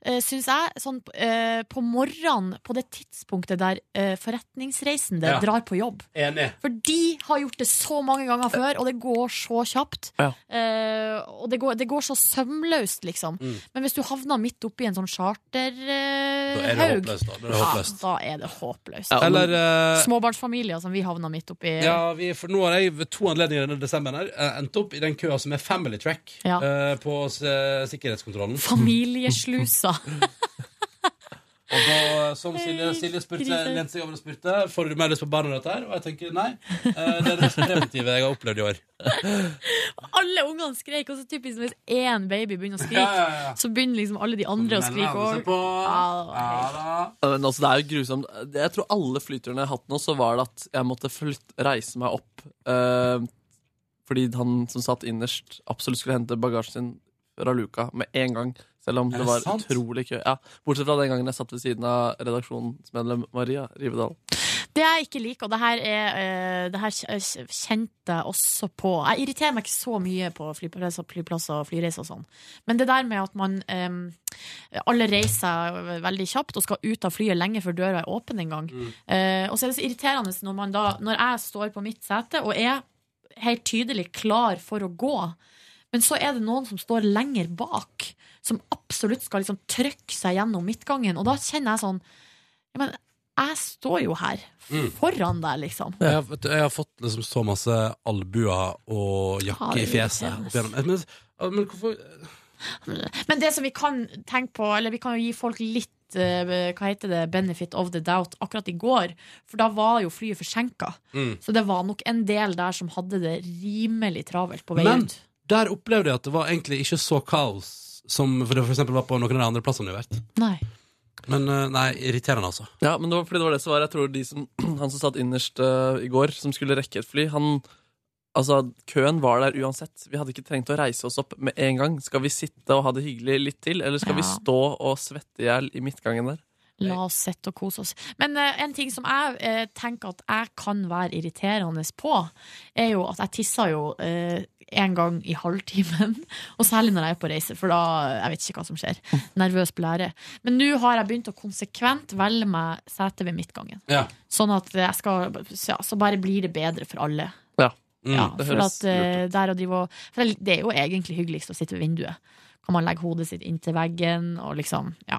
Speaker 2: uh, syns jeg, sånn eh, på morgenen, på det tidspunktet der eh, forretningsreisende
Speaker 1: Ja.
Speaker 2: drar på jobb.
Speaker 1: Enig.
Speaker 2: For de har gjort det så mange ganger før, og det går så kjapt.
Speaker 1: Ja.
Speaker 2: Eh, og det går, det går så sømløst, liksom.
Speaker 1: Mm.
Speaker 2: Men hvis du havner midt oppi en sånn
Speaker 1: Da er det
Speaker 2: charterhaug
Speaker 1: håpløst, da. Da er det håpløst.
Speaker 2: Ja,
Speaker 1: Ja,
Speaker 2: da er det håpløst.
Speaker 1: Eller, eh,
Speaker 2: Småbarnsfamilier som vi havna midt oppi.
Speaker 1: Ja, vi, for nå har jeg ved to anledninger denne desemberen her eh, endt opp i den køa som er family track
Speaker 2: Ja.
Speaker 1: eh, på eh, sikkerhetskontrollen.
Speaker 2: Familieslusa.
Speaker 1: Og da, som Silje, Silje spurte,
Speaker 2: Krise.
Speaker 1: lente seg over og spurte Får du mer lyst på barn og dette her? Og jeg tenker nei. Eh, Det er det mest preventive jeg har opplevd i år.
Speaker 2: alle ungene skreik, og så typisk hvis én baby begynner å skrike,
Speaker 3: (laughs) Ja, ja, ja.
Speaker 2: så begynner liksom alle de andre å skrike
Speaker 3: melder seg
Speaker 2: òg. Ja,
Speaker 3: Ja, Men altså, det er jo grusomt. Jeg tror alle flyturene jeg har hatt nå, så var det at jeg måtte flytt, reise meg opp eh, fordi han som satt innerst, absolutt skulle hente bagasjen sin fra luka med en gang. Selv om
Speaker 1: Er
Speaker 3: det,
Speaker 1: det
Speaker 3: var
Speaker 1: sant?
Speaker 3: utrolig kø. Ja, bortsett fra den gangen jeg satt ved siden av redaksjonsmedlem Maria Rivedal.
Speaker 2: Det jeg ikke liker, og det her, er, eh, det her kj- kj- kjente jeg også på Jeg irriterer meg ikke så mye på flyplasser, flyplasser og flyreiser og sånn, men det der med at man em, alle reiser veldig kjapt og skal ut av flyet lenge før døra er åpen en gang. Eh, og så er det så irriterende når, man da, når jeg står på mitt sete og er helt tydelig klar for å gå, men så er det noen som står lenger bak, som absolutt skal liksom trykke seg gjennom midtgangen, og da kjenner jeg sånn ja, men jeg står jo her
Speaker 1: Mm.
Speaker 2: foran deg, liksom.
Speaker 1: Jeg, har- vet du, jeg har fått liksom så masse albuer og
Speaker 2: Ja,
Speaker 1: jakke
Speaker 2: det
Speaker 1: i
Speaker 2: er
Speaker 1: fjeset.
Speaker 2: irriterende.
Speaker 1: opp igjennom. Men, men hvorfor
Speaker 2: Men det som vi kan tenke på, eller vi kan jo gi folk litt eh, hva heter det, benefit of the doubt akkurat i går, for da var jo flyet forsinka.
Speaker 1: Mm.
Speaker 2: Så det var nok en del der som hadde det rimelig travelt på vei
Speaker 1: Men
Speaker 2: ut.
Speaker 1: der opplevde jeg at det var egentlig ikke så kaos som for det for eksempel var på noen av de andre plassene vi har vært.
Speaker 2: Nei.
Speaker 1: Men eh, nei, irriterende, altså.
Speaker 3: Ja, men det var fordi det var det som var Jeg tror de som, (clears throat) han som satt innerst eh, i går, som skulle rekke et fly Han Altså, køen var der uansett. Vi hadde ikke trengt å reise oss opp med en gang. Skal vi sitte og ha det hyggelig litt til, eller skal vi
Speaker 2: Ja.
Speaker 3: stå og svette i hjel i midtgangen der?
Speaker 2: La oss sitte og kose oss. Men eh, en ting som jeg eh, tenker at jeg kan være irriterende på, er jo at jeg tisser jo eh, en gang i halvtimen. Og særlig når jeg er på reise, for da jeg vet ikke hva som skjer. Nervøs blære. Men nå har jeg begynt å konsekvent velge meg sete ved midtgangen.
Speaker 1: Ja.
Speaker 2: Sånn at jeg skal ja, Så bare blir det bedre for alle.
Speaker 3: Ja.
Speaker 2: Ja, for at, eh, der å drive og, for det- det er jo egentlig hyggeligst å sitte ved vinduet. Kan man legge hodet sitt inntil veggen og liksom Ja.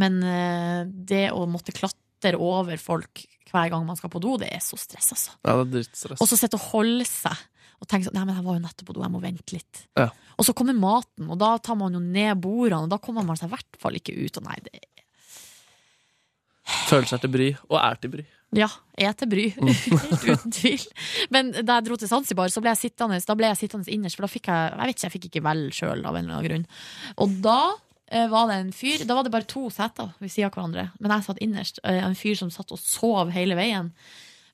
Speaker 2: Men eh, det å måtte klatre over folk hver gang man skal på do, det er så stress, altså.
Speaker 3: Ja, det er drittstress.
Speaker 2: Og så sitte og holde seg og tenke sånn Nei, men jeg var jo nettopp på do, jeg må vente litt.
Speaker 3: Ja.
Speaker 2: Og så kommer maten, og da tar man jo ned bordene, og da kommer man seg i hvert fall ikke ut. Og nei, det
Speaker 3: Føler seg til bry, og er til bry.
Speaker 2: Ja, jeg er til bry, helt (laughs) uten tvil. Men da jeg dro til Zanzibar, så ble jeg sittende, da ble jeg sittende innerst, for da fikk jeg Jeg vet ikke, jeg fikk ikke vel sjøl av en eller annen grunn. Og da eh, var det en fyr Da var det bare to seter ved siden av hverandre. Men jeg satt innerst. eh, En fyr som satt og sov hele veien.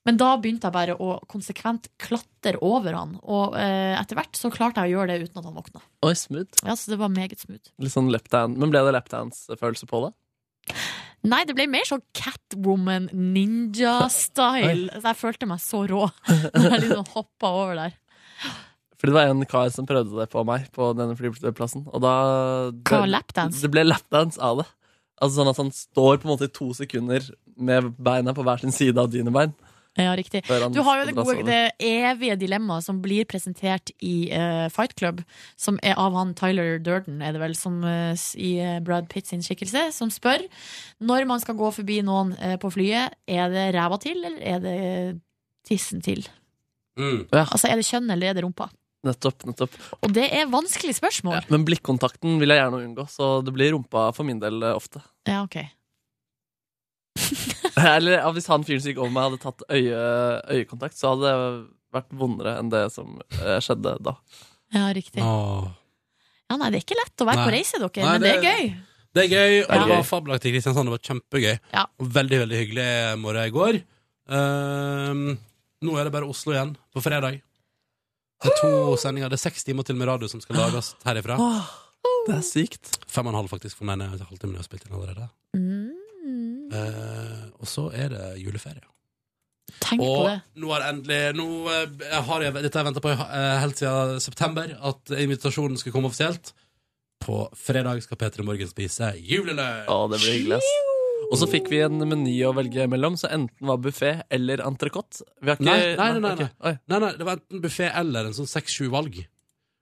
Speaker 2: Men da begynte jeg bare å konsekvent klatre over han. Og eh, etter hvert så klarte jeg å gjøre det uten at han våkna.
Speaker 3: Oi, smooth.
Speaker 2: Ja, så det var meget smooth.
Speaker 3: Litt sånn lapdance. Men ble det lapdance-følelse på det?
Speaker 2: Nei, det ble mer sånn Catwoman ninja-style. Så Jeg følte meg så rå (laughs) når jeg liksom hoppa over der.
Speaker 3: Fordi det var en kar som prøvde det på meg på denne flyplassen. Og da
Speaker 2: Hva, lapdance?
Speaker 3: Det ble lapdance av det. Altså sånn at han står på en måte i to sekunder med beina på hver sin side av dine bein.
Speaker 2: Ja, riktig.
Speaker 3: Før han
Speaker 2: Du har jo det,
Speaker 3: dras
Speaker 2: gode,
Speaker 3: over.
Speaker 2: det evige dilemmaet som blir presentert i eh, Fight Club, som er av han Tyler Durden, er det vel, som eh, s- i eh, Brad Pitt sin skikkelse, som spør når man skal gå forbi noen eh, på flyet, er det ræva til, eller er det tissen til?
Speaker 1: Mm.
Speaker 3: Ja,
Speaker 2: Altså, er det kjønn, eller er det rumpa?
Speaker 3: nettopp, nettopp.
Speaker 2: Og det er vanskelig spørsmål.
Speaker 3: Men blikkontakten vil jeg gjerne unngå, så det blir rumpa for min del eh, ofte. (laughs)
Speaker 2: Ja, ok.
Speaker 3: Eller ja, hvis han fyren som gikk over meg, hadde tatt øye, øyekontakt, så hadde det vært vondere enn det som eh, skjedde da.
Speaker 2: Ja, riktig. Ja, nei, det er ikke lett å være på
Speaker 1: Nei.
Speaker 2: reise, dere,
Speaker 1: Nei,
Speaker 2: men det
Speaker 1: det-
Speaker 2: er gøy.
Speaker 1: Det er gøy, og
Speaker 3: Det er
Speaker 1: det var
Speaker 3: gøy.
Speaker 1: fabelaktig i Kristiansand. Det var kjempegøy.
Speaker 2: Ja.
Speaker 1: Og Veldig veldig hyggelig morgen i går. Ehm, nå er det bare Oslo igjen, på fredag. Det er to sendinger. Det er seks timer til med radio som skal lages herifra.
Speaker 3: Det er sykt.
Speaker 1: Fem og en halv, faktisk, for den ene halvtimen jeg har spilt inn allerede.
Speaker 2: Mm.
Speaker 1: Eh, og så er det juleferie.
Speaker 2: Tenk
Speaker 1: og
Speaker 2: på det.
Speaker 1: nå har endelig nå, eh, jeg har jeg, Dette har jeg venta på i, eh, helt siden september, at invitasjonen skulle komme offisielt. På fredag skal P3 Morgen spise julelunsj.
Speaker 3: Å, det blir hyggelig, ass. Og så fikk vi en meny å velge mellom, så enten var buffé eller entrecôte. Vi har ikke
Speaker 1: Nei, nei, nei, nei, nei.
Speaker 3: ok. Oi.
Speaker 1: nei, nei, det var enten buffé eller en sånn seks-sju valg.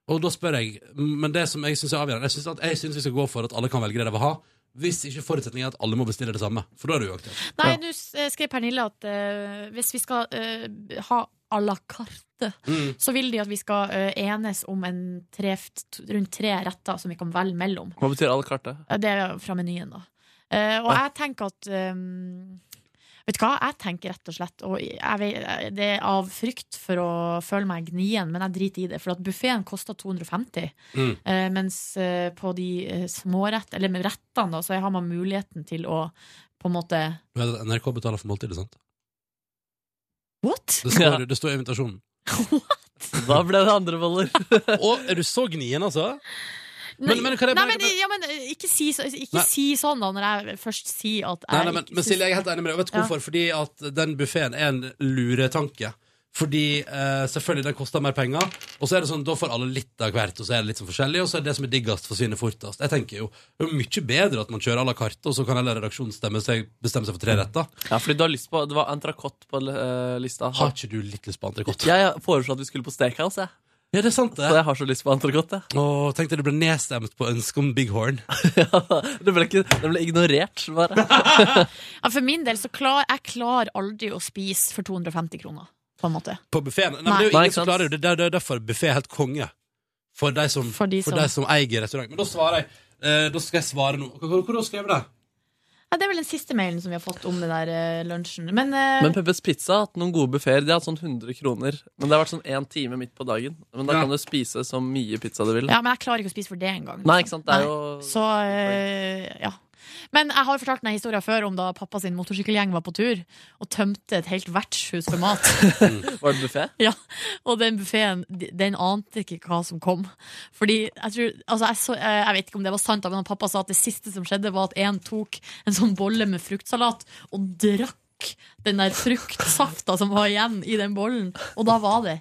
Speaker 1: Og da spør jeg, men det som jeg syns er avgjørende Jeg synes at jeg synes vi skal gå for at alle kan velge det de vil ha, hvis ikke forutsetningen er at alle må bestille det samme. For da er det uaktuelt.
Speaker 2: Nei, nå s- eh, skrev Pernille at eh, hvis vi skal eh, ha à la carte,
Speaker 1: Mm.
Speaker 2: så vil de at vi skal eh, enes om en tre, f- t- rundt tre retter som vi kan velge mellom.
Speaker 3: Hva betyr alle kartet?
Speaker 2: Eh, Det er fra menyen, da. Eh, og jeg tenker at eh, Vet du hva, jeg tenker rett og slett og jeg vet, eh, Det er av frykt for å føle meg gnien, men jeg driter i det. For at buffeen koster 250.
Speaker 12: Mm.
Speaker 2: Eh, mens eh, på de eh, smårett, eller med rettene, da, så har man muligheten til å på en måte
Speaker 1: Du vet at NRK betaler for måltidet, sant?
Speaker 2: What?
Speaker 1: Det står, det står i invitasjonen. (laughs)
Speaker 3: Da ble det andre boller.
Speaker 1: Å, er du så gnien, altså? Men, men, kan jeg
Speaker 2: Nei,
Speaker 1: bare,
Speaker 2: men, ja, men eh, ikke si, så- ikke
Speaker 1: Nei.
Speaker 2: si sånn da, når jeg først sier at jeg
Speaker 1: Nei, nei, men,
Speaker 2: ikke
Speaker 1: men Silje, jeg er helt enig med deg. Vet du
Speaker 2: Ja.
Speaker 1: hvorfor? Fordi at den buffeen er en luretanke. Fordi eh, selvfølgelig den koster mer penger, og så er det sånn, da får alle litt av hvert, og så er det litt sånn forskjellig, og så er det som er diggest, forsvinner fortest. Jeg tenker jo, det er jo mye bedre at man kjører à la carte, og så kan hele redaksjonen stemme seg, bestemme seg for tre retter.
Speaker 3: Ja, fordi du har lyst på Det var entrecôte på eh, lista.
Speaker 1: Har ikke du litt lyst på entrecôte?
Speaker 3: Jeg foreslo at vi skulle på steakhouse, jeg.
Speaker 1: Ja, det er sant, det.
Speaker 3: Så jeg har så lyst på entrecôte, jeg. (laughs)
Speaker 1: Og tenkte du ble nedstemt på ønsket om Big Horn.
Speaker 3: Det ble, ikke, det ble ignorert, bare.
Speaker 2: Ja, for min del så klar, jeg klarer aldri å spise for 250 kroner, på en måte.
Speaker 1: På buffeen? Nei, men det er jo
Speaker 3: Nei.
Speaker 1: ingen som klarer det. Det er- det er derfor buffé er helt konge. For de som, for de
Speaker 2: de
Speaker 1: som.
Speaker 2: som-
Speaker 1: eier restaurant. Men da svarer jeg. eh, da skal jeg svare nå. Hvor, hvor, hvor har du skrevet det?
Speaker 2: Ja, det er vel den siste mailen som vi har fått om den der eh, lunsjen. Men, eh,
Speaker 3: Men Peppes Pizza har hatt noen gode buffeer. De har hatt sånn 100 kroner. Men det har vært sånn én time midt på dagen. Men da kan du spise så mye pizza du vil.
Speaker 2: ja, men jeg klarer ikke å spise for det engang. liksom.
Speaker 3: Nei, ikke sant. Det
Speaker 2: Nei.
Speaker 3: er jo
Speaker 2: Så, eh, ja. Men jeg har fortalt denne historien før om da pappa sin motorsykkelgjeng var på tur og tømte et helt vertshus for
Speaker 3: (laughs)
Speaker 2: mat.
Speaker 3: Var det buffé?
Speaker 2: Ja, og den buffeen, den ante ikke hva som kom. Fordi, jeg tror, altså jeg, så, eh, jeg vet ikke om det var sant, da, men han pappa sa at det siste som skjedde, var at en tok en sånn bolle med fruktsalat og drakk den der fruktsafta som var igjen i den bollen. Og da var det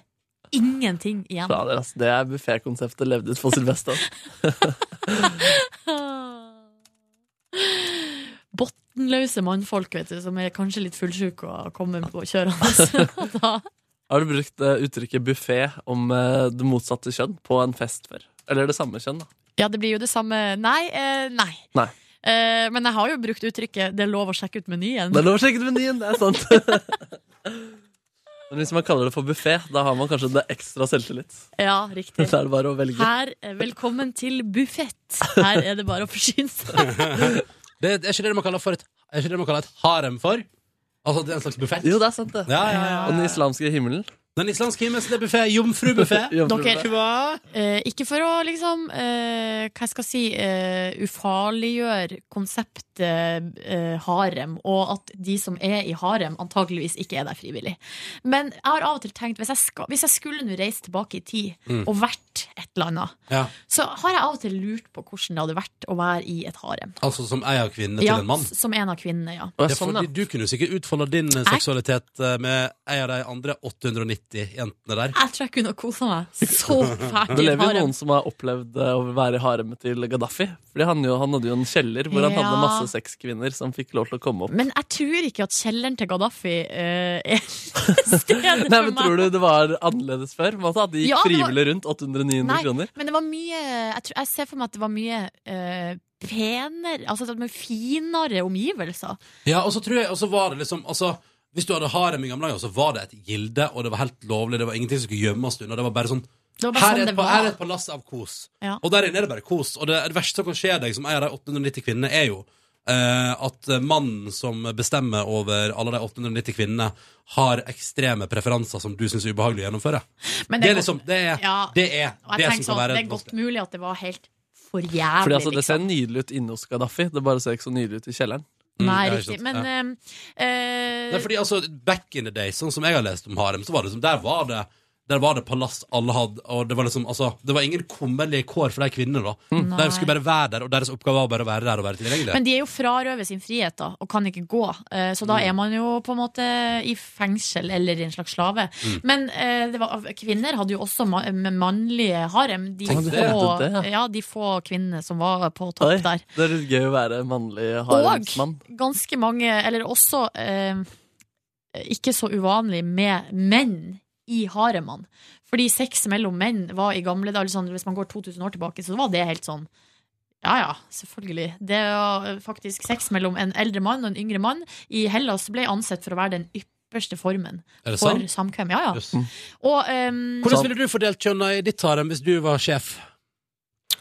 Speaker 2: ingenting igjen.
Speaker 3: Fader, ass, det er buffékonseptet levd ut for Sylvester.
Speaker 2: Bottenløse mannfolk, vet du, som er kanskje litt fullsjuke og kommer på kjørende. (laughs) Og da
Speaker 3: Har du brukt eh, uttrykket buffé om eh, det motsatte kjønn på en fest før? Eller det samme kjønn, da.
Speaker 2: Ja, det blir jo det samme Nei. Eh, nei.
Speaker 3: Nei.
Speaker 2: Eh, men jeg har jo brukt uttrykket 'det er lov å sjekke ut menyen'.
Speaker 3: Det er lov å sjekke ut menyen, det er sant. (laughs) Men hvis man kaller det for buffé, da har man kanskje det ekstra selvtillit.
Speaker 2: Ja,
Speaker 3: Da
Speaker 2: riktig.
Speaker 3: (laughs) er det bare å velge.
Speaker 2: Her, eh, velkommen til buffett. Her er det bare å forsyne seg.
Speaker 1: det? Er ikke det man kaller for et, er ikke det man kaller et harem for? Altså at det er en slags buffett?
Speaker 3: Jo, det er sant, det.
Speaker 1: Ja, ja, ja.
Speaker 3: Og den islamske himmelen.
Speaker 1: Den islandske himmelsbuffé,
Speaker 3: (laughs)
Speaker 1: jomfrubuffé.
Speaker 2: Dere, eh, ikke for å liksom eh, Hva jeg skal si eh, ufarliggjøre konseptet eh, harem, og at de som er i harem, antakeligvis ikke er der frivillig. Men jeg har av og til tenkt hvis jeg, skal, hvis jeg skulle nå reise tilbake i tid
Speaker 12: Mm.
Speaker 2: og vært et eller annet,
Speaker 1: Ja.
Speaker 2: så har jeg av og til lurt på hvordan det hadde vært å være i et harem.
Speaker 1: Altså som ei av kvinnene
Speaker 2: Ja,
Speaker 1: til en mann.
Speaker 2: s- sånn som en av kvinnene, ja.
Speaker 1: Det er
Speaker 3: sånn,
Speaker 1: fordi Du kunne jo sikkert utfolda din eh, seksualitet eh, med ei av de andre 890 jentene der.
Speaker 2: Jeg tror jeg kunne ha kosa meg så
Speaker 3: (laughs)
Speaker 2: fælt i
Speaker 3: Det
Speaker 2: et
Speaker 3: lever jo
Speaker 2: harem.
Speaker 3: noen som har opplevd eh, å være i haremet til Gaddafi. Fordi han, jo, han hadde jo en kjeller hvor han hadde
Speaker 2: Ja.
Speaker 3: masse sexkvinner som fikk lov til å komme opp.
Speaker 2: Men jeg tror ikke at kjelleren til Gaddafi eh, er (laughs) stedet
Speaker 3: Nei,
Speaker 2: for
Speaker 3: men
Speaker 2: meg.
Speaker 3: Tror du det var annerledes før? på en måte, At de gikk
Speaker 2: Ja, det var-
Speaker 3: frivillig rundt 800-900
Speaker 2: Nei,
Speaker 3: kroner?
Speaker 2: men det var mye Jeg, tror, jeg ser for meg at det var mye eh, penere Altså at det var finere omgivelser.
Speaker 1: Ja, og så tror jeg, og så var det liksom altså, Hvis du hadde harem i gamle dager, så var det et gilde, og det var helt lovlig, det var ingenting som skulle gjemmes unna. Det var bare sånn
Speaker 2: Det var bare
Speaker 1: her,
Speaker 2: sånn
Speaker 1: er
Speaker 2: det
Speaker 1: et, pa-
Speaker 2: var.
Speaker 1: her er et palass av kos.
Speaker 2: Ja.
Speaker 1: Og der inne er det bare kos. Og det, det verste som kan skje deg som en av de 890 kvinnene, er jo eh, at mannen som bestemmer over alle de 890 kvinnene, har ekstreme preferanser som du syns er ubehagelig å gjennomføre.
Speaker 2: Men
Speaker 1: det, er
Speaker 2: godt-
Speaker 1: liksom Det er
Speaker 2: Ja,
Speaker 1: det, er,
Speaker 2: og jeg
Speaker 1: det
Speaker 2: tenker
Speaker 1: som
Speaker 2: sånn,
Speaker 1: kan være
Speaker 2: Det er godt mulig at det var helt for
Speaker 3: Fordi
Speaker 2: jævlig.
Speaker 3: altså, Det ser nydelig ut inne hos Gaddafi, det bare ser ikke så nydelig ut i kjelleren.
Speaker 2: liksom. Nei, riktig. Men eh, eh,
Speaker 1: Nei, fordi altså, Back in the day, sånn som jeg har lest om harem, så var det liksom, der var det der var det palass alle hadde, og det var liksom, altså, det var ingen kummerlige kår for de kvinnene. da.
Speaker 2: Mm.
Speaker 1: De skulle bare være der, og deres oppgave var bare å være der og være tilgjengelig.
Speaker 2: Men de er jo frarøvet sin frihet da, og kan ikke gå. Eh, Så da er man jo på en måte i fengsel eller i en slags slave.
Speaker 12: Mm.
Speaker 2: Men eh, det var, kvinner hadde jo også ma med mannlige harem. De
Speaker 3: Tenk det.
Speaker 2: få,
Speaker 3: Hadde det, ja.
Speaker 2: ja, de få kvinnene som var på topp
Speaker 3: Oi,
Speaker 2: der.
Speaker 3: det er litt gøy å være mannlig haremsmann.
Speaker 2: Og ganske mange, eller også eh, ikke så uvanlig med menn i haremene. Fordi sex mellom menn var i gamle dager, sånn, hvis man går 2000 år tilbake, så var det helt sånn ja ja, selvfølgelig. Det å- faktisk Sex mellom en eldre mann og en yngre mann i Hellas ble ansett for å være den ypperste formen
Speaker 1: Er det
Speaker 2: for
Speaker 1: sant?
Speaker 2: samkvem. Ja, ja.
Speaker 1: Jøss.
Speaker 2: Og, ehm,
Speaker 1: Hvordan ville du fordelt kjønna i ditt harem hvis du var sjef?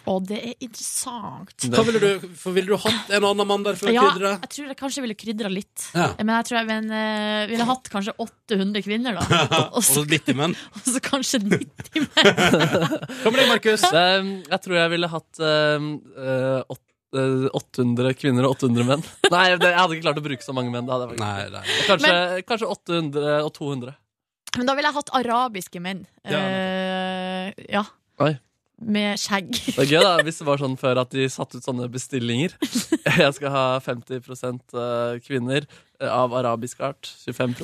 Speaker 2: og det er interessant.
Speaker 1: Hva ville du, for ville du hatt en annen mann der for å
Speaker 2: Ja,
Speaker 1: krydre?
Speaker 2: jeg tror jeg kanskje ville krydra litt.
Speaker 1: Ja.
Speaker 2: Men jeg tror jeg men, eh, ville hatt kanskje 800 kvinner, da.
Speaker 1: (laughs) og så litt i menn.
Speaker 2: Og så kanskje 90
Speaker 1: Hva med deg, Markus?
Speaker 3: Ehm, Jeg tror jeg ville hatt eh, eh, åt- eh, 800 kvinner og 800 menn. (laughs) Nei, det, jeg hadde ikke klart å bruke så mange menn. Det hadde jeg faktisk ikke. Kanskje, kanskje 800 og 200.
Speaker 2: Men da ville jeg hatt arabiske menn.
Speaker 3: Ja,
Speaker 2: Eh, ja.
Speaker 3: Oi.
Speaker 2: Med skjegg. (laughs)
Speaker 3: Det er gøy da, hvis det var sånn før at de satte ut sånne bestillinger. (laughs) Jeg skal ha 50 kvinner eh, av arabisk art, 25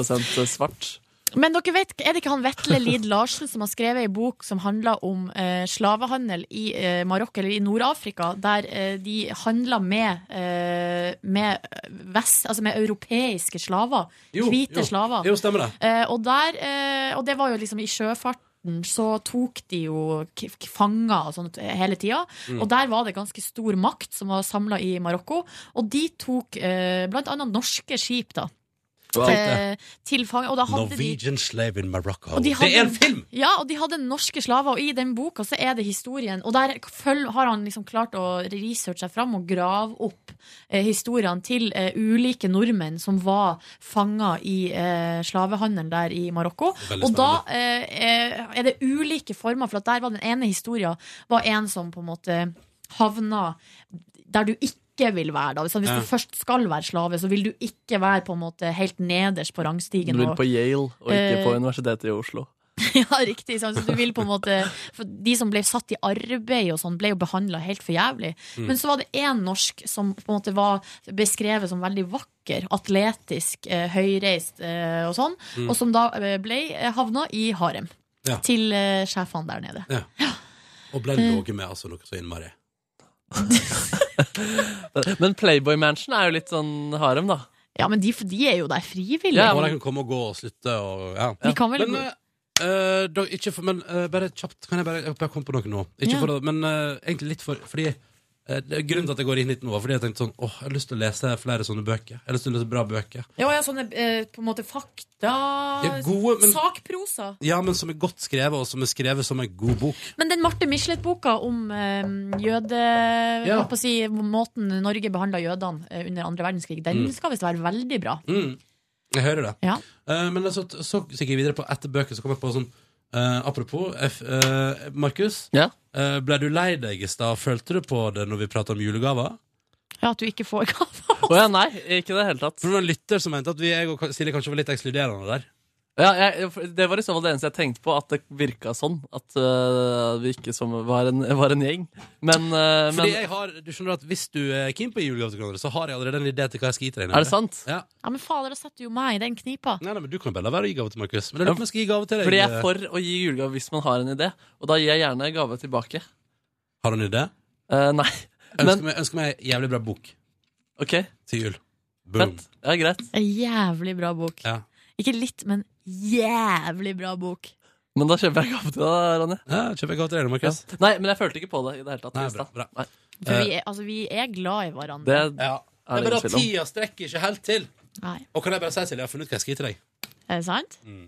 Speaker 3: svart.
Speaker 2: Men dere vet, er det ikke han Vetle Lid Larsen som har skrevet ei bok som handler om eh, slavehandel i eh, Marokko, eller i Nord-Afrika, der eh, de handler med, eh, med, vest, altså med europeiske slaver?
Speaker 1: Jo,
Speaker 2: hvite
Speaker 1: jo.
Speaker 2: slaver.
Speaker 1: Jo, stemmer det.
Speaker 2: Eh, og, der, eh, og det var jo liksom i sjøfarten så tok de jo k- k- fanger og sånt hele tida.
Speaker 12: Mm.
Speaker 2: Og der var det ganske stor makt som var samla i Marokko. Og de tok eh, blant annet norske skip, da.
Speaker 1: Wow.
Speaker 2: eh, til fange. Og da hadde de
Speaker 1: Norwegian slave in Morocco.
Speaker 2: og de
Speaker 1: Det
Speaker 2: hadde-
Speaker 1: er en film!
Speaker 2: Ja, og de hadde norske slaver, og i den boka så er det historien. Og der følg, har han liksom klart å researche seg fram og grave opp eh, historiene til eh, ulike nordmenn som var fanga i eh, slavehandelen der i Marokko.
Speaker 12: Veldig
Speaker 2: Og da eh, eh, er det ulike former, for at der var den ene historien var en som på en måte havna der du ikke vil være, da. Så hvis
Speaker 3: Ja.
Speaker 2: du først skal være slave, så vil du ikke være på en måte helt nederst på rangstigen.
Speaker 3: Du vil
Speaker 2: og-
Speaker 3: på Yale og ikke
Speaker 2: Eh,
Speaker 3: på Universitetet i Oslo.
Speaker 2: (laughs) ja, riktig. sant? Så du vil på en måte For de som ble satt i arbeid og sånn, ble jo behandla helt for jævlig.
Speaker 12: Mm.
Speaker 2: Men så var det én norsk som på en måte var beskrevet som veldig vakker, atletisk, eh, høyreist eh, og sånn,
Speaker 12: Mm.
Speaker 2: og som da eh, ble eh, havna i harem.
Speaker 1: Ja.
Speaker 2: Til eh, sjefene der nede.
Speaker 1: Ja. Og ble
Speaker 2: Eh.
Speaker 1: ligget med altså noe så innmari.
Speaker 3: Men Playboy Mansion er jo litt sånn harem, da.
Speaker 2: Ja, men de, de er jo der frivillig.
Speaker 1: Ja, og de kan komme og gå og slutte og ja.
Speaker 2: De kan vel
Speaker 1: Men,
Speaker 2: gå-
Speaker 1: eh, eh, da, ikke for, men eh, bare kjapt, kan jeg bare Jeg bare kom på noe nå. Ikke
Speaker 2: Ja.
Speaker 1: for, å- men eh, egentlig litt for Fordi eh, det er Grunnen til at jeg går inn hit nå, var fordi jeg tenkte sånn Åh, jeg har lyst til å lese flere sånne bøker. Jeg har lyst til å lese bra bøker.
Speaker 2: Ja, ja, sånne eh, på en måte fakta
Speaker 1: Ja, gode, men-
Speaker 2: Sakprosa.
Speaker 1: Ja, men som er godt skrevet, og som er skrevet som en god bok.
Speaker 2: Men den Marte Michelet-boka om eh, jøde...
Speaker 1: Ja.
Speaker 2: hva på å si, måten Norge behandla jødene eh, under andre verdenskrig, den
Speaker 1: Mm.
Speaker 2: skal visst være veldig bra.
Speaker 1: Mm. Jeg hører det.
Speaker 2: Ja.
Speaker 1: Eh, men altså, så, så gikk jeg videre på etter bøker, så kom jeg på sånn eh, Apropos, F, eh, Markus. Eh, ble du lei deg i stad? Følte du på det når vi prata om julegaver?
Speaker 2: Ja, at du ikke får (laughs) gave.
Speaker 1: Å nei, ikke i det hele tatt. For det var en lytter som mente at vi jeg og Silje kanskje var litt ekskluderende der.
Speaker 3: Ja, jeg, det var i så fall det eneste jeg tenkte på, at det virka sånn. At øh, vi ikke som var en, var en gjeng. Men, øh,
Speaker 1: Fordi
Speaker 3: men
Speaker 1: jeg har, du skjønner at Hvis du er keen på julegave til hverandre, så har jeg allerede en idé til hva jeg skal gi til deg.
Speaker 3: Er det sant?
Speaker 1: Ja.
Speaker 2: Ja, men fader, da setter du jo meg i den knipa.
Speaker 1: Nei, nei, men Du kan bare la være å gi gave til Markus. Men jeg lurer på om jeg skal gi gave til deg. eh,
Speaker 3: Fordi jeg er for å gi julegave hvis man har en idé. Og da gir jeg gjerne gave tilbake. Eh,
Speaker 1: Har du en idé?
Speaker 3: nei.
Speaker 1: Jeg ønsker, meg, jeg ønsker meg en jævlig bra bok
Speaker 3: Ok,
Speaker 1: til jul. Boom.
Speaker 3: fett. Ja, greit.
Speaker 2: En jævlig bra bok.
Speaker 1: Ja.
Speaker 2: Ikke litt, men jævlig bra bok.
Speaker 3: Men da kjøper jeg gave til deg, Ronny.
Speaker 1: Ja, kjøper jeg gave til deg, Markus.
Speaker 3: Ja. Nei, men jeg følte ikke på det i det hele tatt.
Speaker 1: Nei,
Speaker 3: i stad. Nei.
Speaker 2: For
Speaker 1: Eh.
Speaker 2: vi er, altså, vi er glad i hverandre.
Speaker 3: Det
Speaker 1: Ja.
Speaker 3: er
Speaker 1: Nei, men
Speaker 3: det
Speaker 1: da
Speaker 3: ingen tvil om.
Speaker 1: tida strekker ikke helt til.
Speaker 2: Nei.
Speaker 1: Og kan jeg bare si, Silje, jeg har funnet ut hva jeg skal gi til deg.
Speaker 2: Er det sant?
Speaker 1: Mm.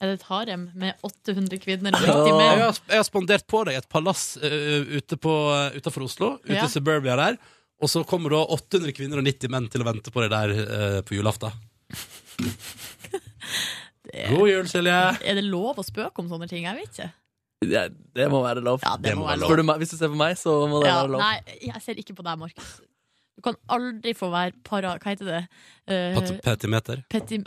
Speaker 2: Er det et harem med 800 kvinner?
Speaker 1: Ja.
Speaker 2: Midt i
Speaker 1: Jeg,
Speaker 2: med?
Speaker 1: har, jeg har spandert på deg et palass eh, ute på, utenfor Oslo, ute
Speaker 2: Ja.
Speaker 1: i suburbia der. Og så kommer da 800 kvinner og 90 menn til å vente på deg der eh, på julaften. God jul, Silje.
Speaker 2: Er det lov å spøke om sånne ting? Jeg vet ikke.
Speaker 3: Det, det må være lov.
Speaker 1: det må må være være lov. lov.
Speaker 3: Spør du meg- Hvis du ser på meg, så må det
Speaker 2: Ja,
Speaker 3: være lov.
Speaker 2: nei, jeg ser ikke på deg, Markus. Du kan aldri få være para... Hva heter det?
Speaker 1: Pat-
Speaker 2: Eh,
Speaker 1: Petimeter.
Speaker 2: Peti...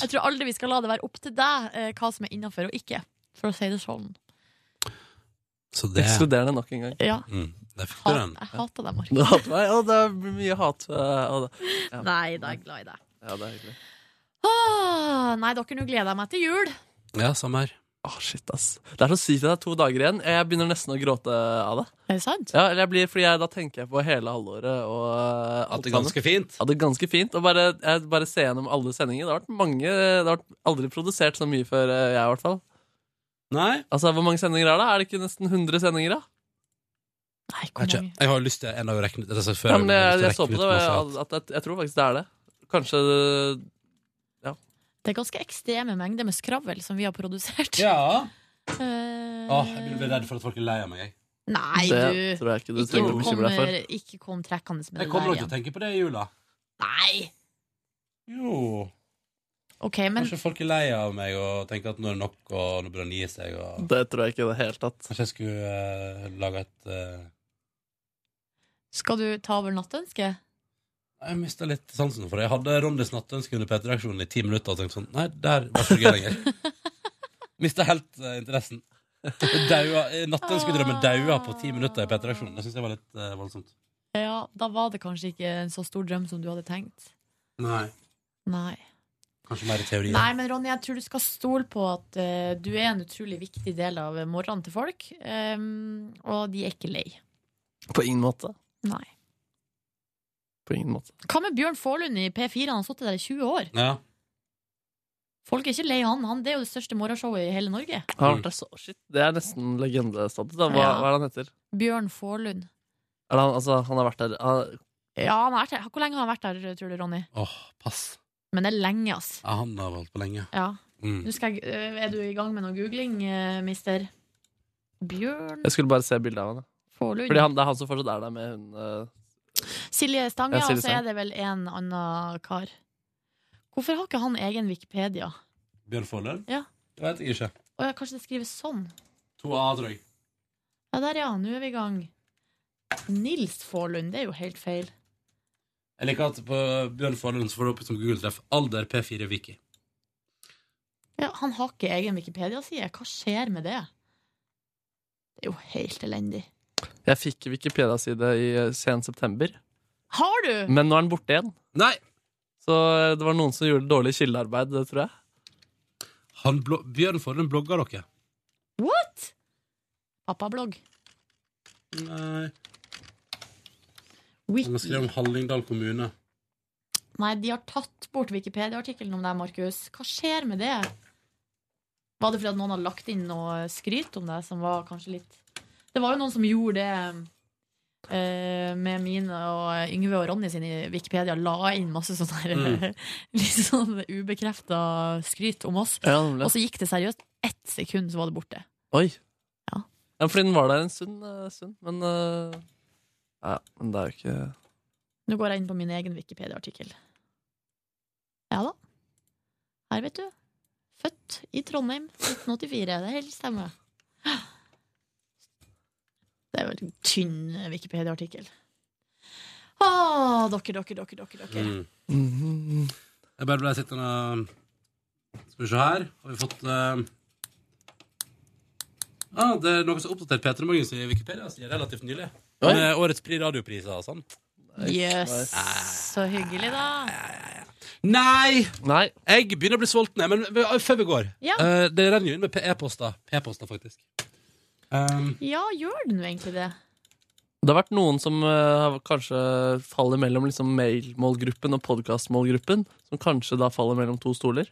Speaker 2: Jeg tror aldri vi skal la det være opp til deg eh, hva som er innafor og ikke, for å si det sånn.
Speaker 1: Så det
Speaker 3: Ekskluderende nok en gang.
Speaker 2: Ja.
Speaker 1: Mm, der fikk du
Speaker 2: Hat,
Speaker 1: den.
Speaker 2: jeg hater deg,
Speaker 3: Du
Speaker 2: Markus.
Speaker 3: hater meg, og det blir mye hat. øh, Og det. Ja.
Speaker 2: Nei, da er jeg glad i deg.
Speaker 3: Ja, det er hyggelig.
Speaker 2: Åh, Ah, nei, dere, nå gleder jeg meg til jul.
Speaker 1: Ja, samme her.
Speaker 3: Åh, Ah, shit, ass. Det er så sykt at det er to dager igjen. Jeg begynner nesten å gråte av det.
Speaker 2: Er det sant?
Speaker 3: Ja, eller jeg blir, fordi jeg, Da tenker jeg på hele halvåret. Og, øh, alt
Speaker 1: det er
Speaker 3: sammen.
Speaker 1: ganske fint.
Speaker 3: Ja, det er ganske fint. Og bare, jeg, bare se gjennom alle sendinger. Det har vært mange, det har vært aldri produsert så mye før øh, jeg, i hvert fall.
Speaker 1: Nei.
Speaker 3: Altså, Hvor mange sendinger er det? Er det ikke nesten 100 sendinger? da?
Speaker 1: Jeg, vet ikke. jeg har jo lyst til en dag å regne ut altså, det.
Speaker 3: Ja, men jeg, jeg så på det, og jeg, at jeg, jeg tror faktisk det er det. Kanskje øh, Ja.
Speaker 2: Det er ganske ekstreme mengder med skravel som vi har produsert.
Speaker 1: Ja.
Speaker 2: Eh,
Speaker 1: Åh, jeg blir redd for at folk er lei av meg. Jeg,
Speaker 2: nei,
Speaker 3: Det
Speaker 2: du.
Speaker 3: tror jeg ikke du trenger å bekymre deg for.
Speaker 2: kommer- Ikke kom trekkende med
Speaker 1: jeg kommer nok
Speaker 2: det der
Speaker 1: til å
Speaker 2: igjen.
Speaker 1: tenke på det i jula.
Speaker 2: Nei!
Speaker 1: Jo.
Speaker 2: Ok, men
Speaker 1: Kanskje folk er lei av meg og tenker at nå er det nok, og nå burde han gi seg. Og...
Speaker 3: Det tror jeg ikke i det hele tatt.
Speaker 1: Kanskje jeg skulle eh, lage et eh,
Speaker 2: skal du ta over nattønsket?
Speaker 1: Jeg mista litt sansen for det. Jeg hadde Rondis nattønske under P3-aksjonen i ti minutter og tenkte sånn Nei, der var ikke gøy lenger.
Speaker 2: (laughs)
Speaker 1: mista helt eh, interessen. Daua- eh, Nattønskedrømmen daua på ti minutter i P3-aksjonen. Det syns jeg var litt eh, voldsomt.
Speaker 2: Ja, da var det kanskje ikke en så stor drøm som du hadde tenkt.
Speaker 1: Nei.
Speaker 2: Nei.
Speaker 1: Kanskje mer i teorien.
Speaker 2: Nei, men Ronny, jeg tror du skal stole på at eh, du er en utrolig viktig del av morgenen til folk, ehm, og de er ikke lei.
Speaker 3: På ingen måte.
Speaker 2: Nei.
Speaker 3: På ingen måte.
Speaker 2: Hva med Bjørn Forlund i P4? Han har sittet der i 20 år.
Speaker 1: Ja.
Speaker 2: Folk er ikke lei han. han det er jo det største morgenshowet i hele Norge.
Speaker 3: Han har vært der så, shit, det er nesten legendestatus. da. Hva,
Speaker 2: Ja.
Speaker 3: hva er det han heter?
Speaker 2: Bjørn Forlund.
Speaker 3: Er det han, altså, han har vært der han,
Speaker 2: Ja, han har vært her. Hvor lenge har han vært der, tror du, Ronny?
Speaker 1: Åh, pass.
Speaker 2: Men det er lenge, ass.
Speaker 1: Ja, han har valgt på lenge.
Speaker 2: Ja.
Speaker 1: Mm.
Speaker 2: Nå skal jeg, øh, er du i gang med noe googling, øh, mister? Bjørn
Speaker 3: Jeg skulle bare se bilde av han. da.
Speaker 2: Forlund.
Speaker 3: Fordi han, det er han som fortsatt er der med hun eh,
Speaker 2: Silje Stang,
Speaker 3: Ja,
Speaker 2: ja.
Speaker 3: Silje
Speaker 2: Og så
Speaker 3: Stang.
Speaker 2: er det vel en annen kar. Hvorfor har ikke han egen Wikipedia?
Speaker 1: Bjørn Forlund?
Speaker 2: Ja.
Speaker 1: Det vet jeg ikke.
Speaker 2: Å ja, kanskje det skrives sånn?
Speaker 1: To A, tror jeg.
Speaker 2: Ja, der, ja. Nå er vi i gang. Nils Forlund, det er jo helt feil.
Speaker 1: Jeg liker at på Bjørn Forlund så får du opp som Google-treff alder P4 Wiki.
Speaker 2: Ja, han har ikke egen Wikipedia-side. Hva skjer med det? Det er jo helt elendig.
Speaker 3: Jeg fikk Wikipedia-side i eh, sen september,
Speaker 2: Har du?
Speaker 3: men nå er den borte igjen.
Speaker 1: Nei!
Speaker 3: Så eh, det var noen som gjorde dårlig kildearbeid, det tror jeg.
Speaker 1: Han blo Bjørn Forlund blogger dere.
Speaker 2: What? Pappablogg.
Speaker 1: Nei. Han har
Speaker 2: Wiki.
Speaker 1: skrevet om Hallingdal kommune.
Speaker 2: Nei, de har tatt bort Wikipedia-artikkelen om deg, Markus. Hva skjer med det? Var det fordi at noen har lagt inn noe skryt om deg som var kanskje litt Det var jo noen som gjorde det eh, med mine og Yngve og Ronny sine Wikipedia. La inn masse sånn her
Speaker 3: Mm.
Speaker 2: (laughs) litt sånn ubekrefta skryt om oss.
Speaker 3: Ja, nemlig.
Speaker 2: og så gikk det seriøst ett sekund, så var det borte.
Speaker 3: Oi. Ja, fordi den var der en stund, eh, stund men eh, Ja, men det er jo ikke
Speaker 2: Nå går jeg inn på min egen Wikipedia-artikkel. Ja da. Her, vet du. Født i Trondheim 1984. Det helt stemmer. Det er en veldig tynn Wikipedia-artikkel. Å, dere, dere, dere, dere. dere.
Speaker 1: Mm. Jeg bare ble sittende Skal vi se her. Har vi fått eh, ah, Det er noe som er oppdatert Peter Magnus i Wikipedia. Så det er relativt nylig.
Speaker 13: Oi.
Speaker 1: Med årets pri radiopriser og sånn.
Speaker 2: Jøss, så hyggelig, da.
Speaker 1: Nei! Jeg begynner å bli sulten, jeg, men men, før vi går
Speaker 2: Ja.
Speaker 1: eh, Det renner jo inn med p- e-poster. P-poster, faktisk. Um,
Speaker 2: Ja, gjør den jo egentlig det?
Speaker 3: Det har vært noen som eh, har kanskje faller mellom liksom mailmålgruppen og podkastmålgruppen. Som kanskje da faller mellom to stoler.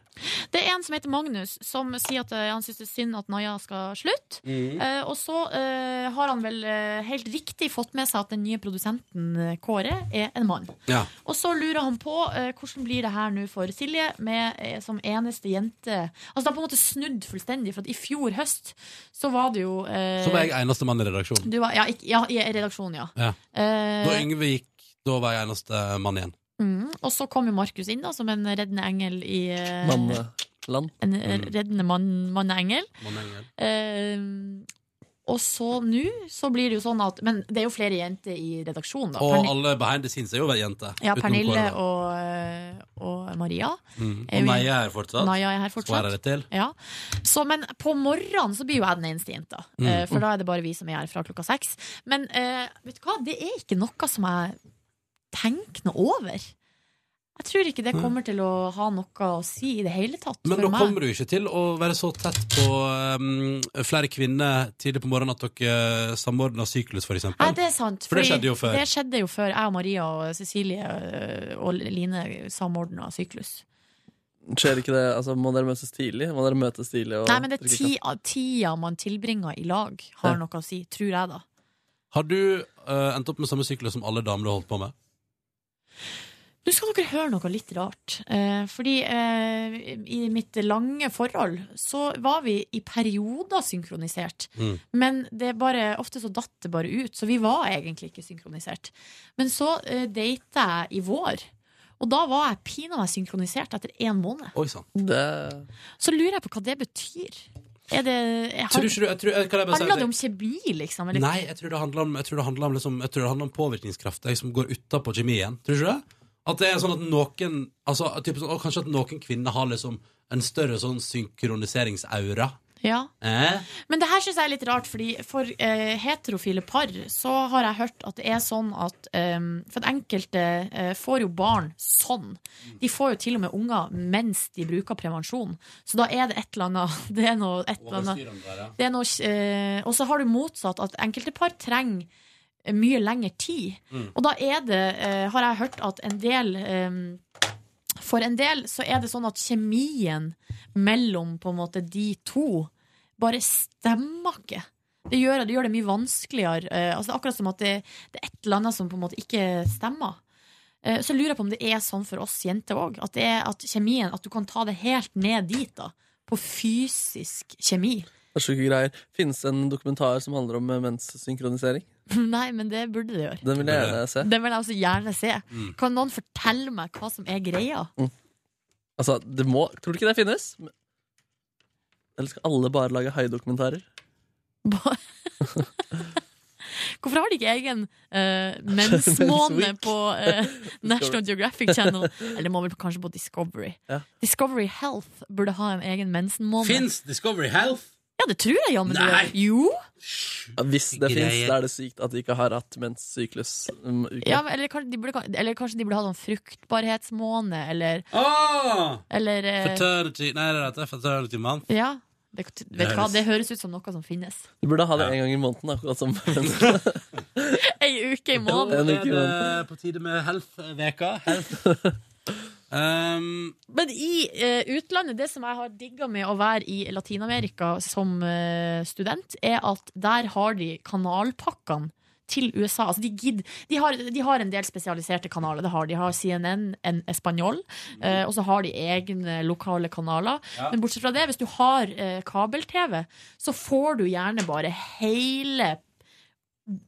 Speaker 2: Det er en som heter Magnus, som sier at eh, han syns det er synd at Naja skal slutte.
Speaker 1: Mm.
Speaker 3: Mhm.
Speaker 2: Eh, og så eh, har han vel eh, helt riktig fått med seg at den nye produsenten eh, Kåre er en mann.
Speaker 1: ja.
Speaker 2: Og så lurer han på eh, hvordan blir det her nå for Silje med, eh, som eneste jente. Altså Det har på en måte snudd fullstendig, for at i fjor høst så var det jo eh,
Speaker 1: Så var jeg eneste mann i redaksjonen.
Speaker 2: du var, ja, ikke, ja, i redaksjonen, ja.
Speaker 1: Ja.
Speaker 2: Eh,
Speaker 1: Da Yngve gikk, da var jeg eneste mann igjen.
Speaker 2: Mm, og så kom jo Markus inn da, som en reddende engel i eh,
Speaker 3: Manneland.
Speaker 2: En eh, reddende mann, manneengel.
Speaker 1: Manneengel.
Speaker 2: Eh, og så nå så blir det jo sånn at Men det er jo flere jenter i redaksjonen, da.
Speaker 1: Og
Speaker 2: Perne-
Speaker 1: alle behind the scenes er jo jenter.
Speaker 2: ja,
Speaker 1: utenom
Speaker 2: Pernille
Speaker 1: Kåre, da.
Speaker 2: og, eh, og Maria.
Speaker 1: Mm.
Speaker 2: er
Speaker 1: Og
Speaker 2: jo-
Speaker 1: Naja er fortsatt.
Speaker 2: Naja er her
Speaker 1: Skal
Speaker 2: fortsatt.
Speaker 1: være det til.
Speaker 2: Ja. Så, men på morgenen så blir jo jeg den eneste jenta.
Speaker 1: Mm.
Speaker 2: Eh, For da er det bare vi som er her fra klokka seks. Men eh, vet du hva, det er ikke noe som jeg tenker noe over. Jeg tror ikke det kommer til å ha noe å si i det hele tatt
Speaker 1: Men da
Speaker 2: for meg.
Speaker 1: kommer du ikke til å være så tett på um, flere kvinner tidlig på morgenen at dere eh, samordner syklus, for eksempel.
Speaker 2: Nei, det er sant.
Speaker 1: For det
Speaker 2: fordi
Speaker 1: skjedde jo før.
Speaker 2: Det skjedde jo før. Jeg og Maria og Cecilie eh, og Line samordna syklus.
Speaker 3: Skjer ikke det? Altså, må dere møtes tidlig? Må dere møtes tidlig og
Speaker 2: Nei, men det er
Speaker 3: drikke
Speaker 2: ti- tida man tilbringer i lag, har
Speaker 1: Ja.
Speaker 2: noe å si. Tror jeg, da.
Speaker 1: Har du eh, endt opp med samme syklus som alle damer du har holdt på med?
Speaker 2: Nå skal dere høre noe litt rart. Eh, fordi eh, i mitt lange forhold så var vi i perioder synkronisert.
Speaker 1: Mm.
Speaker 2: Men det er bare, ofte så datt det bare ut, så vi var egentlig ikke synkronisert. Men så eh, data jeg i vår, og da var jeg pinadø synkronisert etter én måned.
Speaker 1: Oi sann.
Speaker 2: Så lurer jeg på hva det betyr. Er det, jeg
Speaker 1: Tror ikke du- jeg tror- jeg- kan jeg bare si
Speaker 2: Handler
Speaker 1: at
Speaker 2: det
Speaker 1: jeg-
Speaker 2: om kjemi, liksom? eller-
Speaker 1: Nei, jeg tror det handler om, jeg tror det handler om, liksom, jeg tror det handler om påvirkningskraft. Jeg som går utapå kjemien. Tror du ikke det? At det er sånn at noen altså, typ sånn, å, Kanskje at noen kvinner har liksom en større sånn synkroniseringsaura.
Speaker 2: Ja.
Speaker 1: Eh?
Speaker 2: Men det her syns jeg er litt rart, fordi for eh, heterofile par så har jeg hørt at det er sånn at eh, For at enkelte eh, får jo barn sånn. De får jo til og med unger mens de bruker prevensjon. Så da er det et eller annet (laughs) Det er noe, et eller annet
Speaker 1: Overstyrende der, ja.
Speaker 2: det er noe eh, Og så har du motsatt at enkelte par trenger eh, mye lengre tid.
Speaker 1: Mm.
Speaker 2: Og da er det, eh, har jeg hørt at en del eh, For en del så er det sånn at kjemien mellom på en måte de to bare stemmer ikke. Det gjør det, gjør det mye vanskeligere. eh, altså det er akkurat som at det, det er et eller annet som på en måte ikke stemmer. Eh, Så lurer jeg på om det er sånn for oss jenter òg. At, det er- at kjemien At du kan ta det helt ned dit, da. På fysisk kjemi.
Speaker 3: Det er sjuke greier. Finnes en dokumentar som handler om eh, menssynkronisering?
Speaker 2: (laughs) Nei, men det burde det gjøre.
Speaker 3: Den vil jeg gjerne se.
Speaker 2: Den vil jeg også gjerne se.
Speaker 3: Mm.
Speaker 2: Kan noen fortelle meg hva som er greia? (laughs)
Speaker 3: Altså, det må Tror du ikke det finnes? Eller skal alle bare lage haidokumentarer?
Speaker 2: Hvorfor har de ikke egen (laughs) eh, mensmåned
Speaker 3: Mensweek.
Speaker 2: på (laughs) eh, National Geographic Channel? Eller må vel kanskje på Discovery.
Speaker 3: Ja.
Speaker 2: Discovery Health burde ha en egen mensenmåned.
Speaker 1: Fins Discovery Health?
Speaker 2: Ja, det tror jeg jammen det
Speaker 3: Nei.
Speaker 2: gjør. Jo!
Speaker 3: Ja, hvis det
Speaker 1: Greier.
Speaker 3: fins, da er det sykt at de ikke har hatt menssyklus. Um, uke.
Speaker 2: Ja, men- eller, kanskje de burde, eller kanskje de burde ha sånn fruktbarhetsmåned, eller
Speaker 1: Ah!
Speaker 2: Eller eh,
Speaker 1: Fraternity Nei, det heter Fraternity Month.
Speaker 2: Ja. Det, vet du hva, det høres ut som noe som finnes.
Speaker 3: Du burde ha det en gang i måneden, akkurat som (laughs) mensen.
Speaker 2: (laughs) Ei uke i
Speaker 1: Da
Speaker 2: måneden.
Speaker 1: er det på tide med Health-veka. Health. (laughs) Um,
Speaker 2: Men i eh, utlandet, det som jeg har digga med å være i Latin-Amerika som eh, student, er at der har de kanalpakkene til USA. Altså de, gidd, de, har, de har en del spesialiserte kanaler. Det har de. de har CNN, en Español, eh, og så har de egne lokale kanaler.
Speaker 14: Ja.
Speaker 2: Men bortsett fra det, hvis du har eh, kabel-TV, så får du gjerne bare hele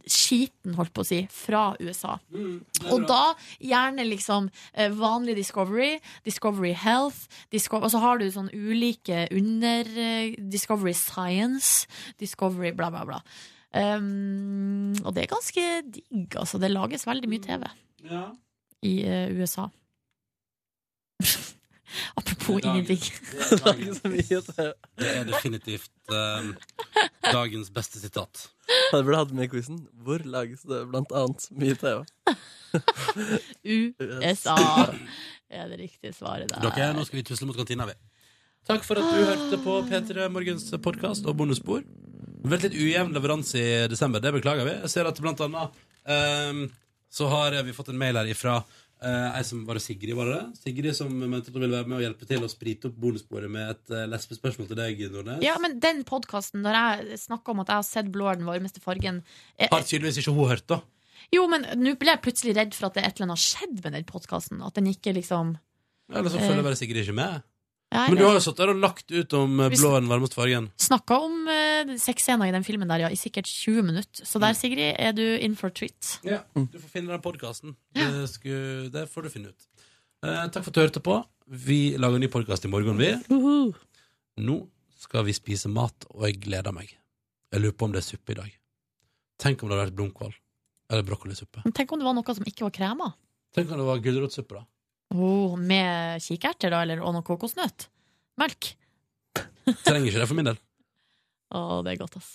Speaker 2: skiten, holdt på å si, fra USA.
Speaker 15: Mm, det er bra.
Speaker 2: Og da gjerne liksom eh, vanlig Discovery, Discovery Health, Disco og så har du sånn ulike under eh, Discovery Science, Discovery bla, bla, bla. Um, og det er ganske digg, altså. Det lages veldig
Speaker 15: Mm.
Speaker 2: mye TV i eh, USA. (laughs) Apropos
Speaker 1: Det er dagen.
Speaker 2: ingenting.
Speaker 1: Det er dagens Det er definitivt eh, dagens beste sitat.
Speaker 3: Det burde hatt med i quizen. Hvor lages det blant annet mye TV?
Speaker 2: (laughs) USA er det riktige svaret der.
Speaker 1: Dere, nå skal vi tusle mot kantina, vi. Takk for at du hørte på P3 Morgens podkast og bonusspor. Veldig litt ujevn leveranse i desember, det beklager vi. Jeg ser at blant annet ehm, så har vi fått en mail her ifra eh, ei som var det Sigrid, var det det? Sigrid som mente at hun ville være med og hjelpe til å sprite opp bonussporet med et eh, lesbespørsmål til deg, Nordnes.
Speaker 2: Ja, men den podkasten, når jeg snakker om at jeg har sett blå er den varmeste fargen eh,
Speaker 1: Har tydeligvis ikke hun hørt, da.
Speaker 2: Jo, men nå ble jeg plutselig redd for at det er et eller annet har skjedd med den podkasten. At den ikke liksom
Speaker 1: Eller så
Speaker 2: Eh.
Speaker 1: følger bare Sigrid ikke med.
Speaker 2: Nei,
Speaker 1: Men du har
Speaker 2: det-
Speaker 1: jo satt der og lagt ut om eh,
Speaker 2: Hvis-
Speaker 1: blå er den varmeste fargen.
Speaker 2: Snakka om eh, sexscener i den filmen der, ja, i sikkert 20 minutter. Så
Speaker 1: Mm.
Speaker 2: der, Sigrid, er du in for a treat.
Speaker 1: Ja, du får finne den podkasten. Det, sku- det får du finne ut. Eh, takk for at du hørte på. Vi lager en ny podkast i morgen, vi. Nå skal vi spise mat, og jeg gleder meg. Jeg lurer på om det er suppe i dag. Tenk om det hadde vært blomkål. Eller brokkolisuppe.
Speaker 2: Men tenk om det var noe som ikke var krema.
Speaker 1: Tenk om det var gulrotsuppe, da.
Speaker 2: Oh, med kikerter, da, eller, og noe kokosnøtt. Melk.
Speaker 1: Trenger ikke det for min del.
Speaker 2: Å, det er godt, ass.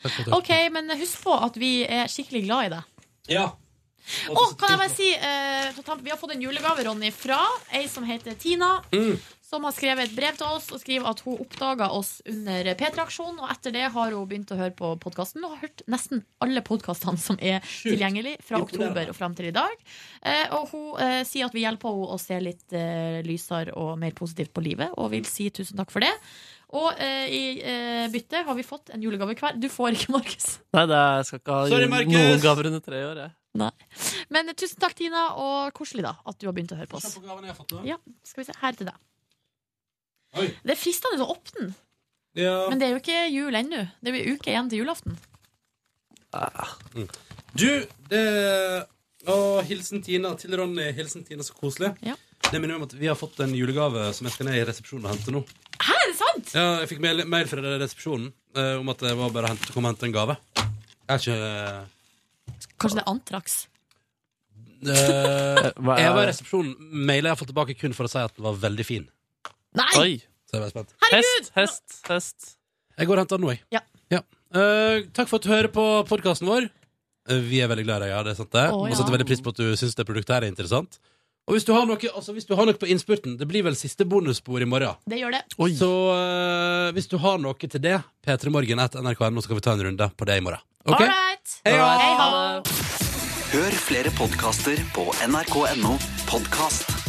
Speaker 1: Takk for at du hørte
Speaker 2: Ok, men husk på at vi er skikkelig glad i deg.
Speaker 1: på. Ja.
Speaker 2: Å, kan jeg bare si eh, på tampen, Vi har fått en julegave, Ronny, fra ei som heter Tina.
Speaker 1: Mm.
Speaker 2: Som har skrevet et brev til oss og skriver at hun oppdaga oss under P3-aksjonen. Og etter det har hun begynt å høre på podkasten og har hørt nesten alle podkastene som er tilgjengelig fra
Speaker 15: Imponerende.
Speaker 2: oktober og fram til i dag. Eh, og hun eh, sier at vi hjelper henne å se litt eh, lysere og mer positivt på livet, og vil si tusen takk for det. Og eh, i eh, bytte har vi fått en julegave hver. Du får ikke, Markus.
Speaker 3: Nei, det er, jeg skal ikke ha
Speaker 2: Sorry, Markus!
Speaker 3: noen gaver under tre år, jeg.
Speaker 2: Nei. Men eh, tusen takk, Tina, og koselig da at du har begynt å høre på oss.
Speaker 1: Se på gaven jeg har fått, da.
Speaker 2: Ja, skal vi se. Her til deg.
Speaker 1: Oi.
Speaker 2: Det er fristende å åpne den,
Speaker 1: Ja.
Speaker 2: men det er jo ikke jul ennå. Det er jo uke igjen til julaften.
Speaker 1: Mm. Du, det Og hilsen Tina til Ronny. Hilsen Tina, så koselig. Det minner meg om at Vi har fått en julegave som jeg skal ned i resepsjonen og hente nå.
Speaker 2: Hæ, er det sant?
Speaker 1: Ja, Jeg fikk mail, mail fra resepsjonen eh, om at det var bare å hente, komme og hente en gave. Jeg er ikke
Speaker 2: Kanskje det er antrax.
Speaker 1: Eh,
Speaker 3: (laughs) Hva er-
Speaker 1: Jeg var i resepsjonen. Mailen jeg har fått tilbake kun for å si at den var veldig fin.
Speaker 2: Nei!
Speaker 3: Oi.
Speaker 1: Så jeg var spent.
Speaker 3: Hest, hest, hest.
Speaker 1: Jeg går og henter den nå, jeg.
Speaker 2: Ja.
Speaker 1: Eh, takk for at du hører på podkasten vår. Eh, Vi er veldig glad i deg, ja. Det er sant, det.
Speaker 16: Å, ja.
Speaker 1: Og setter veldig pris på at du syns det produktet her er interessant. Og hvis du har noe, altså, hvis du har noe på innspurten, det blir vel siste bonusspor i morgen.
Speaker 2: Det gjør det.
Speaker 1: Så eh, hvis du har noe til det, p3morgen etter nrk.no, så kan vi ta en runde på det i morgen. Ok?
Speaker 2: All right.
Speaker 1: Hei, ha.
Speaker 2: Hei, ha.
Speaker 10: Hør flere podkaster på nrk.no podkast.